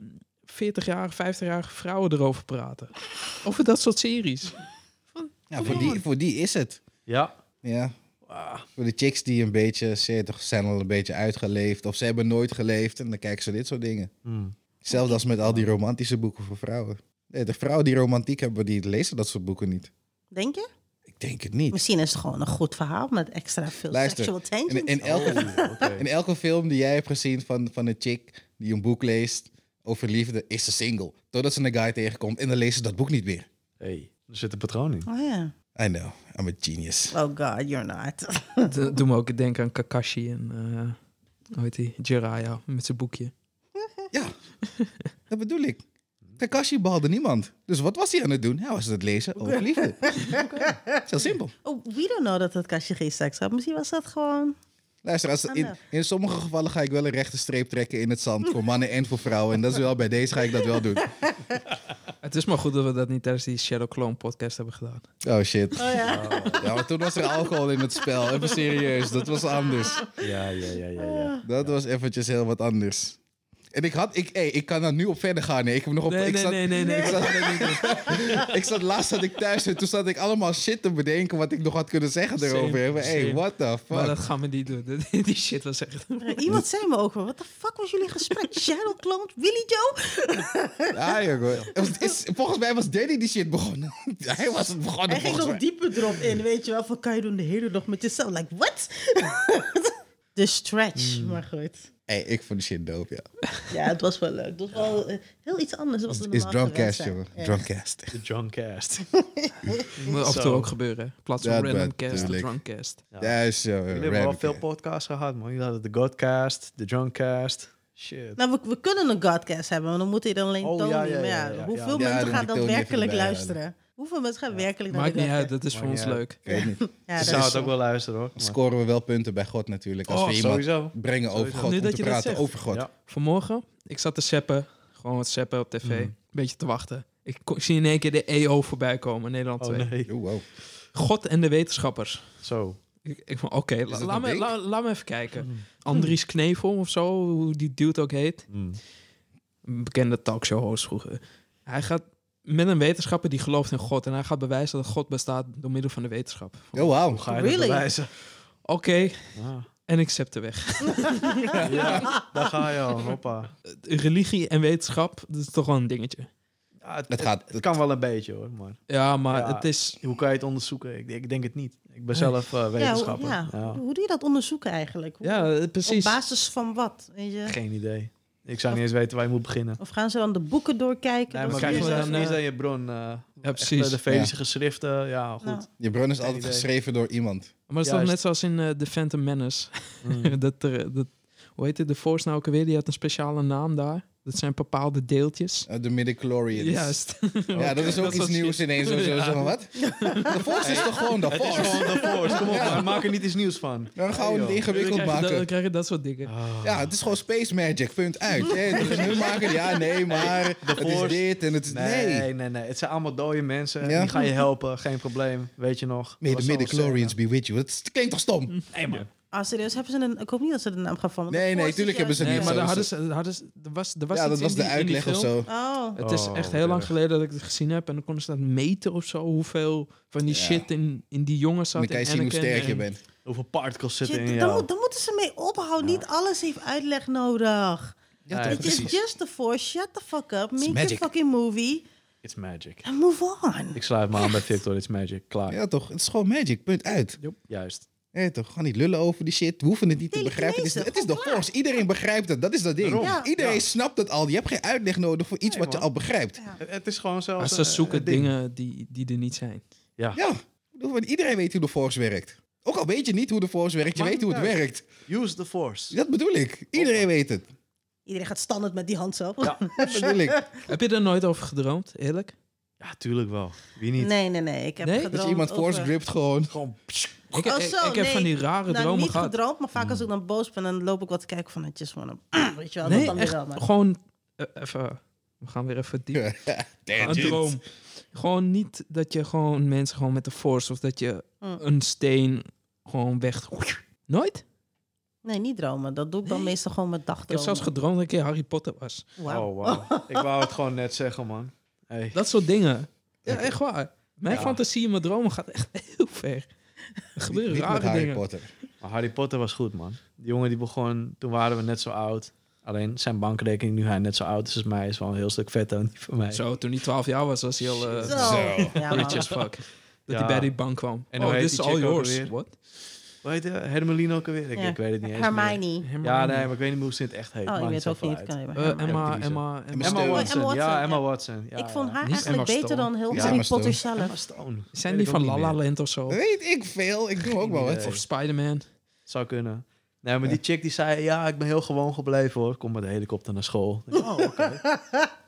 S4: 40-jarige, 50-jarige vrouwen erover praten. Over dat soort series.
S3: Ja, voor, die, voor die is het.
S2: ja. Ah,
S3: Ja. Voor de chicks die een beetje... Ze zijn al een beetje uitgeleefd. Of ze hebben nooit geleefd. En dan kijken ze dit soort dingen.
S2: Hmm.
S3: Hetzelfde als met al die romantische boeken voor vrouwen. Nee, de vrouwen die romantiek hebben, die lezen dat soort boeken niet.
S1: Denk je?
S3: Ik denk het niet.
S1: Misschien is het gewoon een goed verhaal met extra veel
S3: Luister,
S1: sexual
S3: In,
S1: tension.
S3: in, elke,
S2: Oh,
S3: (laughs)
S2: oké.
S3: in elke film die jij hebt gezien van, van een chick die een boek leest over liefde, is ze single. Totdat ze een guy tegenkomt en dan leest ze dat boek niet meer.
S2: Hey, er zit een patroon in.
S1: Oh ja.
S3: I know, I'm a genius.
S1: Oh god, you're not.
S4: (laughs) Dat doet me ook denken aan Kakashi en... eh, hoe heet die? Jiraiya met zijn boekje.
S3: Ja, dat bedoel ik. Takashi behalde niemand. Dus wat was hij aan het doen? Hij was het lezen over liefde. Zo simpel.
S1: Oh, we don't know dat dat kastje geen seks had. Misschien was dat gewoon...
S3: Luister, als, in, in sommige gevallen ga ik wel een rechte streep trekken in het zand. Voor mannen en voor vrouwen. En dat is wel bij deze ga ik dat wel doen.
S4: Het is maar goed dat we dat niet tijdens die Shadow Clone podcast hebben gedaan.
S3: Oh shit.
S1: Oh ja.
S3: Ja, maar toen was er alcohol in het spel. Even serieus, dat was anders.
S2: Ja, ja, ja, ja.
S1: Ah.
S2: ja.
S3: Dat was eventjes heel wat anders. En ik had, ik, hey, ik kan daar nu op verder gaan. Nee, ik heb nog op.
S4: Nee,
S3: ik,
S4: nee,
S3: zat,
S4: nee, nee, nee.
S3: Ik, zat, ik zat laatst zat ik thuis en toen zat ik allemaal shit te bedenken wat ik nog had kunnen zeggen
S4: Same,
S3: erover. Maar, hey,
S4: same.
S3: what the fuck?
S4: Maar dat gaan we niet doen. (laughs) Die shit was echt...
S1: Iemand zei me ook wel, wat de fuck was jullie (laughs) gesprek? Shadow Clone, Willy Joe?
S3: Ah, joh, joh. Het was- is, volgens mij was Danny die shit begonnen. (laughs) Hij was het begonnen.
S1: Hij ging
S3: volgens
S1: nog
S3: mij.
S1: dieper erop in, weet je wel. Van, kan je doen de hele dag met jezelf? Like, what? (laughs) de
S3: Hmm.
S1: stretch, maar goed.
S3: Hey, ik vond de shit dope, ja.
S1: Ja, het was wel leuk. Het was wel eh, heel iets anders. dan wat we
S3: Is
S1: normaal gewend
S3: drumcast,
S1: zijn.
S3: jongen.
S1: Ja.
S3: Drumcast.
S2: De Junkcast.
S4: Moet af en toe
S2: Zo.
S4: ook gebeuren. hè. In plaats van
S3: Dat
S4: random
S3: bent-
S4: cast,
S3: tuurlijk.
S4: drunkcast.
S2: Ja.
S3: Ja, is eh, zo.
S2: Jullie hebben wel veel podcasts gehad, man. Jullie hadden de Godcast, de Junkcast, Shit.
S1: Nou, we, we kunnen een godcast hebben, maar dan moet hij dan alleen
S2: Oh,
S1: Tony.
S2: ja, ja,
S1: maar ja,
S2: ja, ja, ja.
S1: hoeveel
S3: Ja, dan
S1: mensen
S3: moet
S1: gaan
S3: ik Tony even
S1: daadwerkelijk
S3: erbij
S1: luisteren? Hoeveel mensen gaan werkelijk naar
S4: Maakt
S1: de
S4: niet uit,
S1: godcast?
S4: dat is voor
S2: Maakt
S4: ons
S2: niet uit.
S4: leuk.
S3: Ik weet niet.
S1: Ja,
S2: Ik
S1: dat
S2: zou
S1: is
S2: het ook
S1: zo.
S2: wel luisteren hoor. Maar-
S3: Scoren we wel punten bij God natuurlijk. Als
S4: Oh,
S3: we iemand
S2: Sowieso.
S3: brengen over
S2: Sowieso.
S3: God.
S4: Nu
S3: om
S4: dat
S3: te
S4: je dat
S3: praten
S4: zegt.
S3: over God.
S2: Ja.
S4: Vanmorgen, ik zat te zappen. Gewoon wat zappen op tv.
S2: Mhm.
S4: Beetje te wachten. Ik ko- ik zie in één keer de EO voorbij komen, Nederland
S2: Oh
S4: 2.
S2: nee.
S3: Oh, wow.
S4: God en de wetenschappers.
S2: Zo.
S4: Ik, ik van, oké, la-
S3: dat
S4: laat,
S3: een
S4: me,
S3: ding?
S4: la- laat me even kijken. Andries Knevel of zo, hoe die dude ook heet.
S2: Mm.
S4: Een bekende talkshow host vroeger. Hij gaat met een wetenschapper die gelooft in God. En hij gaat bewijzen dat God bestaat door middel van de wetenschap.
S3: Oh, wow.
S2: Hoe ga je
S1: Really?
S2: dat bewijzen?
S4: Oké,
S2: Ah,
S4: en ik zet de weg.
S2: (laughs) ja, daar ga je al. Hoppa.
S4: Religie en wetenschap, dat is toch wel een dingetje.
S2: Ja, het,
S3: Het gaat...
S2: het kan wel een beetje hoor, maar
S4: Ja, maar
S2: Ja.
S4: het is...
S2: hoe kan je het onderzoeken? Ik, ik denk het niet. Ik ben zelf eh, wetenschapper.
S1: Ja,
S2: Ja,
S1: hoe- ja. Hoe doe je dat onderzoeken eigenlijk? Hoe-
S4: Ja, eh, precies.
S1: Op basis van wat? Weet je?
S2: Geen idee. Ik zou niet eens weten waar je moet beginnen.
S1: Of gaan ze dan de boeken doorkijken?
S2: Nee,
S1: Dat
S2: maar
S1: ze
S4: krijgen
S2: krijg
S1: zeggen-
S4: we dan, eh,
S2: is aan je bron? eh
S4: Ja,
S2: echt,
S4: precies.
S2: eh, de Vedische geschriften, ja, goed.
S1: Nou.
S3: Je bron is
S2: Geen
S3: altijd
S2: idee.
S3: geschreven door iemand.
S4: Maar het is toch
S2: Juist.
S4: net zoals in eh, The Phantom (laughs) Menace.
S2: Mm.
S4: dat er, eh, dat, hoe heet het, de Force nou ook alweer? Die had een speciale naam daar. Dat zijn bepaalde deeltjes.
S3: Eh, De midichlorians.
S4: Juist.
S3: Ja, dat is ook
S4: (laughs) Dat is
S3: iets
S4: wat
S3: nieuws
S4: shit.
S3: ineens. Zo, zo,
S4: Ja.
S3: zo, maar
S4: (laughs)
S3: wat? De force is toch gewoon de
S2: Het is
S3: force?
S2: gewoon de force. Kom op, maar maak er niet iets nieuws van.
S3: Dan gaan we
S2: Hey,
S3: het
S2: joh.
S4: dan,
S3: ingewikkeld
S4: krijg je dat, (laughs) dan
S3: maken.
S4: krijg je dat soort dingen.
S3: Ja, het is gewoon space magic, punt uit. Ja, het is nu maken, ja, nee, maar het is
S2: force-
S3: dit en het is...
S2: Nee,
S3: Nee.
S2: nee, nee, Het zijn allemaal dode mensen.
S3: Ja.
S2: Die gaan je helpen, geen probleem. Weet je nog.
S3: May the
S2: Dat was zo'n
S3: midichlorians
S2: scène.
S3: be with you. Het klinkt toch
S4: Mm.
S3: stom?
S2: Nee, man.
S1: Ah, serieus, hebben ze een... Ik hoop niet dat ze de naam gaan vallen.
S3: Nee,
S1: De
S3: nee,
S1: Force is
S3: tuurlijk hebben ze
S1: juist-
S4: Nee,
S3: niet zo
S4: maar daar
S3: is
S4: hadden ze, daar hadden ze, er was, er was
S3: Ja,
S4: iets
S3: dat
S4: in
S3: was de
S4: die- in die
S3: uitleg of
S4: film.
S3: zo.
S1: Oh,
S4: Het is
S2: Oh,
S4: echt
S2: wat
S4: heel lang
S2: erg.
S4: geleden dat ik het gezien heb. En dan konden ze dat meten of zo. Hoeveel van die
S3: Ja.
S4: shit in, in die jongen
S3: Dan
S4: zat.
S3: kan je
S4: in
S3: zien hoe
S4: Anakin
S3: sterk je
S4: en-
S3: bent.
S2: Hoeveel particles
S1: shit,
S2: zitten in
S1: dan,
S2: jou?
S1: moet, dan moeten ze mee ophouden. Niet alles heeft uitleg nodig.
S2: Ja,
S1: Het is
S3: precies.
S1: just the force. Shut the fuck up. Make
S3: magic.
S1: your fucking movie.
S2: It's magic.
S1: And move on.
S2: Ik sluit me aan bij Victor. It's magic. Klaar.
S3: Ja toch, het is gewoon magic, punt uit.
S2: Juist.
S3: Nee toch, gewoon niet lullen over die shit. We hoeven het niet te
S1: Telekinese,
S3: begrijpen. Het is, het is de
S1: gewoon klaar.
S3: force, iedereen begrijpt het. Dat is dat ding.
S2: Daarom.
S1: Ja.
S3: Iedereen
S2: Ja.
S3: snapt het al. Je hebt geen uitleg nodig voor iets
S2: Nee,
S3: wat je
S2: man.
S3: al begrijpt.
S1: Ja.
S2: Het, het is gewoon zelfs...
S4: Maar
S2: een-
S4: Ah, ze
S2: een
S4: zoeken
S2: ding.
S4: dingen die, die er niet zijn.
S3: Ja, ik bedoel, want iedereen weet hoe de force werkt. Ook al weet je niet hoe de force werkt, je
S2: Maakt
S3: weet hoe het
S2: niet uit.
S3: werkt.
S2: Use the force.
S3: Dat bedoel ik. Iedereen weet het.
S1: Iedereen gaat standaard met die hand zo. (laughs)
S2: Ja.
S3: Dat bedoel
S4: (laughs)
S3: ik.
S4: Heb je er nooit over gedroomd, eerlijk?
S2: Ja, tuurlijk wel. Wie niet?
S1: Nee, nee, nee. Ik heb
S4: Nee? Dat je
S1: gedroomd
S3: Dat je iemand
S1: over-
S3: force gript gewoon.
S2: Gewoon...
S4: Ik,
S1: Oh,
S4: ik-
S1: zo,
S4: ik heb
S1: nee.
S4: van die rare
S1: Nou,
S4: dromen
S1: niet
S4: gehad.
S1: gedroomd, maar vaak als ik dan boos ben, dan loop ik wat te kijken van... I just wanna... (clears throat) Weet je wel, dat
S4: Nee,
S1: dan weer
S4: echt
S1: wel. Maar.
S4: gewoon eh, even. We gaan weer even diep. Een
S3: Tangent.
S4: droom. Gewoon niet dat je gewoon mensen gewoon met de force of dat je
S1: Mm.
S4: een steen gewoon weg. Nooit.
S1: Nee, niet dromen. Dat doe ik dan meestal gewoon met
S4: Ik heb
S1: dagdromen.
S4: zelfs gedroomd dat ik in Harry Potter was.
S1: Wauw.
S2: Oh, wow. ik wou het gewoon net zeggen, man. Hey.
S4: Dat soort dingen. Ja, echt waar. Mijn
S2: Ja.
S4: fantasie in mijn dromen gaat echt heel ver. Er gebeuren
S3: Niet met
S4: rare
S3: Harry
S4: dingen.
S3: Potter.
S2: Maar Harry Potter was goed, man. Die jongen die begon... Toen waren we net zo oud. Alleen zijn bankrekening, nu hij net zo oud is als mij... is wel een heel stuk vetter dan die van mij.
S4: Zo, toen hij 12 jaar was, was hij al eh,
S1: Zo.
S3: Zo.
S1: Ja, man.
S4: rich as
S2: (laughs)
S4: fuck. Dat hij
S2: Ja.
S4: bij die bank kwam.
S2: En
S4: oh,
S2: hoe heet
S4: this is
S2: die
S4: all
S2: chick ook
S4: yours.
S2: alweer?
S4: What?
S2: Hoe heet hij? Hermeline ook alweer? Ik,
S1: Ja.
S2: ik weet het niet eens meer.
S1: Hermione.
S2: Ja, nee, maar ik weet niet hoe ze in het echt heet.
S1: Oh, ik
S2: Maakt
S1: weet het ook
S2: zoveel
S1: niet.
S2: uit.
S1: Kan je maar
S4: Eh,
S1: Hermione.
S4: Emma,
S2: actrice.
S4: Emma, Emma,
S3: Emma
S2: Emma
S3: Stone.
S2: Watson.
S1: Emma Watson,
S2: Ja, Emma
S1: ja.
S2: Watson. Ja,
S1: ik vond
S2: ja.
S1: haar
S4: Niet
S1: eigenlijk
S4: Emma
S1: beter
S4: Stone.
S1: dan heel
S3: Ja,
S1: Harry
S3: Emma Stone.
S1: Potter zelf.
S2: Emma Stone.
S4: Zijn
S2: Weet
S4: die
S2: ik
S4: van
S2: ook
S4: La
S2: niet
S4: La
S2: meer.
S4: Land of zo?
S3: Weet ik veel. Ik doe ook
S4: (laughs)
S3: wel wat.
S2: idee.
S4: Of Spider-Man?
S2: Zou kunnen. Nee, maar die chick die zei, ja, ik ben heel gewoon gebleven hoor. Ik Kom met de helikopter naar school. Ik denk, oh, oké.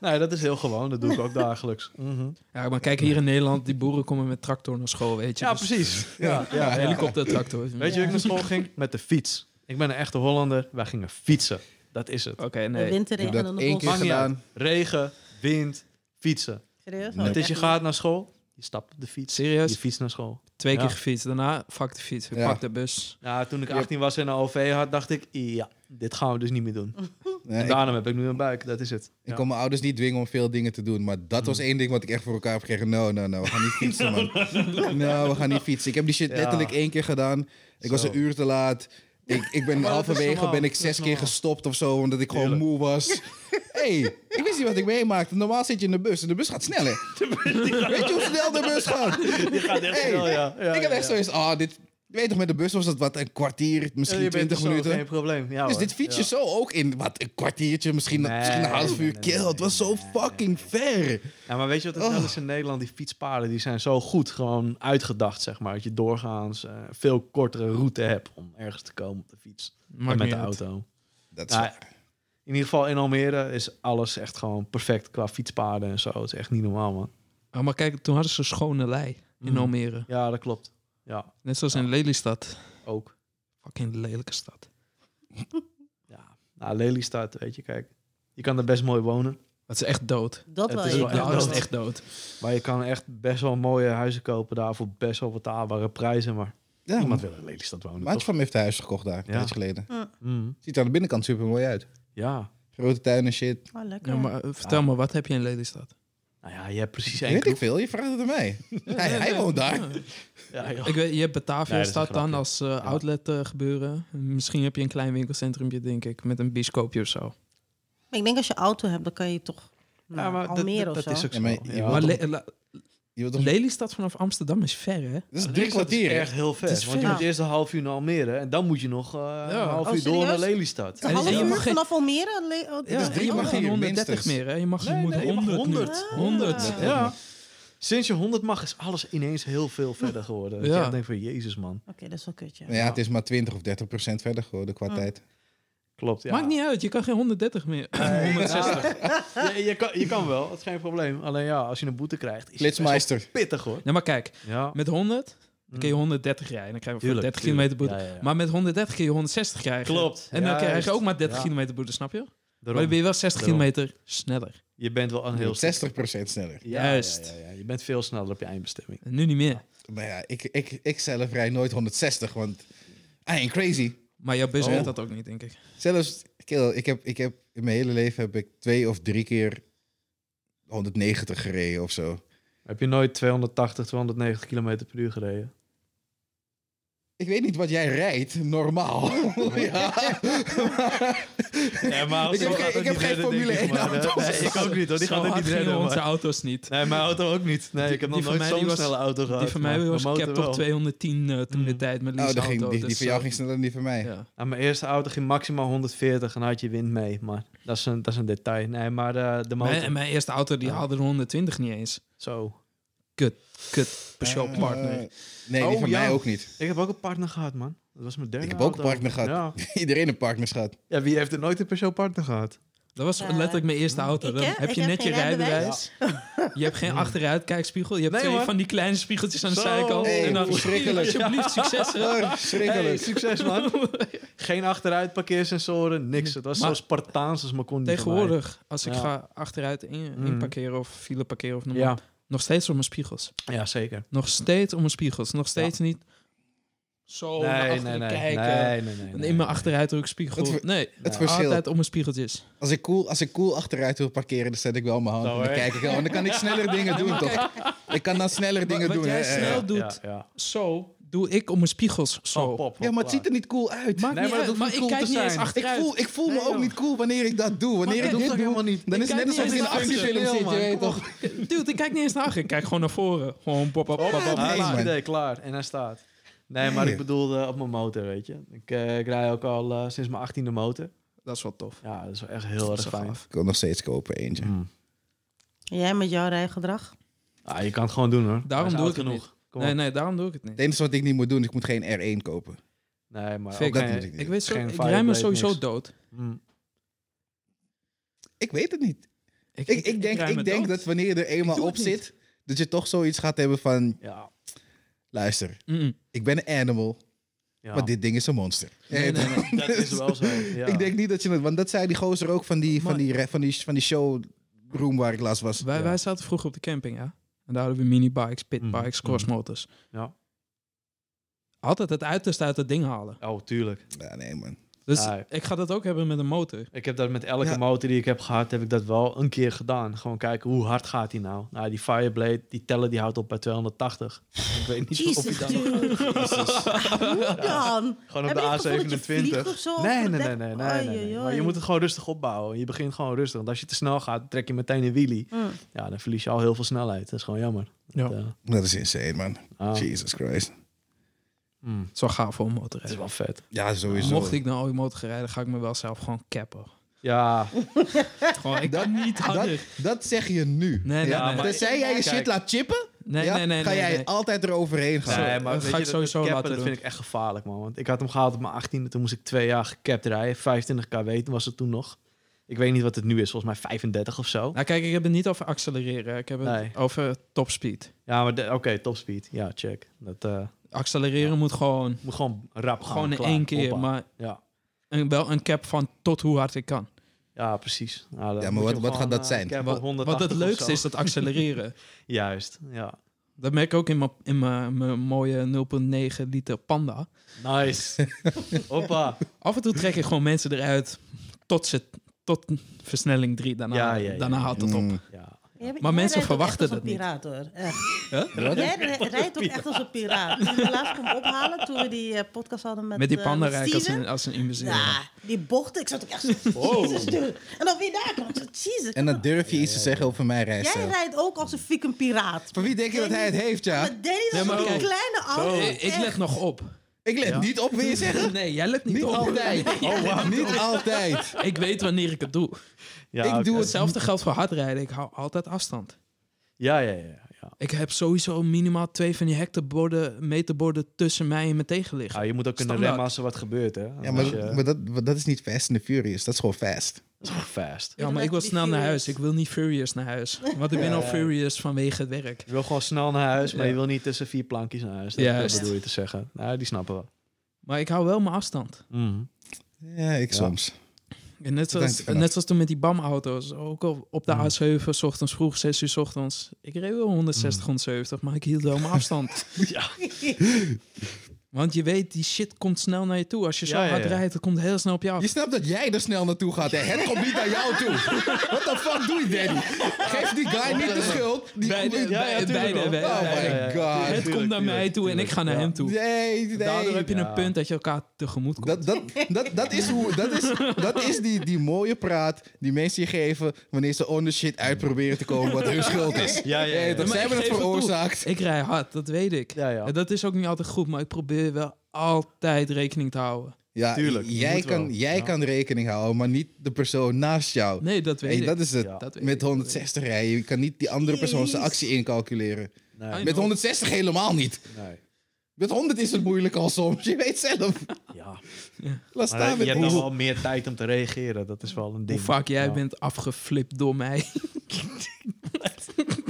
S2: (laughs) nee, dat is heel gewoon. Dat doe ik ook dagelijks. Mhm.
S4: Ja, maar kijk, hier in Nederland, die boeren komen met tractor naar school, weet
S2: (laughs)
S4: je.
S2: Ja,
S4: Dus
S2: precies. Ja, ja, ja.
S4: Helikoptertractor.
S2: Weet je hoe ik naar school ging? Met de fiets. Ik ben een echte Hollander. Wij gingen fietsen. Dat is het.
S4: Oké,
S1: De
S4: nee.
S1: winter
S3: Ik heb
S1: in en
S3: dat
S1: de
S3: één keer
S1: bos.
S2: Mag niet uit.
S3: gedaan.
S2: Regen, wind, fietsen.
S1: Serieus?
S3: Nee.
S1: Oh,
S2: Het is, je
S1: echt
S2: gaat naar school, je stapt op de fiets. Je
S4: Serieus?
S2: fietst naar school.
S4: Twee keer
S2: Ja.
S4: gefietst. Daarna, fuck de fiets. Ik
S3: Ja.
S4: pak de bus.
S2: Ja, Nou, toen ik 18 was en een OV had, dacht ik, ja, dit gaan we dus niet meer doen.
S3: Nee,
S2: En
S3: ik,
S2: daarom heb ik nu een buik, dat is het.
S3: ik kon mijn ouders niet dwingen om veel dingen te doen. Maar dat was
S2: Mm.
S3: één ding wat ik echt voor elkaar heb gekregen. No, no, no. We gaan niet
S2: (laughs)
S3: fietsen, man. No, we gaan niet fietsen. Ik heb die shit
S2: Ja.
S3: letterlijk één keer gedaan. Ik was
S2: Zo.
S3: een uur te laat. Ik,
S2: (laughs)
S3: ik ben
S2: dat is
S3: halverwege
S2: normaal.
S3: ben ik
S2: Dat is
S3: zes keer
S2: normaal.
S3: gestopt of zo, omdat ik gewoon
S2: Tuurlijk.
S3: moe was.
S2: (laughs)
S3: hey, ik wist niet wat ik meemaakte. Normaal zit je in de bus en de bus gaat
S2: (laughs)
S3: sneller. Weet je hoe snel de bus gaat?
S2: Je gaat echt
S3: Hey,
S2: snel, ja. Ja,
S3: ik heb
S2: ja,
S3: echt
S2: ja.
S3: zoiets, ah, dit... Je weet toch, met de bus was dat wat, een kwartier,
S2: Ja,
S3: misschien
S2: je bent er
S3: twintig
S2: zo,
S3: minuten.
S2: Geen probleem. Ja,
S3: Dus
S2: hoor.
S3: dit fiets je
S2: Ja.
S3: zo ook in, wat, een kwartiertje, misschien,
S2: Nee,
S3: misschien een half
S2: nee,
S3: uur.
S2: nee,
S3: Kill,
S2: nee,
S3: het was zo
S2: nee,
S3: fucking ver.
S2: Ja, maar weet je wat
S3: Oh.
S2: het wel is in Nederland? Die fietspaden die zijn zo goed gewoon uitgedacht, zeg maar. Dat je doorgaans eh, veel kortere route hebt om ergens te komen op de fiets.
S4: Maakt
S2: en met
S4: niet
S2: de
S4: uit.
S2: auto.
S3: Dat is
S2: Ja,
S3: waar.
S2: In ieder geval in Almere is alles echt gewoon perfect qua fietspaden en zo. Het is echt niet normaal, man.
S4: Ah, maar kijk, toen hadden ze schone lei in
S2: Mhm.
S4: Almere.
S2: Ja, dat klopt. Ja,
S4: Net zoals in Lelystad.
S2: ook.
S4: Fucking lelijke stad.
S2: Nou, Lelystad, weet je, kijk. Je kan er best mooi wonen.
S4: Het is echt dood.
S1: Dat
S2: Het
S1: wel.
S2: is
S1: ja.
S2: wel
S4: De
S2: echt
S4: ouders
S2: dood.
S4: is echt dood.
S2: Maar je kan echt best wel mooie huizen kopen daar voor best wel betaalbare prijzen. Maar Hmm.
S3: Ja,
S2: niemand
S3: een
S2: wil in Lelystad wonen,
S3: maatje
S2: toch?
S3: van me heeft een huis gekocht daar, een
S2: Ja.
S3: tijdje geleden.
S2: Mm,
S3: Ziet er aan de binnenkant super mooi uit.
S2: ja.
S3: Grote tuin en shit.
S1: Oh, lekker.
S4: Ja, maar, eh, vertel me, wat heb je in Lelystad?
S2: Nou ja, je hebt precies één
S3: Weet
S2: kroeg.
S3: ik veel, je vraagt het aan
S2: (laughs)
S3: mij. hij,
S4: nee,
S3: hij
S4: nee.
S3: woont daar.
S4: Ja.
S2: Ja, joh.
S4: Ik weet, je hebt Batavia
S2: Nee, dat is
S4: staat
S2: een
S4: dan
S2: grapje.
S4: als eh, outlet eh, gebeuren. Misschien heb je een klein winkelcentrumpje, denk ik, met een bioscoopje of zo.
S1: Maar ik denk als je auto hebt, dan kan je toch naar
S2: maar dat-
S1: Almere
S2: dat,
S1: of zo.
S2: dat is ook
S3: Ja,
S2: zo.
S3: maar je
S2: Ja.
S4: maar
S3: toch-
S4: Le- La-
S3: Je wilt toch-
S4: Lelystad vanaf Amsterdam is ver, hè?
S3: Dat is drie
S2: Lelystad
S3: kwartier.
S2: is
S3: hè?
S2: echt heel ver.
S4: Het is
S2: want je
S1: ver.
S2: moet eerst een half uur naar Almere en dan moet je nog eh, een half
S1: Oh,
S2: uur door naar
S1: serieus?
S2: Lelystad.
S1: Een
S4: En
S1: half
S4: je
S1: uur
S4: mag geen-
S1: vanaf Almere? Le- oh,
S4: Ja,
S1: dat
S4: en
S1: is-
S3: drie
S4: Dus je
S1: oh,
S4: mag
S3: mag hier
S4: geen 130
S3: minstens.
S4: meer, hè? Je mag, je
S2: Nee,
S4: moet
S2: nee, je mag
S4: 100,
S2: 100.
S4: nu. 100.
S1: Ah.
S2: Ja. Sinds je 100 mag is alles ineens heel veel verder geworden. Dat
S4: Ja.
S2: je echt denkt van, jezus man.
S1: Oké, dat is wel kut, ja.
S3: Nou ja, het is maar 20 of 30 procent verder geworden qua
S1: Ah.
S3: tijd.
S2: Klopt, ja.
S4: Maakt niet uit, je kan geen 130 meer. (laughs)
S2: Nee, ja, je, je kan, je kan wel, dat is geen probleem. Alleen ja, als je een boete krijgt, is het best wel
S3: Flitsmeister.
S2: pittig hoor.
S4: Nee, maar kijk,
S2: Ja,
S4: met 100 dan kun je 130 rijden. Dan krijg je voor
S2: Hmm. Tuurlijk,
S4: 30
S2: tuurlijk.
S4: kilometer boete.
S2: Ja, ja, ja.
S4: Maar met 130 kun je 160 krijgen.
S2: Klopt.
S4: En dan krijg
S2: Juist.
S4: je ook maar 30
S2: Ja.
S4: kilometer boete, snap je? Maar
S2: Daarom.
S4: dan ben je wel 60
S2: Daarom.
S4: kilometer sneller.
S2: Je bent wel een heel...
S3: 60 sneller.
S2: Ja, ja,
S4: Juist.
S2: ja, ja. Je bent veel sneller op je eindbestemming.
S4: En nu niet meer.
S3: Maar ja, ik, ik, ik zelf rij nooit 160, want I ain't crazy.
S4: Maar jouw bus
S3: Oh.
S4: weet dat ook niet, denk ik.
S3: Zelfs, kill, ik heb, ik heb in mijn hele leven heb ik twee of drie keer 190 gereden of zo.
S2: Heb je nooit 280, 290 kilometer per uur gereden?
S3: Ik weet niet wat jij rijdt, normaal. ja.
S2: Nee, maar
S3: Ik heb geen- ik heb geen Formule 1 auto.
S2: ik ook niet hoor, die
S4: Zo
S2: gaat het
S4: hard
S2: niet
S4: gingen
S2: redden.
S4: onze
S2: maar-
S4: auto's niet.
S2: Nee, mijn auto ook niet. Nee,
S4: Die-
S2: ik heb
S4: die
S2: nog nooit
S4: van mij, die
S2: zo'n
S4: was-
S2: snelle auto gehad.
S4: die van mij
S2: maar
S4: was
S2: mijn
S4: cap
S2: motor
S4: toch
S2: wel.
S4: 210 eh, toen de
S2: Mm.
S4: tijd met Lies
S3: Oh, dat ging,
S4: auto.
S3: die, die
S4: dus,
S3: van jou
S4: eh,
S3: ging sneller dan die van mij.
S4: ja.
S2: Nou, mijn eerste auto ging maximaal 140 en dan had je wind mee. Maar dat is een, dat is een detail. Nee, maar eh, de motor...
S4: Mijn, mijn eerste auto die
S2: Ja.
S4: haalde er 120 niet eens.
S2: Zo.
S4: Kut, Peugeot
S3: Eh,
S4: partner.
S3: nee, die
S2: Oh,
S3: van
S2: ja.
S3: mij ook niet. (laughs)
S2: Ik heb ook een partner gehad, man. Dat was mijn derde
S3: Ik heb ook een
S2: auto.
S3: partner gehad.
S2: Ja.
S3: Iedereen een partnerschap.
S2: ja, wie heeft er nooit een Peugeot partner gehad?
S4: Dat was
S1: Ja.
S4: letterlijk mijn eerste auto.
S1: Ik,
S4: Dan
S1: hè?
S4: heb
S1: Ik
S4: je
S1: heb
S4: net je
S1: geen Oh.
S4: rijbewijs. Je hebt geen achteruitkijkspiegel. Je hebt
S2: Nee,
S4: twee
S2: man.
S4: van die kleine spiegeltjes aan de
S2: Zo.
S4: zijkant.
S3: Hey,
S4: en dan
S3: verschrikkelijk.
S4: alsjeblieft succes. hè.
S3: Ah,
S2: Hey,
S3: Schrikkelijk.
S2: succes, man. (laughs) Geen achteruit, parkeersensoren, niks. Het was
S4: Maar-
S2: zo Spartaans als maar kon. die van mij.
S4: Tegenwoordig, als ik
S2: Ja.
S4: ga achteruit in,
S2: Mhm.
S4: in parkeren of file parkeren of noem maar
S2: Ja.
S4: op, nog steeds op mijn spiegels.
S2: ja, zeker.
S4: Nog steeds om mijn spiegels. Nog steeds niet zo Oh, naar
S2: nee, nee,
S4: achteren
S2: nee,
S4: kijken.
S2: nee, nee, nee, nee.
S4: In mijn achteruitdrukspiegel.
S3: Het ver-
S4: nee,
S3: Het verschil.
S4: altijd om mijn spiegeltjes.
S3: Als ik, cool, als ik cool achteruit wil parkeren, dan zet ik wel mijn hand.
S2: Nou,
S3: en dan
S2: hè.
S3: kijk ik wel. En dan kan ik sneller dingen doen, toch? Ik kan dan sneller dingen
S4: wat
S3: doen.
S4: jij
S3: hè? eh. Ja,
S4: snel
S3: ja.
S4: doet,
S2: Ja, ja.
S4: zo doe ik om mijn spiegels zo.
S2: Oh, pop,
S3: Ja, maar het ziet er niet cool uit.
S4: Maakt
S2: Nee,
S4: niet
S2: maar dat
S4: uit,
S2: hoeft
S4: maar
S2: niet
S4: ik
S2: cool
S4: kijk
S2: te
S4: niet eens
S2: zijn.
S3: ik
S4: achteruit.
S3: voel, ik voel me
S2: Nee,
S3: ook
S2: joh.
S3: niet cool wanneer ik dat doe. Wanneer
S4: Maar
S3: ik
S4: dat
S3: dit
S4: hoeft
S3: doe,
S4: ook
S2: helemaal niet.
S3: dan
S4: Ik
S3: is het
S4: kijk
S3: net alsof je
S4: niet
S3: in een
S4: eens
S3: actiefilm
S2: actiefilm,
S3: zit. Je
S2: man.
S3: weet
S2: Kom
S3: toch?
S4: Dude, ik kijk niet eens naar achter. Ik kijk gewoon naar voren. Gewoon pop, pop, pop, pop,
S3: nee,
S4: pop.
S2: Ah,
S3: man.
S2: idee, klaar. En hij staat. Nee, maar ik bedoelde op mijn motor, weet je. Ik, eh, ik rij ook al eh, sinds mijn 18e motor.
S4: Dat is wel tof.
S2: Ja, dat is wel echt heel
S4: Dat
S2: erg
S4: is wel
S2: fijn.
S4: gaaf.
S3: Ik wil nog steeds kopen eentje.
S2: Mm.
S1: Jij met jouw rijgedrag?
S2: Ah, je kan het gewoon doen, hoor.
S4: Daarom
S2: Hij is
S4: doe
S2: oud
S4: ik het
S2: Kom
S4: Nee,
S2: op.
S4: nee, daarom doe ik het
S3: Het
S4: niet.
S3: enige wat ik niet moet doen, ik moet geen R1 kopen.
S2: Nee, maar
S4: Fik.
S2: ook
S3: dat
S2: geen-
S3: moet ik niet.
S4: Ik
S3: Ik,
S4: weet zo,
S2: Geen
S4: ik rij me
S2: fireblade,
S4: sowieso
S2: niks.
S4: dood.
S2: Mm.
S3: weet het niet. Ik, ik, denk,
S4: rij me
S3: ik denk
S4: dood.
S3: dat wanneer je er
S4: Ik
S3: eenmaal
S4: doe
S3: op
S4: het niet.
S3: zit, dat je toch zoiets gaat hebben van...
S2: Ja.
S3: Luister,
S4: Mm-mm.
S3: ik ben een animal,
S2: ja.
S3: maar dit ding is een monster.
S4: Nee, nee, nee.
S2: Dat is wel zo, ja.
S3: (laughs) Ik denk niet dat je het... Want dat zei die gozer ook van die, van
S4: Maar-
S3: die, re- van die, van die showroom waar ik laatst was.
S4: Wij,
S2: Ja.
S4: wij zaten vroeger op de camping, ja. En daar hadden we minibikes, pitbikes,
S2: Mhm.
S4: crossmotors.
S2: Ja.
S4: Altijd het uiterste uit dat ding halen.
S2: Oh, tuurlijk.
S3: Ja, nee man.
S4: Dus
S2: Ja.
S4: ik ga dat ook hebben met een motor.
S2: Ik heb dat met elke
S3: Ja.
S2: motor die ik heb gehad, heb ik dat wel een keer gedaan. Gewoon kijken, hoe hard gaat die nou? Nou, die Fireblade, die teller, die houdt op bij 280. ik weet niet of
S1: Jezus,
S2: je dan... (laughs)
S1: dude. Hoe dan?
S2: Gewoon op
S1: Heb je het gevoel dat
S2: de
S1: je
S2: A27.
S1: vliegt of zo?
S2: nee,
S1: Of
S2: nee,
S1: dat-
S2: nee, nee, nee, nee, nee.
S1: Oei,
S2: Maar je
S1: oei.
S2: moet het gewoon rustig opbouwen. Je begint gewoon rustig. Want als je te snel gaat, trek je meteen een wheelie.
S1: Mm.
S2: Ja, dan verlies je al heel veel snelheid. Dat is gewoon jammer.
S4: Ja.
S2: Dat, eh,
S3: Dat is insane man.
S2: ah,
S3: Jesus Christ.
S2: mm,
S4: Zo gaaf voor een motor.
S2: dat is wel vet.
S3: Ja, sowieso.
S4: Mocht ik nou ooit motor gaan rijden, ga ik me wel zelf gewoon cappen.
S2: Ja,
S4: Gewoon, ik kan niet
S3: Dat,
S4: harder.
S3: dat zeg je nu.
S4: Nee,
S3: ja,
S4: nee, nee.
S3: Tenzij jij je
S2: Kijk.
S3: shit laat chippen,
S4: Nee,
S3: ja,
S4: nee, nee.
S3: ga
S4: nee,
S3: jij
S4: nee.
S3: altijd eroverheen gaan.
S2: nee,
S4: Zo,
S2: maar
S4: dat
S2: weet
S4: ga
S2: je,
S4: ik sowieso
S2: dat,
S4: laten
S2: cappen, dat
S4: doen.
S2: vind ik echt gevaarlijk, man. Want ik had hem gehaald op mijn 18e. Toen moest ik twee jaar gekapt rijden. 25 kW, toen was het toen nog. Ik weet niet wat het nu is, volgens mij 35 of zo.
S4: Nou kijk, ik heb het niet over accelereren. Ik heb het
S2: Nee.
S4: over topspeed.
S2: Ja, maar de- oké, topspeed. Ja, check. Dat eh,
S4: Accelereren moet gewoon,
S2: moet gewoon rap gaan.
S4: gewoon in
S2: klaar.
S4: één keer.
S2: Hoppa.
S4: Maar
S2: Ja.
S4: een, wel een cap van tot hoe hard ik kan.
S2: Ja, precies. Nou, dan moet
S3: maar
S2: je
S3: wat-
S2: hem
S3: wat gaat
S2: gewoon,
S3: dat
S2: eh,
S3: zijn?
S2: cap op
S4: Wat, wat
S2: 180
S4: het
S2: of
S4: leukste
S2: zo.
S4: is, dat
S2: (laughs)
S4: accelereren.
S2: Juist, ja.
S4: dat merk ik ook in mijn- in mijn mijn mooie 0,9 liter Panda. (laughs)
S2: Nice. Hoppa.
S4: Af en toe trek ik gewoon mensen eruit tot, ze, tot versnelling 3. Daarna,
S2: Ja, ja, ja,
S4: daarna
S2: ja.
S4: houdt het op.
S3: Mm.
S2: Ja.
S1: Jij-
S4: Maar
S1: jij
S4: mensen
S1: rijdt ook
S4: verwachten
S1: echt als
S4: dat niet.
S1: een piraat hoor. Echt.
S3: Wat?
S1: Jij r- rijdt ook echt als een piraat. Toen je me laatst kwam ophalen, toen we die eh, podcast hadden met
S4: Met die
S1: eh,
S4: panda
S1: met
S4: rijk ik als
S1: Steven.
S4: een, als een imbecile.
S1: Nou, die bochten, ik zat ook echt zo, jezus dude. En dan weer daar kwam ik zo, jezus.
S3: En dan durf je iets te zeggen over mijn
S1: Jij
S3: rijstijl.
S1: rijdt ook als een fucking piraat.
S3: Van wie denk je dat hij het heeft, ja?
S1: Maar Danny is
S4: Nee, maar
S1: een
S4: ook-
S1: kleine auto.
S4: Ik, ik let nog op.
S3: Ik let
S4: Ja.
S3: niet op,
S4: (laughs)
S3: wil je zeggen?
S4: Nee, jij let niet,
S3: Niet
S4: op.
S3: altijd.
S4: Oh, wauw.
S3: Niet altijd.
S4: Ik weet wanneer ik het doe.
S2: ja
S3: Ik
S2: oké.
S3: doe het-
S4: Hetzelfde geldt voor hardrijden. Ik hou altijd afstand.
S2: Ja, ja, ja. ja.
S4: Ik heb sowieso minimaal twee van die hecteborden, meterborden tussen mij en mijn tegenligger.
S2: Ah, je moet ook kunnen
S4: Standaard.
S2: remmen als er wat gebeurt, hè?
S3: Ja,
S2: Als
S3: maar,
S2: je-
S3: maar dat, maar dat is niet Fast and the Furious. Dat is gewoon fast.
S2: Dat is gewoon fast.
S4: Ja, maar ik wil snel naar huis. Ik wil niet furious naar huis. Want ik ben al furious vanwege het werk.
S2: Je wil gewoon snel naar huis, maar
S4: Ja.
S2: je wil niet tussen vier plankjes naar huis. Dat,
S4: Juist.
S2: dat bedoel je te zeggen. Nou, die snappen we.
S4: Maar ik hou wel mijn afstand.
S2: Mhm.
S3: Ja, ik
S2: Ja.
S3: soms.
S4: En net,
S3: hangt
S4: zoals,
S3: ervan af.
S4: net zoals toen met die BAM-auto's. Ook op, op
S2: Mhm.
S4: de A7, 's ochtends vroeg, 6 uur 's ochtends. Ik reed wel 160, 170, maar ik hield wel mijn afstand.
S2: Mhm. (laughs) Ja.
S4: (laughs) Want je weet, die shit komt snel naar je toe. Als je zo
S2: Ja, ja,
S4: hard
S2: ja.
S4: rijdt, het komt heel snel op je af.
S3: Je snapt dat jij er snel naartoe gaat. Hè? Het komt niet naar jou toe. What the fuck doe je, Danny? Geef die guy niet de schuld. Die
S4: Beide-
S3: die-
S4: Ja, ja,
S2: tuurlijk
S4: beide-
S2: wel.
S4: beide-
S3: Oh my god.
S4: het komt naar mij toe en ik ga naar
S2: Ja.
S4: hem toe.
S3: Nee, nee.
S4: Daardoor heb je
S2: Ja.
S4: een punt dat je elkaar tegemoet komt.
S3: Dat, dat, dat, dat is, hoe, dat is, dat is die, die mooie praat die mensen je geven wanneer ze on the shit uitproberen te komen wat hun schuld is.
S2: Ja, ja, ja.
S3: Nee, dat
S4: Maar
S3: zij
S4: ik
S3: hebben het
S4: geef het toe.
S3: veroorzaakt.
S4: Ik rij hard, dat weet ik.
S2: Ja, ja.
S4: En dat is ook niet altijd goed, maar ik probeer wel altijd rekening te houden.
S3: Ja,
S2: Tuurlijk, je
S3: jij,
S2: moet wel.
S3: kan, jij
S2: Ja.
S3: kan rekening houden, maar niet de persoon naast jou.
S4: Nee, dat weet
S3: Hey,
S4: ik.
S3: dat is het.
S2: Ja.
S4: Dat weet ik,
S3: Met
S4: dat
S3: 160 rijden. Je kan niet die andere persoon zijn
S1: Jeez.
S3: actie incalculeren.
S2: Nee,
S3: Met 160 helemaal niet.
S2: nee.
S3: Met 100 is het moeilijk al soms. Je weet zelf.
S2: Ja.
S3: Laat
S2: Maar
S3: staan
S2: je
S3: met
S2: hebt dan
S3: hoe-
S2: wel meer tijd om te reageren. Dat is wel een
S4: Hoe
S2: ding.
S4: vaak jij
S2: Ja.
S4: bent afgeflipt door
S2: (laughs)
S4: mij.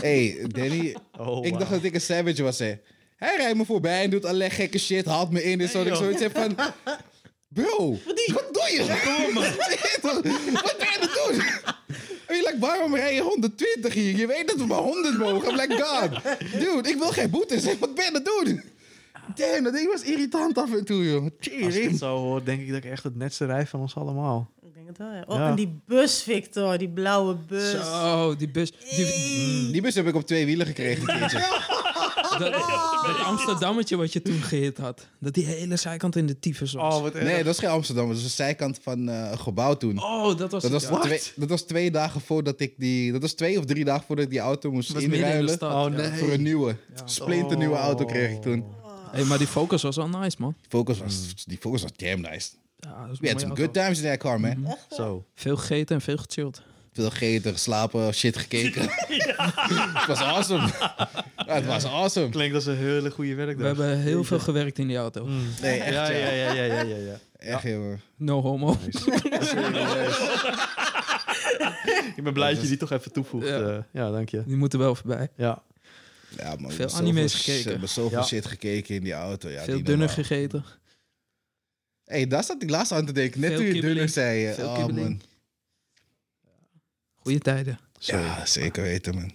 S3: Hey, Danny.
S2: Oh,
S3: ik dacht
S2: wauw.
S3: dat ik een savage was, hè. Hij rijdt me voorbij en doet allerlei gekke shit. Haalt me in en zo.
S2: Hey,
S3: dat ik
S2: joh.
S3: zoiets heb van... Bro, wat doe (laughs) je? wat ben je aan het doen? En je like, waarom rij je 120 hier? Je weet dat we maar 100 mogen. I'm like, god. Dude, ik wil geen boetes. Wat ben je aan het doen? Damn, dat ding was irritant af en toe, joh.
S2: Als ik
S3: Cheering.
S2: het zo hoor, denk ik dat ik echt het netste rij van ons allemaal.
S1: Ik denk het wel, ja. Oh,
S2: Ja.
S1: en die bus, Victor. Die blauwe bus.
S4: Zo, die bus. Die,
S3: Die bus heb ik op twee wielen gekregen.
S2: (laughs)
S3: een keertje.
S4: dat,
S3: Oh.
S4: dat Amsterdammetje wat je toen gehit had. Dat die hele zijkant in de tyfus was.
S2: Oh, wat
S3: Nee, dat was geen Amsterdam. Dat was de zijkant van eh, een gebouw toen.
S4: Oh, dat was
S3: Dat
S4: het,
S3: was,
S4: ja.
S3: twee, dat was twee dagen voordat ik die. Dat was twee of drie dagen voordat ik die auto moest
S4: was midden in de
S3: inruilen.
S4: stad.
S2: Oh,
S4: ja.
S2: nee.
S3: Voor een nieuwe. Splinternieuwe
S4: Oh.
S3: auto kreeg ik toen.
S4: Hey, maar die Focus was wel nice, man.
S3: Die Focus was, die Focus was damn nice.
S4: Ja, dat was
S3: We had
S4: een mooie
S3: some
S4: auto. Mhm.
S3: good times in that car, man.
S2: Zo.
S4: Veel gegeten en veel gechilled.
S3: Veel gegeten, geslapen, shit
S4: (laughs)
S3: gekeken. (laughs) het was awesome. Ja, het was awesome.
S2: Klinkt als een hele goede werkdag.
S4: We hebben heel veel gewerkt in die auto.
S3: Nee, echt,
S2: Ja,
S3: ja.
S2: ja, ja, ja, ja, ja. ja.
S3: Echt, jongen.
S4: No homo.
S2: Ik ben blij dat je die toch even toevoegt.
S4: dus- Ja.
S2: eh. ja dank je.
S4: Die moeten wel voorbij.
S2: Ja.
S3: Ja, man. ik
S4: Veel
S3: heb
S4: anime's
S3: zoveel
S4: gekeken.
S3: shit- Ik heb zoveel
S2: Ja.
S3: shit gekeken in die auto. Ja,
S4: veel
S3: die
S4: dunner
S3: normaal.
S4: gegeten.
S3: Hé, hey, daar zat ik laatst aan te denken. Net
S4: Veel
S3: toen je
S4: kibbeling.
S3: dunner zei. eh,
S4: Veel
S3: oh,
S4: kibbeling.
S3: man.
S4: Goeie tijden.
S2: Sorry.
S3: Ja, zeker weten, man.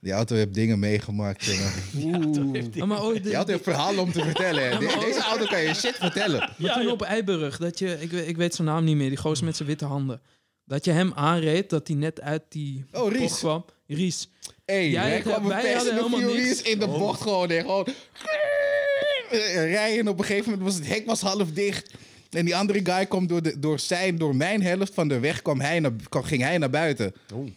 S3: Die auto heeft dingen meegemaakt, jongen.
S4: Oh, maar ooit,
S3: Je had een verhaal om te vertellen. hè. De- deze auto kan je shit vertellen.
S4: Maar toen op Eiburg, dat je, ik, we- ik weet zijn naam niet meer, die gozer met zijn witte handen. Dat je hem aanreed, dat hij net uit die
S3: Oh,
S4: bocht
S3: Ries.
S4: kwam. Ries.
S3: Hey,
S4: Jij
S3: wij
S4: had-
S3: kwamen
S4: wij
S3: Fast
S4: hadden
S3: and the
S4: helemaal
S3: Furious
S4: niks.
S3: in de bocht gewoon. En gewoon (laughs) rijden. Op een gegeven moment was het hek was half dicht. En die andere guy kwam door, de, door, zijn, door mijn helft van de weg kwam hij naar, kwam- ging hij naar buiten.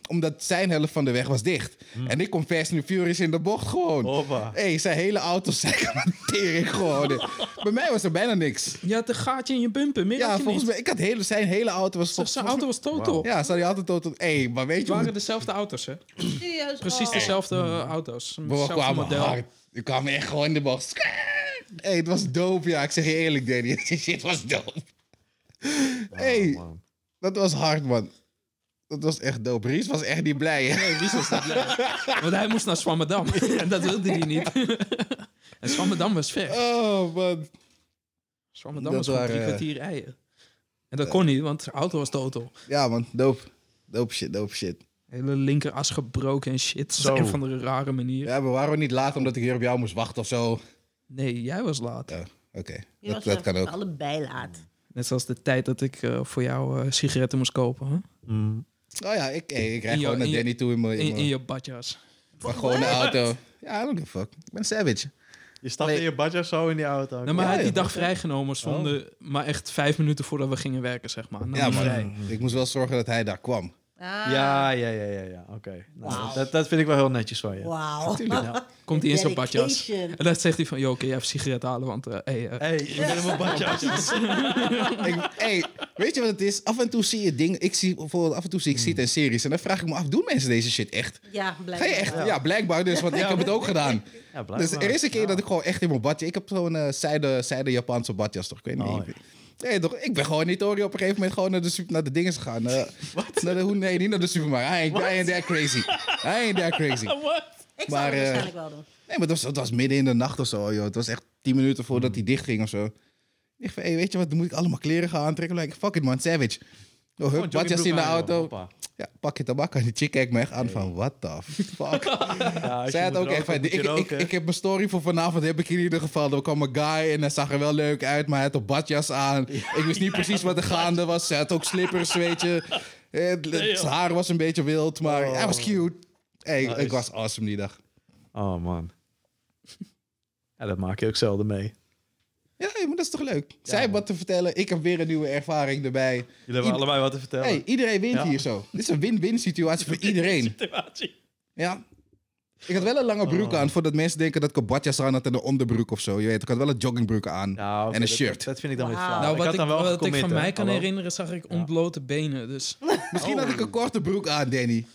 S3: Omdat zijn helft van de weg was dicht. En ik kom Fast and the Furious in de bocht gewoon.
S2: Hoppa.
S3: Hé, hey, zijn hele auto (laughs) zijn tering gewoon. Bij mij was er bijna niks.
S4: Je had een gaatje in je bumper, meer had
S3: Ja,
S4: je
S3: volgens
S4: niet.
S3: mij, ik had hele, zijn hele auto was...
S4: Zo-
S3: volgens-
S4: Zijn auto was totaal op.
S3: Ja, zou die auto tot... Hé, hey, maar weet
S4: Het
S3: je hoe
S4: waren dezelfde auto's, hè?
S1: Serieus?
S4: Mm. Precies
S1: oh.
S4: dezelfde eh, auto's.
S3: Maar we
S4: Hetzelfde
S3: kwamen
S4: model.
S3: hard. We kwamen echt gewoon in de bocht. Hey, (laughs) Ah, het was dope, ja. Ik zeg je eerlijk, Danny. Die shit was dope. hey,
S2: man.
S3: Dat was hard, man. Dat was echt dope. Ries was echt niet blij. hè?
S4: Nee, Ries was niet blij. (laughs) Want hij moest naar Swammerdam. en dat wilde hij niet. (laughs) en Swammerdam was ver.
S3: (laughs) Oh, man.
S4: Swammerdam
S3: Dat
S4: was gewoon
S3: waren,
S4: drie
S3: eh,
S4: kwartier rijden. En dat kon niet, want zijn auto was totaal.
S3: Ja, man. Dope. Dope shit, dope shit.
S4: Hele linkeras gebroken en shit. Op
S2: Zo.
S4: een van de rare manier.
S3: Ja, maar waren we niet laat omdat ik hier op jou moest wachten of zo? Oké,
S4: Nee, jij was laat.
S1: Je
S3: dat,
S1: was
S3: dat
S1: er
S3: kan ook.
S1: allebei laat.
S4: Net zoals de tijd dat ik eh, voor jou eh, sigaretten moest kopen. hè?
S2: Mm.
S3: Oh ja, ik, hey, ik rijd gewoon
S4: In jou-
S3: naar
S4: in-
S3: Danny toe in mijn, in
S4: In, in
S3: mijn,
S4: je badjas. Nou,
S3: mijn gewone auto. Ja, I don't give a fuck. Ik ben savage.
S2: Je stapt
S3: Nee.
S2: in je badje of zo in die auto.
S4: Nou, maar hij
S3: Ja,
S4: had die
S3: ja. Oh.
S4: dag vrijgenomen zonder... Maar echt vijf minuten voordat we gingen werken, zeg maar. Nou,
S3: Ja,
S4: die
S3: maar
S4: vrij.
S3: ik moest wel zorgen dat hij daar kwam.
S1: Ah,
S2: Ja, ja, ja, ja, ja. Oké. Nou,
S1: Wauw.
S2: dat, dat vind ik wel heel netjes van je.
S1: Wauw.
S2: Natuurlijk. Ja.
S4: Komt hij in zijn badjas.
S1: Dedication.
S4: En dan zegt hij van... Joh, kun jij even sigaret halen? Want eh hey, eh,
S2: hey, ik ben in mijn
S3: (laughs)
S2: badjas.
S3: ik, hey, weet je wat het is? Af en toe zie je dingen. Ik zie bijvoorbeeld af en toe zie ik zit
S2: Hmm.
S3: en series. En dan vraag ik me af: doen mensen deze shit echt?
S1: Ja,
S3: Ga
S1: blijkbaar.
S3: je echt? Ja, blijkbaar dus, want ik heb het ook gedaan.
S2: Ja, blijkbaar.
S3: Dus er is een keer dat ik gewoon echt in mijn badje. Ik heb zo'n eh, zijde, zijde Japanse badjas toch? Ik weet niet.
S2: Oh, ja.
S3: Nee, toch? Ik ben gewoon niet Ori op een gegeven moment gewoon naar de, super- naar de dingen
S2: (laughs)
S3: gegaan. eh, naar de, hoe- nee, niet naar de supermarkt. I ain't, I ain't that crazy. I ain't that
S2: Oh,
S3: crazy.
S1: Ik zou
S3: Maar,
S1: het
S3: eh,
S1: waarschijnlijk wel doen.
S3: Nee, maar dat was, dat was midden in de nacht of zo, joh. Het was echt tien minuten voordat
S2: Hmm.
S3: hij dicht ging of zo. Ik van, hey, weet je wat, dan moet ik allemaal kleren gaan aantrekken. Like, fuck it, man, savage. Oh, hup,
S2: Gewoon
S3: badjas in de
S2: joggingbroek aan,
S3: auto.
S2: joh. Hoppa.
S3: Ja, pak je tabak aan. Die chick kijkt me echt aan van, what the
S2: (laughs)
S3: fuck.
S2: Ja, als
S3: Zij
S2: je
S3: had
S2: moet
S3: ook echt van,
S2: roken, moet
S3: ik,
S2: je
S3: ik,
S2: roken.
S3: ik heb mijn story voor vanavond, heb ik in ieder geval. Er kwam een guy en hij zag er wel leuk uit, maar hij had een badjas aan. ik wist niet
S2: (laughs)
S3: precies wat er gaande was. Hij had ook slippers, weet je. Het, het
S4: joh.
S3: haar was een beetje wild, maar hij was cute. Hey,
S2: Oh. Nice.
S3: Ik was awesome die dag.
S2: Oh, man. Ja, dat maak je ook zelden mee.
S3: Ja, hey, maar dat is toch leuk? Zij hebben wat te vertellen, ik heb weer een nieuwe ervaring erbij.
S2: Jullie hebben
S3: Ieder-
S2: allebei wat te vertellen.
S3: Hey, iedereen wint
S2: Ja.
S3: hier zo. Dit is een win-win situatie voor iedereen.
S2: Situatie.
S3: Ja. Ik had wel een lange
S2: Oh.
S3: broek aan, voordat mensen denken dat ik een badjas aan had en een onderbroek of zo. Je weet, ik had wel een joggingbroek aan
S2: Nou, oké,
S3: en een
S2: dat-
S3: shirt.
S2: Dat, vind ik dan weer
S1: Wauw.
S2: flauw.
S4: Nou,
S2: ik
S4: wat
S2: had
S4: ik,
S2: dan wel
S4: wat ik van
S2: gecommit, hè.
S4: mij kan
S2: Hallo?
S4: herinneren, zag ik ontblote benen. Dus
S3: Misschien
S2: Oh.
S3: had ik een korte broek aan, Danny.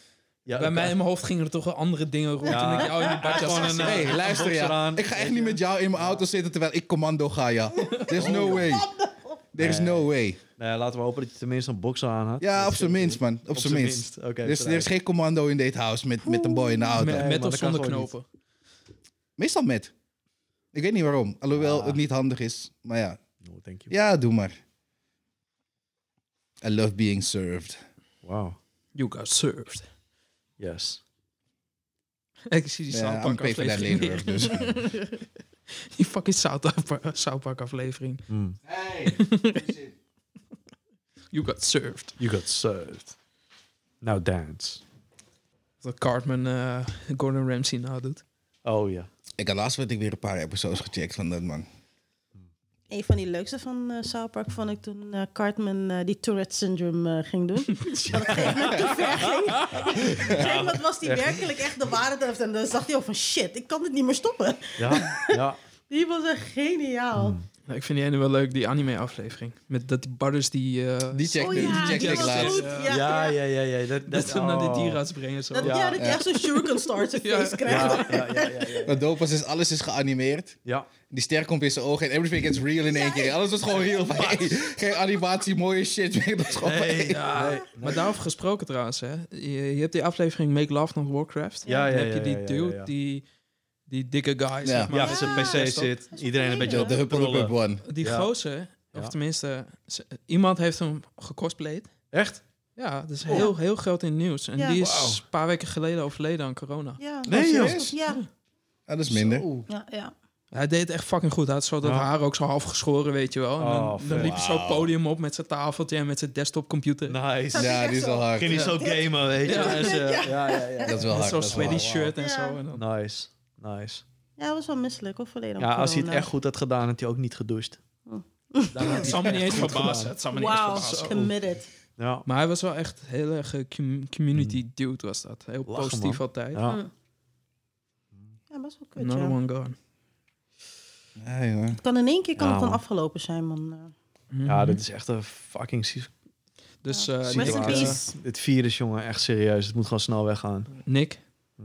S2: Ja,
S4: bij
S2: dat-
S4: mij in mijn hoofd gingen er toch wel andere dingen rond.
S2: Ja.
S4: Toen ik jou in die badjas
S2: Gewoon
S4: zag.
S2: een,
S3: hey,
S2: eh,
S3: luister
S2: boxer
S3: ja.
S2: aan.
S3: Ik ga echt niet met jou in mijn auto zitten terwijl ik commando ga, ja. There's no way. There's no way.
S2: Oh. Nee, Nou laten we hopen dat je tenminste een boxer aan had.
S3: Ja,
S2: Dat
S3: op
S2: is-
S3: zijn minst, man. Op zijn minst.
S2: Oké,
S3: Er is, er
S2: terecht.
S3: is geen commando in dit house met, met een boy in de auto.
S4: Met,
S2: Oh, Nee,
S4: met
S2: maar
S4: of
S2: dat kan
S4: zonder
S2: gewoon
S4: knopen.
S3: Meestal met. Ik weet niet waarom. Alhoewel
S2: Ah.
S3: het niet handig is. Maar ja.
S2: No, thank you.
S3: Ja, doe maar. I love being served.
S2: Wow.
S4: You got served. (laughs)
S2: Yes.
S4: Ik zie die
S3: Ja,
S4: South
S3: I'm
S4: Park
S3: paid for that
S4: aflevering
S3: later,
S4: liggen. (laughs) Die fucking South (laughs) Park- South Park aflevering.
S2: Mm.
S4: You got served.
S2: You got served. Now dance.
S4: Dat Cartman eh, Gordon Ramsay nou nadoet.
S2: Oh ja.
S3: Ik had laatst werd ik weer een paar episodes gecheckt van dat man.
S1: Een van die leukste van eh South Park vond ik toen eh, Cartman eh, die Tourette syndrome eh, ging
S4: (laughs)
S1: doen. Dat het echt net te ver ging. Op een gegeven moment was die werkelijk echt de waarheid heeft. En dan dacht hij ook van shit, ik kan dit niet meer stoppen.
S2: Ja, ja.
S1: Die was echt geniaal.
S4: Nou, ik vind die ene wel leuk, die anime aflevering. Met dat die badders die... eh,
S3: Die check
S1: Oh
S3: die
S1: ja,
S3: check
S1: die
S3: ik
S1: was
S3: laatst.
S1: goed. Ja,
S2: Ja,
S1: ja.
S2: ja, ja, ja. Dat,
S4: (laughs) dat
S2: dat,
S4: ze hem naar
S2: oh.
S4: de dierenarts brengen. Zo.
S1: Dat, ja. dat je echt zo'n shuriken star te
S4: Ja.
S1: face krijgt.
S2: Ja, ja, ja, ja, ja.
S3: Wat dope was, is alles is geanimeerd.
S2: Ja,
S3: Die ster komt in zijn ogen en everything gets real in één keer. Alles was gewoon real. Van, hey, geen animatie, mooie shit. meer. Dat is gewoon van,
S2: Nee,
S3: hey.
S4: Ja,
S2: Nee,
S4: maar daarover gesproken trouwens. Hè. Je, je hebt die aflevering Make Love Not Warcraft.
S2: Ja,
S4: Dan
S2: ja,
S4: heb je
S2: ja,
S4: die
S2: ja, ja,
S4: dude,
S2: ja.
S4: die, die dikke guy, zeg maar.
S2: ja met zijn pc zit. Iedereen een
S1: Ja.
S2: beetje
S3: Yo,
S2: op
S3: de
S2: de
S3: huppel
S2: huppel.
S3: up one.
S4: Die
S2: Ja.
S4: gozer, of
S2: Ja.
S4: tenminste, z- iemand heeft hem gecosplayed.
S2: Echt?
S4: Ja, dat is heel, heel groot in het nieuws. En
S1: Ja.
S4: die is
S2: Oh. Wauw.
S4: een paar weken geleden overleden aan corona.
S1: Ja,
S2: Nee, joh.
S3: serieus?
S1: ja,
S3: Ah, dat is minder.
S1: ja, ja.
S4: Hij deed het echt fucking goed. Hij had zo dat
S2: Ja.
S4: haar ook zo half geschoren, weet je wel. En dan,
S2: Oh,
S4: dan liep hij zo
S3: wauw.
S4: het podium op met zijn tafeltje en met zijn desktopcomputer.
S2: Nice.
S1: is
S3: Ja,
S1: echt
S3: die is
S1: zo.
S3: wel hard.
S2: Ging
S3: Dat
S2: hij zo gamen, weet je.
S4: Ja.
S2: En ze- ja, ja, ja.
S3: is wel
S4: En
S3: hard.
S4: zo'n
S3: dat is wel
S4: sweaty
S3: hard.
S4: shirt en
S1: Ja.
S4: zo. En dan,
S2: Nice, nice.
S1: Ja, hij was wel misselijk hoor, volledig.
S2: Ja, als hij het echt goed had gedaan, had hij ook niet gedoucht.
S4: het zal
S2: (laughs)
S4: me niet eens verbazen.
S2: gedaan.
S4: Het zal me niet eens
S1: Wow,
S4: verbazen.
S1: committed.
S2: Ja,
S4: Maar hij was wel echt heel erg eh, com- community dude was dat. Heel
S2: Hmm. Lachen,
S4: positief
S2: man.
S4: altijd.
S2: ja.
S1: Hmm. Ja, best wel kut,
S4: Another
S1: ja.
S4: one gone.
S3: Ja, jongen.
S1: Het kan in één keer kan
S2: Ja,
S1: het dan
S2: man.
S1: afgelopen zijn, man.
S2: Ja,
S4: Mhm.
S2: dit is echt een fucking... ziek-
S4: Dus eh,
S1: Rest in
S4: Nick,
S2: waar.
S1: peace.
S2: Dit virus, jongen, echt serieus. Het moet gewoon snel weggaan. Mm.
S4: eh, Nick,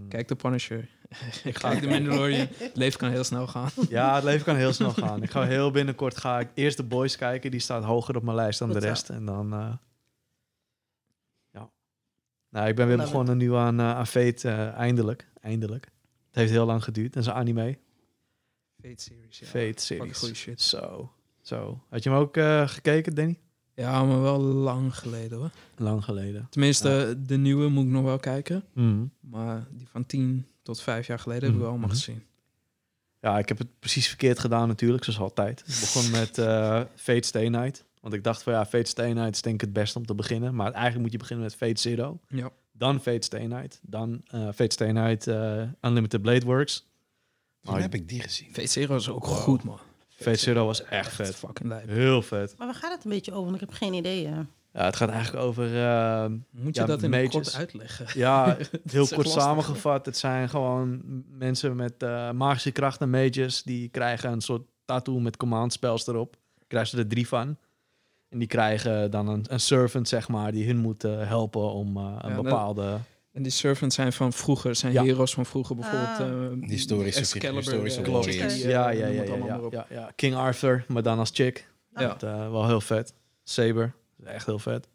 S4: kijk de Punisher. (laughs) Ik ga de (laughs) Mandalorian. Het leven kan heel snel gaan.
S2: Ja, het leven kan heel snel gaan. Ik ga heel binnenkort ga ik eerst de Boys kijken. Die staat hoger op mijn lijst dan
S1: Goed
S2: de
S1: zo.
S2: rest. En dan eh, Nou, ik ben weer
S1: Leuk.
S2: begonnen nu aan, eh aan Fate, eh, eindelijk. Eindelijk. Het heeft heel lang geduurd. Dat is een anime.
S4: Fate series, ja.
S2: Fate
S4: Fucking goeie
S2: series.
S4: shit.
S2: Zo. Zo. Had je hem ook eh, gekeken, Danny?
S4: Ja, maar wel lang geleden hoor.
S2: Lang geleden.
S4: Tenminste, de nieuwe moet ik nog wel kijken.
S2: Mhm.
S4: Maar die van 10 tot 5 jaar geleden heb ik
S2: Mhm.
S4: wel allemaal
S2: Mhm.
S4: gezien.
S2: Ja, ik heb het precies verkeerd gedaan natuurlijk, zoals altijd. Ik begon met eh Fate Stay Night. Want ik dacht van ja, Fate Stay Night is denk ik het best om te beginnen. Maar eigenlijk moet je beginnen met Fate Zero.
S4: Ja.
S2: Dan Fate Stay Night. Dan eh, Fate Stay Night eh, Unlimited Blade Works.
S3: Toen heb ik die gezien.
S4: Fate Zero is ook goed, man.
S2: Fate Zero was echt vet.
S4: Fucking lijp.
S2: Heel vet.
S1: Maar waar gaat het een beetje over? Want ik heb geen Oh, idee. hè.
S2: Ja, het gaat eigenlijk over... eh,
S4: Moet je
S2: Ja,
S4: dat in
S2: mages.
S4: het kort uitleggen?
S2: (laughs)
S4: (laughs)
S2: Ja, heel
S4: echt
S2: kort
S4: lastig.
S2: samengevat. Het zijn gewoon mensen met eh, magische krachten, mages. Die krijgen een soort tattoo met command spells erop. Krijgen ze er drie van. En die krijgen dan een, een servant, zeg maar, die hun moet eh, helpen om eh, een
S4: Ja, dat-
S2: bepaalde...
S4: En die servants zijn van vroeger, zijn
S2: Ja.
S4: heroes van vroeger bijvoorbeeld.
S1: Ah.
S4: eh,
S3: Historische
S4: Excalibur,
S3: historische
S4: eh,
S3: warriors.
S4: Chicken, eh,
S2: ja, ja,
S4: noem
S2: ja,
S4: het
S2: ja,
S4: allemaal
S2: ja,
S4: maar op.
S2: ja, ja. King Arthur, maar dan als chick.
S4: Ja.
S2: Dat, eh, wel heel vet. Saber, echt heel vet.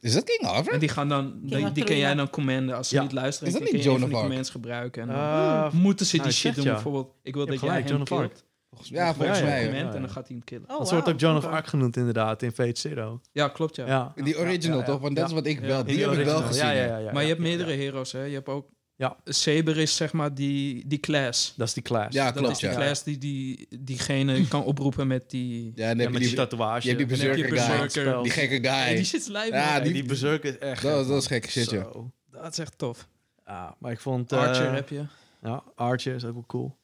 S3: Is dat King Arthur?
S4: En die gaan dan, die, die
S1: Arthur,
S4: kan jij
S1: ja.
S4: dan commanden. Als ze
S2: Ja.
S4: niet luisteren,
S3: Is dat
S4: kun
S3: niet
S4: je een
S3: Joan
S4: van die
S3: of Arc?
S4: commands gebruiken. En dan
S1: Ah,
S2: Eh,
S4: moeten ze
S2: nou,
S4: die
S2: je
S4: shit
S2: zegt
S4: doen.
S2: ja.
S4: Bijvoorbeeld, ik wil
S2: Je
S4: dat
S2: hebt
S4: jij
S2: gelijk,
S4: hem
S2: Joan of Arc.
S4: killt.
S3: Ja, volgens
S2: Ja, ja,
S3: mij.
S2: ja.
S4: Command en dan gaat hij hem killen.
S1: Oh,
S2: dat wordt
S1: wauw.
S2: ook John of
S1: Oké.
S2: Arc genoemd inderdaad in Fate Zero.
S4: Ja, klopt ja.
S2: Ja.
S3: Die original
S2: Ja, ja,
S3: toch? Want dat
S2: ja.
S3: is wat ik
S4: Ja.
S3: wel.
S4: In
S3: Die,
S2: In de
S3: heb ik wel
S2: original.
S3: gezien.
S2: Ja, ja,
S3: hè.
S2: ja, ja,
S4: maar je hebt
S2: ja, ja.
S4: meerdere heroes, hè? Je hebt ook...
S2: Ja.
S4: Saber is zeg maar die, die class.
S2: Dus Dat is die clash.
S3: Ja,
S4: dat is
S3: klopt.
S4: die
S3: Ja.
S4: class die, die diegene kan oproepen met die...
S3: Ja, dan
S2: Ja,
S3: heb je
S2: met die
S3: die,
S2: tatoeage.
S3: je hebt die
S4: En dan heb je
S3: Berserker guy.
S4: Berserker.
S2: Die
S3: die gekke
S4: Hey, die
S3: guy.
S4: shit is lijp,
S3: Ja,
S4: man.
S2: die, die berserker is echt...
S3: Dat was-
S2: gek,
S3: dat was
S2: man.
S3: gekke shit, ja.
S2: Zo.
S4: Dat is echt tof.
S2: Ja, maar ik vond... eh,
S4: Archer heb je.
S2: Ja, Archer is ook wel cool.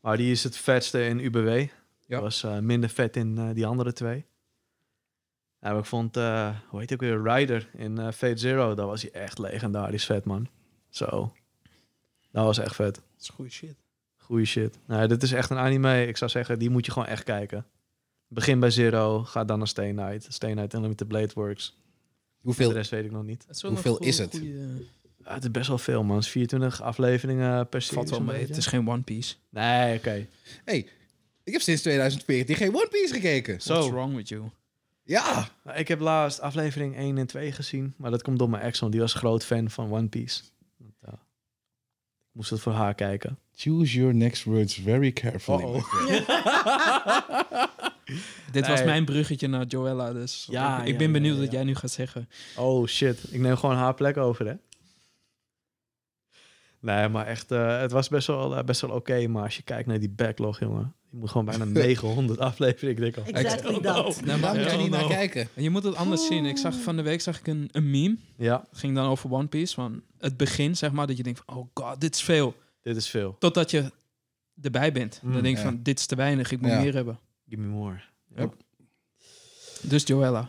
S2: Maar die is het vetste in UBW.
S4: Ja.
S2: Was eh, minder vet in eh, die andere twee. Ja, maar ik vond, eh, hoe heet het ook weer, Ryder in eh, Fate Zero. Dat was hij echt legendarisch vet, man. Zo. Dat was echt vet.
S4: Dat is goede shit.
S2: Goeie shit. Nou, dit is echt een anime. Ik zou zeggen, die moet je gewoon echt kijken. Begin bij Zero, ga dan naar Stay Night. Stay Night Unlimited Blade Works. De
S3: Hoeveel?
S2: rest weet ik nog niet.
S4: Dat is wel een
S3: Hoeveel
S4: goeie-
S3: is het?
S4: goeie-
S2: Ah, het is best wel veel, man. Het is 24 afleveringen per serie.
S4: Valt wel
S2: zo'n
S4: mee.
S2: beetje.
S4: Het is geen One Piece.
S2: Nee, oké.
S3: Ik heb sinds 2014 geen One Piece gekeken.
S2: Zo.
S4: What's wrong with you?
S3: Ja.
S2: Nou, Ik heb laatst aflevering 1 en 2 gezien. Maar dat komt door mijn ex, want die was groot fan van One Piece. Want, ja, ik moest het voor haar
S4: (laughs)
S2: kijken.
S3: Choose your next words very carefully.
S4: Dit was
S2: Nee.
S4: mijn bruggetje naar Joella, dus
S2: Ja,
S4: ik, ik
S2: ja,
S4: ben
S2: ja,
S4: benieuwd
S2: ja,
S4: wat
S2: ja.
S4: jij nu gaat zeggen.
S2: Oh shit, ik neem gewoon haar plek over, hè? Nee, maar echt, eh, het was best wel, eh, best wel oké. maar als je kijkt naar die backlog, jongen. Je moet gewoon
S3: (laughs)
S2: bijna 900 afleveringen. Ik denk al.
S1: Exactly dat.
S4: Nou,
S3: Daar
S4: maar
S3: moet je
S4: kijk,
S3: niet naar
S2: Oh, no.
S3: kijken.
S4: je moet het anders zien. Ik zag van de week zag ik een, een meme.
S2: Ja,
S4: Het ging dan over One Piece. Van het begin, zeg maar, dat je denkt van, oh god, dit is veel.
S2: dit is veel.
S4: Totdat je erbij bent.
S2: Mm,
S4: dan denk je
S3: ja.
S4: van, dit is te weinig, ik moet
S3: Ja.
S4: meer hebben.
S2: Give me more.
S4: Dus Joella.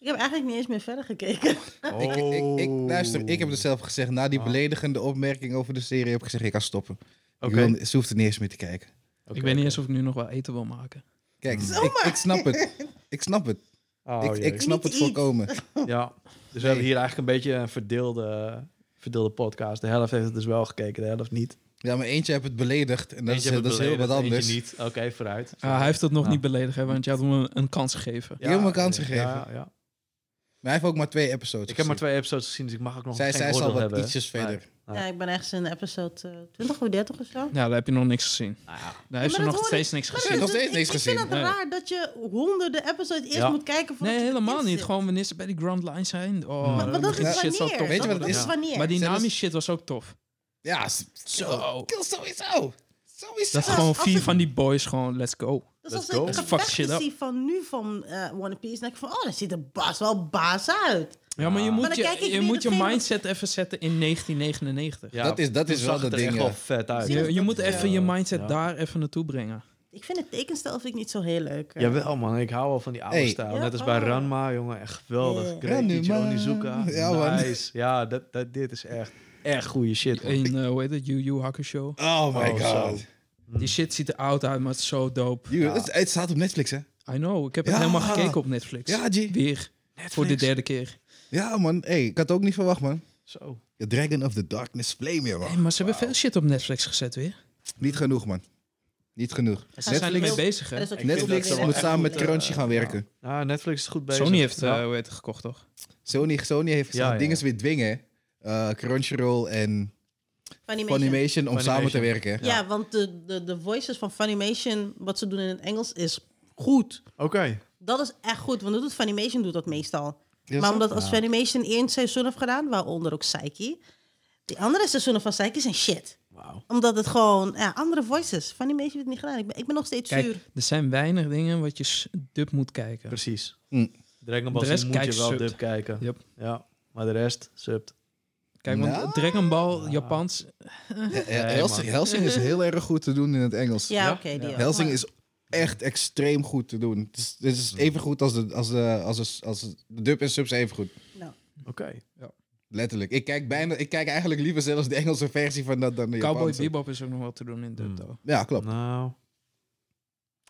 S1: Ik heb eigenlijk niet eens meer verder gekeken.
S3: Ik, ik,
S2: Oh.
S3: ik, luister, ik heb dus- het
S2: het
S3: zelf gezegd. Na die
S2: Ah.
S3: beledigende opmerking over de serie heb ik gezegd, ik kan stoppen.
S2: Oké.
S3: Ik wil, ze hoeft er niet eens meer te kijken.
S4: ik weet niet eens of ik nu nog wel eten wil maken.
S3: Kijk,
S2: Hmm.
S3: ik, ik snap het. Ik snap het.
S2: Oh,
S3: ik,
S2: jee.
S3: ik
S1: Niet
S3: snap het
S1: te
S3: voorkomen.
S2: Ja, dus we hebben hier eigenlijk een beetje een verdeelde, verdeelde podcast. De helft heeft het dus wel gekeken, de helft niet.
S3: Ja, maar eentje heb het beledigd. En dat, is,
S2: Eentje
S3: dat
S2: hebben
S3: is heel wat
S2: beledigd,
S3: anders.
S2: eentje niet. Oké, vooruit.
S4: Ah, hij heeft dat nog
S2: Ja.
S4: niet beledigd, hè, want je had hem een, een kans gegeven.
S3: Je hebt hem een kans
S2: ja,
S3: gegeven.
S2: Ja, ja.
S3: Maar hij heeft ook maar twee episodes
S2: Ik heb maar
S3: gezien.
S2: twee episodes gezien, dus ik mag ook nog
S3: Zij,
S2: geen
S3: zij zal
S2: oordeel
S3: wat
S2: hebben.
S3: ietsjes
S2: Nee.
S3: verder.
S1: Ja, ik ben ergens in episode eh, 20 of 30 of zo.
S4: Nou, daar heb je nog niks gezien.
S2: Nou ja,
S4: Daar heeft
S1: maar
S4: ze
S1: dat
S4: nog
S1: hoor
S4: steeds niks
S1: Maar
S4: gezien.
S1: dat
S3: Nog
S1: is-
S3: steeds
S1: ik-
S3: niks gezien.
S1: Ik vind
S4: Nee.
S1: het raar dat je honderden episodes eerst
S2: Ja.
S1: moet kijken voordat
S4: Nee,
S1: je
S4: helemaal
S1: erin
S4: niet.
S1: zit.
S4: Gewoon wanneer ze bij die Grand Line zijn. Oh,
S2: Maar- maar
S1: Maar
S4: dan
S1: dat is
S4: begint die
S1: wanneer.
S4: shit zo tof te
S3: Weet je wat
S1: dat
S3: het
S2: is?
S1: is wanneer.
S4: Maar die
S3: Zelfs-
S4: Nami shit was ook tof.
S3: Ja, s-
S4: Zo.
S3: Kill sowieso. Sowieso.
S4: Dat is gewoon
S1: als
S4: vier
S1: ik-
S4: van die boys gewoon, let's go.
S1: Dus
S2: Let's
S1: als ik
S2: go.
S1: een
S4: Fuck shit
S1: gevechten
S4: up.
S1: zie van nu van eh, One Piece, denk ik van, oh, dat ziet er baas wel baas uit.
S4: Ja, maar je
S2: Ja.
S4: moet
S1: Ah. Maar dan kijk
S4: je,
S1: ik
S4: je,
S1: weer
S4: moet je
S1: degene-
S4: mindset even zetten in 1999.
S2: ja,
S3: Dat is- dat
S2: toen
S3: is wel
S2: zag
S3: dat
S2: het er echt
S3: ding,
S2: wel
S3: eh.
S2: vet uit.
S1: Zie je-
S4: Je, je moet
S1: Ja.
S4: even je mindset
S2: Ja.
S4: daar even naartoe brengen.
S1: Ik vind het tekenstijl vind ik niet zo heel leuk. eh.
S2: Jawel man, ik hou wel van die oude
S3: Hey.
S2: stijl.
S1: Ja.
S2: Net als
S4: ah.
S2: bij Ranma, jongen. Echt geweldig.
S1: Ja.
S2: Great Ichi
S3: Ranma.
S2: Onizuka.
S3: Ja, man.
S2: Nice. Ja, dat, dat, dit is echt, echt goede shit. man.
S4: In, eh, hoe heet het, Yu Yu Hakusho.
S3: Oh my
S2: Oh, zo.
S3: god.
S2: Mm.
S1: Hmm.
S4: Die shit ziet er oud uit, maar het is zo dope.
S3: Dude, het- Het staat op Netflix, hè?
S4: I know, ik heb het
S3: Ja.
S4: helemaal gekeken op Netflix.
S3: Ja, G.
S4: Weer, voor de
S2: Netflix.
S4: derde keer.
S3: Ja, man. Hey, ik had het ook niet verwacht, man.
S2: Zo.
S3: The Dragon of the Darkness Flame, joh, man.
S4: Hey, maar ze hebben veel shit op Netflix gezet weer.
S3: Niet genoeg, man. Niet genoeg.
S4: Ze zijn
S3: Netflix-
S4: ermee bezig,
S1: Er
S4: hè.
S1: is ook
S2: vind
S1: veel
S3: Netflix
S2: dat ze
S1: meer
S2: wel
S3: moet
S1: echt
S3: samen met
S1: goed, eh.
S3: Crunchy gaan werken.
S2: Ah, Netflix is goed bezig.
S4: Sony heeft,
S2: Ja.
S4: eh, hoe heet het, gekocht, toch?
S3: Sony, Sony heeft gezegd,
S2: Ja, ja,
S3: dingen
S2: ja.
S3: weer dwingen. eh, Crunchyroll en
S1: Funimation.
S3: Funimation om samen te
S2: Funimation.
S3: werken.
S1: Ja, want de, de, de voices van Funimation, wat ze doen in het Engels, is goed.
S2: Oké.
S1: Dat is echt goed, want dat doet Funimation doet dat meestal.
S3: Ja,
S1: maar
S3: zo.
S1: omdat als Funimation één seizoen heeft gedaan, waaronder ook Psyche, die andere seizoenen van Psyche zijn shit.
S2: Wauw.
S1: Omdat het gewoon ja, andere voices. Funimation heeft het niet gedaan. Ik ben, ik ben nog steeds
S4: Kijk,
S1: zuur.
S4: er zijn weinig dingen wat je s- dub moet kijken.
S2: Precies.
S3: Hm.
S2: Dragon Ball
S4: De rest
S2: Z moet je
S4: kijkt
S2: wel
S4: subbed.
S2: dub kijken.
S4: Yep.
S2: Ja, maar de rest subt.
S4: Kijk, want
S3: Nou.
S4: Dragon Ball, Japans,
S3: Ja, ja,
S2: Nee,
S3: Helsing,
S2: man.
S3: Helsing is heel erg goed te doen in het Engels.
S1: Ja, oké. die
S4: Ja.
S1: ook.
S3: Helsing
S1: Maar-
S3: is echt extreem goed te doen. Het is, het is even goed als de, als de, als de, als de dub en subs even goed.
S1: nou,
S2: Oké.
S3: Letterlijk. Ik kijk, bijna, ik kijk eigenlijk liever zelfs de Engelse versie van dat dan de
S4: Cowboy
S3: Japanse.
S4: Bebop is ook nog wel te doen in dub,
S2: Hmm.
S4: toch?
S3: Ja, klopt.
S2: Nou.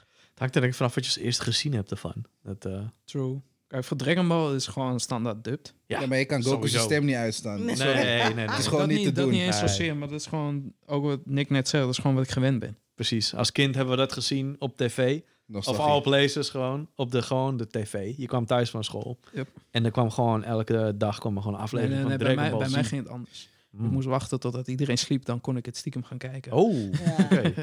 S2: Het hangt er denk ik vanaf wat je als eerste gezien hebt ervan. Dat, eh,
S4: True. Kijk, voor Dragon Ball is gewoon standaard dubbed.
S2: Ja,
S3: Ja, maar je kan Goku's
S2: sowieso.
S3: stem niet uitstaan.
S1: Nee.
S3: Sorry.
S2: nee, nee, nee.
S3: Het is
S4: dat
S3: gewoon niet te
S4: dat
S3: doen.
S4: niet eens
S2: Nee.
S4: zozeer, maar dat is gewoon ook wat Nick net zei. Dat is gewoon wat ik gewend ben.
S2: Precies. Als kind hebben we dat gezien op tv. Of
S3: Nostalgie.
S2: al places gewoon. Op de, gewoon de tv. Je kwam thuis van school.
S4: Yep.
S2: En er kwam gewoon elke dag kwam er gewoon een aflevering
S4: eh, Nee, nee,
S2: van
S4: nee, bij,
S2: Dragon Ball
S4: mij, bij mij
S2: Z.
S4: ging het anders. Ik
S2: Mm.
S4: moest wachten totdat iedereen sliep, dan kon ik het stiekem gaan kijken.
S2: Oh,
S1: Ja.
S2: (laughs) oké.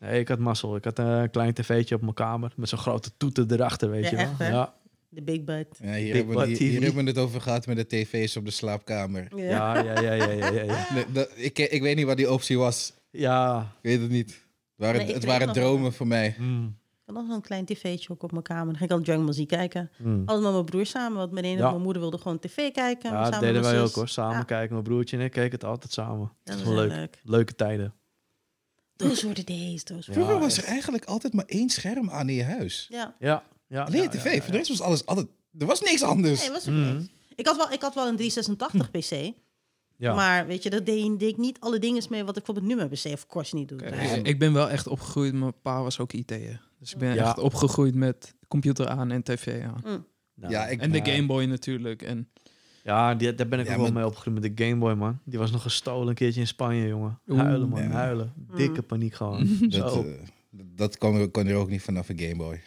S2: Nee, ik had mazzel. Ik had eh, een klein tv'tje op mijn kamer. Met zo'n grote toeter erachter, weet
S1: Ja,
S2: je wel.
S1: echt, hè?
S2: ja.
S1: de Big Bad.
S3: Ja, hier,
S2: Big
S3: hebben we,
S2: Bad
S3: hier,
S2: TV.
S3: hier hebben we het over gehad met de tv's op de slaapkamer.
S1: Ja.
S2: Ja, ja, ja, ja, ja, ja, ja.
S3: Nee, dat, ik, ik weet niet wat die optie was.
S2: Ja,
S3: Ik weet het niet. Het waren,
S1: Nee, ik
S3: het
S1: weet
S3: waren
S1: nog-
S3: dromen voor mij.
S2: mm,
S1: Ik had nog zo'n klein tv'tje ook op mijn kamer. Dan ging ik al Jungle Muziek kijken.
S2: mm.
S1: Altijd met mijn broer samen, want mijn ene en
S2: Ja.
S1: mijn moeder wilde gewoon tv kijken.
S2: ja
S1: samen
S2: dat
S1: met
S2: deden
S1: mijn
S2: wij
S1: zus.
S2: ook hoor. Samen
S1: Ja.
S2: kijken. Mijn broertje en ik keken het altijd samen.
S1: Dat
S2: Dat
S1: is
S2: was leuk.
S1: leuk.
S2: Leuke tijden.
S1: Those were the days, those were
S2: Ja,
S3: Vroeger was er
S2: echt.
S3: eigenlijk altijd maar één scherm aan in je huis.
S1: Ja.
S2: Ja, ja.
S3: Alleen
S2: ja,
S3: de tv.
S2: ja, ja,
S3: Voor de rest was alles altijd... Er was niks anders.
S1: Nee, was ook
S2: Mhm.
S1: niks. Ik had, wel, ik had wel een 386 PC.
S2: Hm. Ja.
S1: Maar weet je, dat deed, deed ik niet alle dingen mee wat ik bijvoorbeeld nu met mijn PC of course niet doe.
S4: Kijk,
S1: Dus-
S4: ik- ik ben wel echt opgegroeid, mijn pa was ook IT'er. Dus ik ben
S2: Ja.
S4: echt opgegroeid met computer aan en tv aan.
S2: Nou,
S3: Ja, ik-
S4: En de
S2: ja.
S4: Game Boy natuurlijk. En
S2: Ja, die, daar ben ik
S3: Ja,
S2: ook wel
S3: maar-
S2: mee opgegroeid met de Game Boy, man. Die was nog gestolen een keertje in Spanje, jongen.
S4: Oeh.
S2: huilen, man.
S3: Ja.
S2: Huilen.
S1: Mm.
S2: Dikke paniek
S4: (laughs)
S2: gewoon.
S3: Dat,
S2: Zo.
S3: eh, dat kon, kon er ook niet vanaf een Game Boy.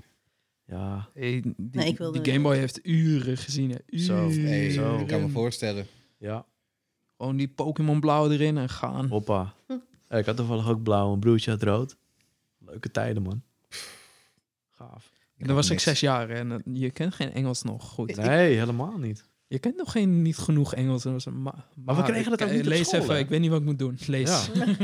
S2: Ja.
S4: hey, die,
S1: Nee, ik wilde
S4: die
S1: niet.
S4: Game Boy heeft uren gezien. Hè.
S2: Zo.
S4: Uren.
S3: Nee,
S2: Zo.
S3: ik kan me voorstellen.
S2: Ja.
S4: Gewoon die Pokémon blauw erin en gaan.
S1: (laughs)
S2: Hoppa. Ja, Ik had toevallig ook blauw, een broertje had rood. Leuke tijden, man. Gaaf.
S4: En dan was ik
S3: Niks.
S4: zes jaar en eh, je kent geen Engels nog goed.
S2: Nee, helemaal niet.
S4: Je kent nog geen niet genoeg Engels. En was een ma- maar
S2: kregen dat
S4: ik- eh,
S2: ook niet op
S4: Lees
S2: school,
S4: even,
S2: hè?
S4: ik weet niet wat ik moet doen. Lees.
S2: Ja.
S1: Of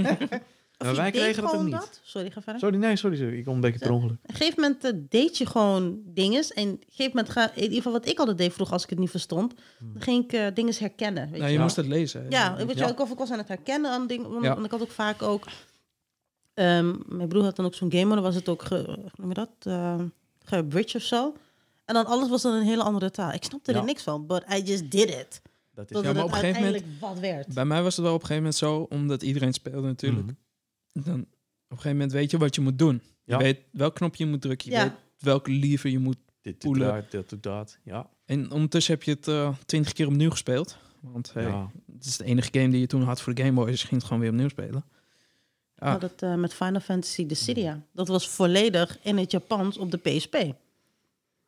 S2: Maar
S1: je
S2: wij
S1: deed
S2: kregen dat ook
S1: gewoon
S2: niet.
S1: Sorry, ga verder.
S2: Sorry, nee, sorry, sorry. Ik kom een beetje per ongeluk.
S1: Op een gegeven moment eh, deed je gewoon dinges. En op een gegeven moment, ga, in ieder geval wat ik altijd deed vroeger als ik het niet verstond,
S2: Hm.
S1: dan ging ik eh dinges herkennen. Weet
S4: Nou,
S1: je
S4: je
S1: wel.
S4: moest het lezen. hè.
S1: Ja, ik, weet je
S2: Ja.
S1: wel, ik, was- ik was aan het herkennen aan dingen. Want,
S4: Ja.
S1: want ik had ook vaak ook... ehm, mijn broer had dan ook zo'n game, maar dan was het ook, ge, hoe noem je dat, Ehm, gebridged of zo. En dan alles was dan een hele andere taal. Ik snapte
S2: Ja.
S1: er niks van, but I just did it.
S2: Dat is
S1: Totdat
S4: maar
S1: het
S4: op een gegeven moment-
S1: uiteindelijk wat werd.
S4: Bij mij was het wel op een gegeven moment zo, omdat iedereen speelde natuurlijk.
S2: Mhm.
S4: Dan op een gegeven moment weet je wat je moet doen.
S2: Ja.
S4: Je weet welk knopje je moet drukken. Je
S1: Ja.
S4: weet welke liever je moet.
S2: dit, dit,
S4: Poelen.
S2: dat, dit, doet dat. Ja.
S4: En ondertussen heb je het eh, twintig keer opnieuw gespeeld. Want hey,
S2: ja.
S4: het is de enige game die je toen had voor de Game Boy. Dus je ging het gewoon weer opnieuw spelen. Ah.
S1: Ik had het eh, met Final Fantasy Dissidia. Dat was volledig in het Japans op de PSP.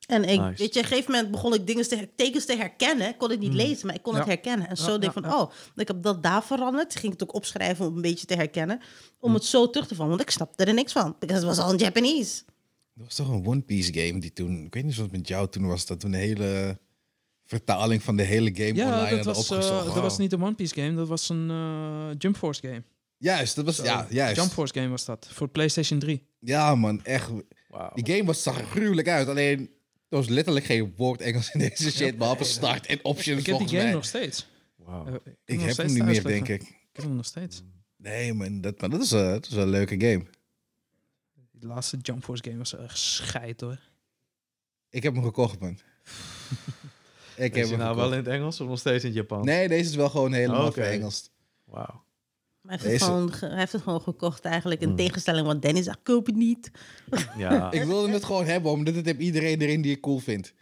S1: En ik,
S2: Nice.
S1: weet je, op een gegeven moment begon ik dingen te her- tekens te herkennen. Ik kon het niet lezen, maar ik kon
S4: Hmm. Ja.
S1: het herkennen. En zo
S4: Ja,
S1: denk ik
S4: ja,
S1: van, oh, ik heb dat daar veranderd. Ging ik het ook opschrijven om een beetje te herkennen.
S4: Hmm.
S1: Om het zo terug te vallen, want ik snapte er niks van. Because het was al in Japanese.
S3: Er was toch een One Piece game die toen... Ik weet niet of het met jou toen was. Dat toen een hele vertaling van de hele game
S4: Ja,
S3: online
S4: dat
S3: hadden
S4: was, eh,
S3: opgezocht.
S4: dat was niet een One Piece game. Dat was een eh, Jump Force game.
S3: Juist, dat was... Ja, juist.
S4: Jump Force game was dat. Voor PlayStation 3.
S3: Ja, man, echt.
S2: Wauw.
S3: Die game was zag er gruwelijk uit. Alleen, er was letterlijk geen woord Engels in deze shit. Behalve start en options,
S4: Ik heb die
S3: volgens
S4: game
S3: mij.
S4: nog steeds.
S2: Wauw.
S4: Eh,
S3: Ik heb hem
S4: steeds
S3: niet
S4: thuis
S3: meer,
S4: liggen.
S3: denk ik.
S4: Ik heb hem nog steeds.
S3: Nee, man, dat, maar dat is, eh, dat is wel een leuke game.
S4: Die laatste Jump Force game was echt scheid hoor.
S3: Ik heb hem gekocht,
S4: (laughs)
S3: man. ik heb
S2: Is hij
S3: hem
S2: nou
S3: gekocht.
S2: wel in het Engels of nog steeds in het Japan?
S3: Nee, deze is wel gewoon helemaal
S2: Oké. (laughs)
S3: verengeld.
S2: Wauw.
S1: Maar hij heeft, het
S3: Deze-
S1: gewoon, ge- hij heeft het gewoon gekocht eigenlijk.
S4: Hmm.
S1: In tegenstelling wat Dennis zegt, koop het niet.
S2: Ja.
S3: Ik wilde het gewoon hebben, omdat het heeft iedereen erin die ik cool vind.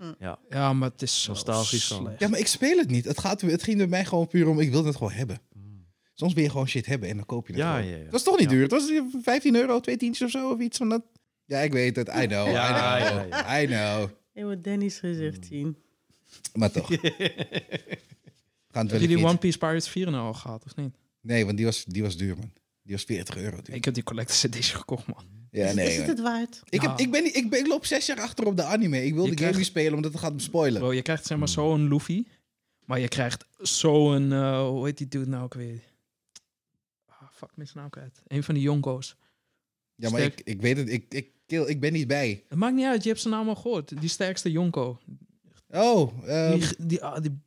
S4: Ja, maar het is zo
S2: Nostalgisch dan.
S4: slecht.
S3: Ja, maar ik speel het niet. Het, gaat, het ging bij mij gewoon puur om, ik wilde het gewoon hebben. Soms wil je gewoon shit hebben en dan koop je het
S2: Ja,
S3: gewoon.
S2: ja, ja.
S3: Dat was toch niet
S2: Mm. Ja. (laughs)
S3: duur? Het was 15 euro, twee tientjes of zo, of iets van dat. Ja, ik weet het. I know,
S2: Ja,
S3: I
S2: ja,
S3: know, I know.
S4: Hmm.
S1: Je moet Dennis gezicht zien.
S3: Maar toch. Gaan het
S4: Heb
S3: wel
S4: je die
S3: een
S4: One
S3: keertje-
S4: Piece Pirates 4 nou al gehad, of niet?
S3: Nee, want die was, die was duur, man. Die was 40 euro. duur.
S4: Ik heb die Collector's (laughs) Edition gekocht, man.
S3: Ja,
S1: is,
S3: nee.
S1: het
S3: man.
S1: het waard?
S3: Ik, heb,
S4: Nou.
S3: ik, ben, niet- ik, ben, ik loop zes jaar achter op de anime. Ik wil
S4: Je
S3: de game
S4: krijgt-
S3: niet spelen omdat het gaat me spoilen.
S4: Bro, je krijgt zeg maar zo'n Luffy, maar je krijgt zo'n, eh, hoe heet die dude nou ook weer? Ah, fuck, ik ben zijn naam kwijt. Een van die jonko's.
S3: ja, maar
S4: sterk.
S3: ik, ik weet het. Ik, ik, kill, ik ben niet bij.
S4: Het maakt niet uit, je hebt zijn naam al gehoord. Die sterkste jonko.
S3: Oh, ehm,
S4: die, g- die, ah, die,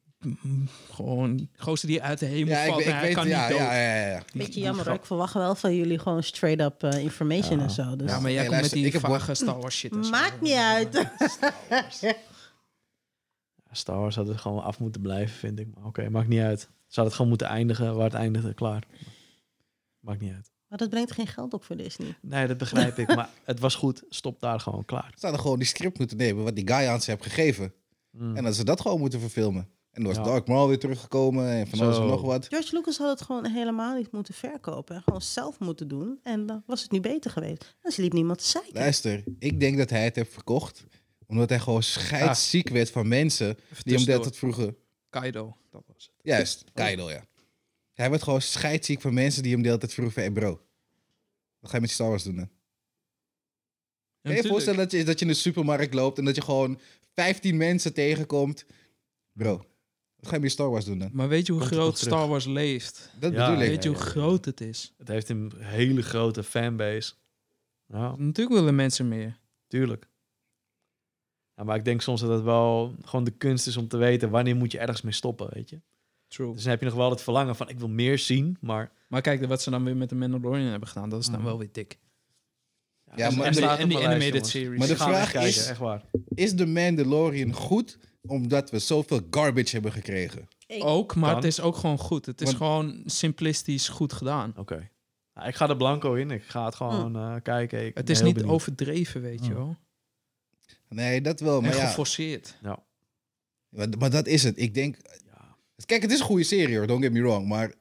S4: mm, gewoon, gozer die uit de hemel
S3: ja, ik,
S4: valt
S3: ik
S4: en hij
S3: weet
S4: kan
S3: ja,
S4: niet dood.
S3: ja, ja, ja, ja.
S4: Die-
S1: Beetje
S4: die
S1: jammer. hoor.
S4: grap.
S1: Ik verwacht wel van jullie gewoon straight up eh, information
S2: Ja.
S1: en zo. Dus.
S4: Ja, maar jij
S3: Hey,
S4: komt met
S3: luister,
S4: die
S3: ik heb
S4: vage
S3: One-
S4: Star Wars shit en zo.
S1: Maakt niet uit.
S2: Star Wars had het gewoon af moeten blijven, vind ik. Maar oké, maakt niet uit. Ze hadden het gewoon moeten eindigen waar het eindigde, klaar. Maakt niet uit.
S1: (laughs) Maar dat brengt geen geld op voor Disney.
S2: Nee, dat begrijp ik. Maar het was goed. Stop daar gewoon, klaar.
S3: Ze hadden gewoon die script moeten nemen wat die guy aan ze heeft gegeven.
S2: Mm.
S3: En dat ze dat gewoon moeten verfilmen. En toen was
S2: Ja.
S3: Dark Maul weer teruggekomen en van alles en
S2: Zo.
S3: nog wat.
S1: George Lucas had het gewoon helemaal niet moeten verkopen. En gewoon zelf moeten doen. En dan was het nu beter geweest. Dan liep niemand te zeiken.
S3: Luister, ik denk dat hij het heeft verkocht omdat hij gewoon
S4: Ah.
S3: scheidsziek werd van mensen
S4: Even
S3: die hem
S4: tussendoor.
S3: dat het vroegen.
S4: Kaido, dat was het.
S3: Juist, Kaido, ja. Hij werd gewoon scheidsziek van mensen die hem de hele tijd vroegen van... Hey bro, wat ga je met Star Wars doen dan? Kan je je voorstellen dat je, dat je in de supermarkt loopt... en dat je gewoon 15 mensen tegenkomt? Bro, wat ga je met Star Wars doen dan?
S4: Maar weet je hoe
S2: Komt het
S4: groot
S2: nog terug?
S4: Star Wars leeft?
S3: Dat
S2: Ja,
S3: bedoel ik.
S4: weet je hoe
S2: ja, ja.
S4: groot het is?
S2: Het heeft een hele grote fanbase. Ja,
S4: Natuurlijk willen mensen meer.
S2: tuurlijk. Ja, maar ik denk soms dat het wel gewoon de kunst is om te weten wanneer moet je ergens mee stoppen, weet je.
S4: True.
S2: Dus dan heb je nog wel het verlangen van ik wil meer zien, maar...
S4: Maar kijk, wat ze dan weer met de Mandalorian hebben gedaan, dat is dan
S2: Mhm.
S4: wel weer dik. Dus
S3: Ja,
S2: er- Dus
S3: maar-
S2: er
S4: en die,
S2: staat op
S4: en die
S2: mijn lijst, jongens.
S4: animated series.
S3: Maar de
S2: Ik ga hem echt
S3: vraag
S2: kijken,
S3: is-
S2: echt waar.
S3: Is The Mandalorian goed omdat we zoveel garbage hebben gekregen?
S4: Ook, maar
S2: Kan.
S4: het is ook gewoon goed. Het is
S3: Want-
S4: gewoon simplistisch goed gedaan.
S2: Oké. Nou, ik ga er blanco in. Ik ga het gewoon
S3: Hmm.
S2: eh, kijken. Ik ben
S4: Het is
S2: heel
S4: niet
S2: benieuwd.
S4: overdreven, weet je
S2: Mhm.
S4: wel.
S3: Nee, dat wel,
S4: En
S3: Oh, maar ja.
S4: geforceerd.
S3: Maar, maar dat is het. Ik denk...
S2: Ja.
S3: Kijk, het is een goede serie hoor, don't get me wrong. Maar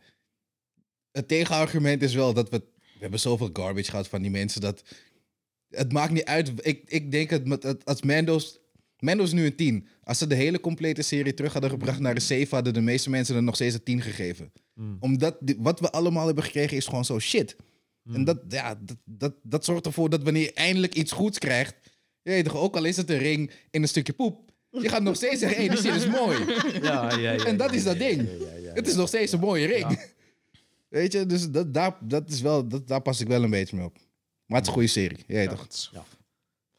S3: het tegenargument is wel dat we... We hebben zoveel garbage gehad van die mensen dat... Het maakt niet uit. Ik, ik denk dat met- dat als Mando's... Mando's nu een 10. Als ze de hele complete serie terug hadden gebracht naar een 7... hadden de meeste mensen er nog steeds een 10 gegeven.
S2: Mm.
S3: Omdat die- wat we allemaal hebben gekregen is gewoon zo shit.
S2: Mm.
S4: Hmm.
S3: En dat, ja, dat, dat, dat zorgt ervoor dat wanneer je eindelijk iets goeds krijgt... Je weet toch, ook al is het een ring in een stukje poep... Je gaat nog steeds zeggen, hé, hey, die shit is
S4: (laughs)
S3: mooi.
S2: Ja, ja, ja,
S3: (laughs) En dat
S2: ja,
S3: is dat
S2: ja,
S3: ding.
S2: ja, ja, ja,
S3: Het
S2: ja.
S3: is nog steeds een mooie ring.
S2: Ja.
S3: Weet je, dus dat, daar, dat is wel, dat, daar pas ik wel een beetje mee op. Maar het is een goede serie. Jij
S4: Ja,
S3: toch?
S4: het is-
S2: Ja.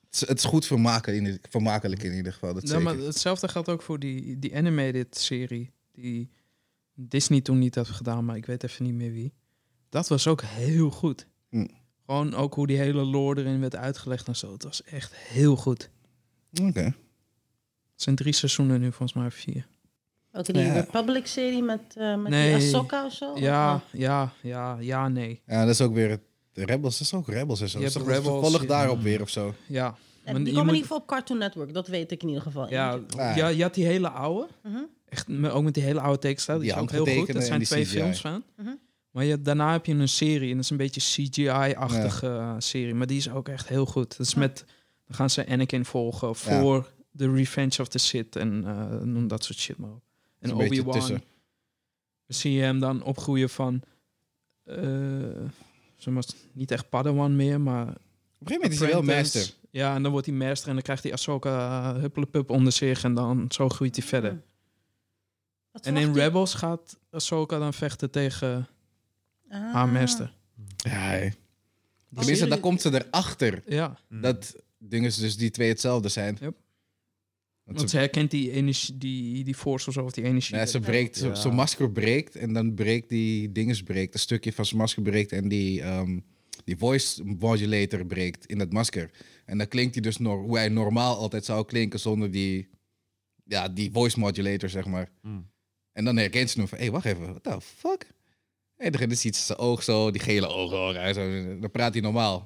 S3: Het is, het is goed vermaken in, i- vermakelijk in ieder geval. Dat
S4: Ja, Nou, maar
S3: zeker.
S4: hetzelfde geldt ook voor die, die animated serie. Die Disney toen niet had gedaan, maar ik weet even niet meer wie. Dat was ook heel goed.
S3: Hm.
S4: Gewoon ook hoe die hele lore erin werd uitgelegd en zo. Het was echt heel goed.
S3: Oké.
S4: Het zijn drie seizoenen nu, volgens mij vier.
S1: Ook die
S3: Ja.
S1: Republic-serie met, eh met
S4: Nee.
S1: die Ahsoka of zo?
S4: Ja,
S1: Of,
S4: ja, ja, ja, nee.
S3: Ja, dat is ook weer het. Rebels dat is ook Rebels en zo.
S4: Je
S3: Dat is
S4: hebt
S3: toch- dat is
S4: Rebels,
S3: Volg
S4: ja.
S3: daarop weer of zo.
S4: Ja.
S1: eh, die
S4: Maar je
S1: komen in
S4: moet-
S1: ieder geval op Cartoon Network. Dat weet ik in ieder geval.
S4: Ja,
S1: Eentje.
S3: Ah.
S4: ja, je had die hele oude.
S1: Mhm.
S4: Echt, me- ook met die hele oude tekenstijl. Die
S3: Die
S4: is ook heel goed.
S3: handgetekende
S4: Dat
S3: en
S4: zijn
S3: die
S4: twee
S3: CGI.
S4: films van.
S1: Mhm.
S4: Maar je, daarna heb je een serie. En dat is een beetje CGI-achtige eh, serie. Maar die is ook echt heel goed. Dat is
S1: Ja.
S4: met... Dan gaan ze Anakin volgen
S3: Ja.
S4: voor The Revenge of the Sith. En eh, noem dat soort shit maar op. En
S3: Een beetje
S4: Obi-Wan.
S3: tussen.
S4: Dan zie je hem dan opgroeien van... eh zeg maar, niet echt Padawan meer, maar
S3: Op een (laughs) gegeven moment is hij wel
S4: Apprentice.
S3: master.
S4: Ja, en dan wordt hij master en dan krijgt hij Ahsoka eh, huppelepup onder zich en dan zo groeit hij verder.
S1: Hm. Wat
S4: En in
S1: verwacht Ah. ik?
S4: Rebels gaat Ahsoka dan vechten tegen
S1: Ah.
S4: haar master.
S3: Ja, hè.
S4: Die
S3: Tenminste,
S4: serie-
S3: dan komt ze erachter
S4: Ja,
S2: Mm.
S3: dat dingen dus die twee hetzelfde zijn.
S4: Yep.
S3: Want
S4: want
S3: ze,
S4: ze herkent die, energie, die, die force of zo, of die energie.
S3: nee, ze breekt,
S2: Ja.
S3: ze- zijn masker breekt en dan breekt die dinges breekt. Een stukje van zijn masker breekt en die, ehm, die voice modulator breekt in dat masker. En dan klinkt hij dus nor- hoe hij normaal altijd zou klinken zonder die, ja, die voice modulator, zeg maar.
S2: Mm.
S3: En dan herkent ze hem van, hé, hey, wacht even, what the fuck? En dan ziet ze zijn oog zo, die gele ogen, hoor, hij zo, dan praat hij normaal.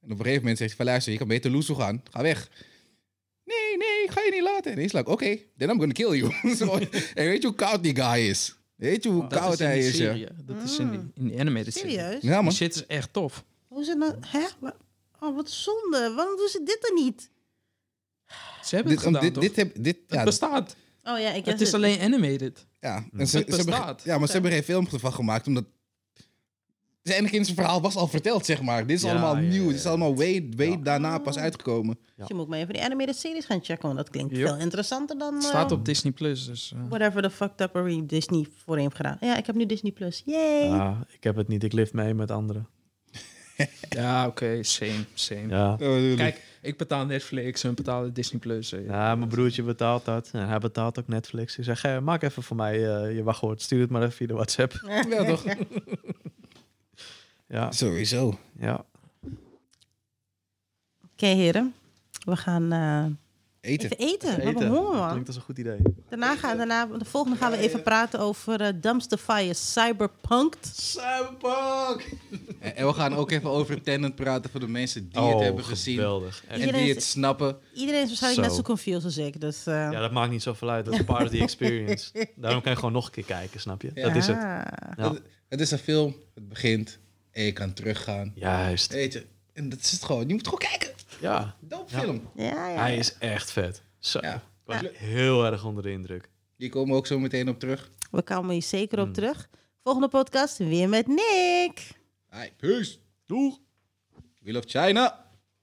S3: En op een gegeven moment zegt hij van, luister, je kan beter loesoe gaan, ga weg. Nee, nee, ik ga je niet laten. En hij is like, oké, then I'm gonna kill you. (laughs) Zo. en weet je hoe koud die guy is? Weet je hoe
S4: Oh, dat
S3: koud
S4: is in
S3: hij
S4: die
S3: is, ja?
S4: serie. Dat is in die, in die animated serie.
S1: Ah. Serieus?
S3: Ja,
S4: Die
S3: man.
S4: shit is echt tof.
S1: Hoe is het nou? Hè? Wa- Oh, wat zonde. Waarom doen ze dit dan niet?
S4: Ze hebben
S3: Dit,
S4: het
S3: om-
S4: gedaan,
S3: dit,
S4: toch?
S3: dit, heb, dit,
S4: het
S3: ja,
S4: bestaat.
S1: Oh ja, ik
S4: het is alleen animated.
S3: Ja, en ze,
S4: Het
S3: ze hebben,
S4: bestaat.
S3: ja maar ze hebben er geen film van gemaakt, omdat... Zijn kindse verhaal was al verteld, zeg maar. Dit is
S2: Ja,
S3: allemaal
S2: ja,
S3: nieuw.
S2: ja,
S3: Dit is allemaal way, way
S2: Ja.
S3: daarna pas uitgekomen.
S2: Ja.
S1: Je moet maar even die animated series gaan checken, want dat klinkt
S4: Yep.
S1: veel interessanter dan
S4: Het
S1: eh,
S4: staat op Disney+. Plus, Dus, eh,
S1: whatever the fucked up er Disney voorheen heeft gedaan. Ja, ik heb nu Disney Plus. Yay!
S2: Ja, ik heb het niet. Ik lift mee met anderen.
S4: Ja, oké, same, same.
S2: Ja.
S3: Oh,
S4: Kijk, ik betaal Netflix en betalen Disney+. Plus. eh.
S2: Ja, mijn broertje betaalt dat. En hij betaalt ook Netflix. Ik zeg, "Hey, maak even voor mij eh, je wachtwoord. Stuur het maar even via de WhatsApp.
S3: Ja, (laughs) toch?
S2: Ja,
S3: Sowieso.
S2: ja.
S1: Oké, heren. We gaan eh,
S3: Eten.
S1: even eten. We hebben
S2: Eten.
S1: honger,
S2: Dat
S1: man.
S2: klinkt als een goed idee.
S1: Daarna gaan, daarna, de volgende gaan we even praten over eh Dumpster Fire Cyberpunk.
S2: Cyberpunk!
S3: En, en we gaan ook even over Tenant praten voor de mensen die het hebben gezien.
S2: Oh, geweldig. Echt.
S3: En
S1: Iedereen
S3: die
S1: is-
S3: het snappen.
S1: Iedereen is waarschijnlijk
S2: Zo.
S1: net zo confused als ik. Dus, eh,
S2: Ja, dat maakt niet zoveel uit. Dat is part of the (laughs) experience. Daarom kan je gewoon nog een keer kijken, snap je? Dat is het.
S1: Ah.
S2: Ja.
S3: Het, het is een film, het begint en je kan teruggaan.
S2: Juist.
S3: Weet je, en dat is het gewoon. Je moet gewoon kijken.
S2: Ja.
S3: Dope
S2: Ja.
S3: film.
S1: Ja, ja.
S2: Hij is echt vet. Zo.
S3: Ja.
S2: Ik was heel erg onder de indruk.
S3: Die komen we ook zo meteen op terug.
S1: We komen hier zeker
S2: Hmm.
S1: op terug. Volgende podcast weer met Nick.
S3: Hi, peace.
S2: Doeg!
S3: We love China.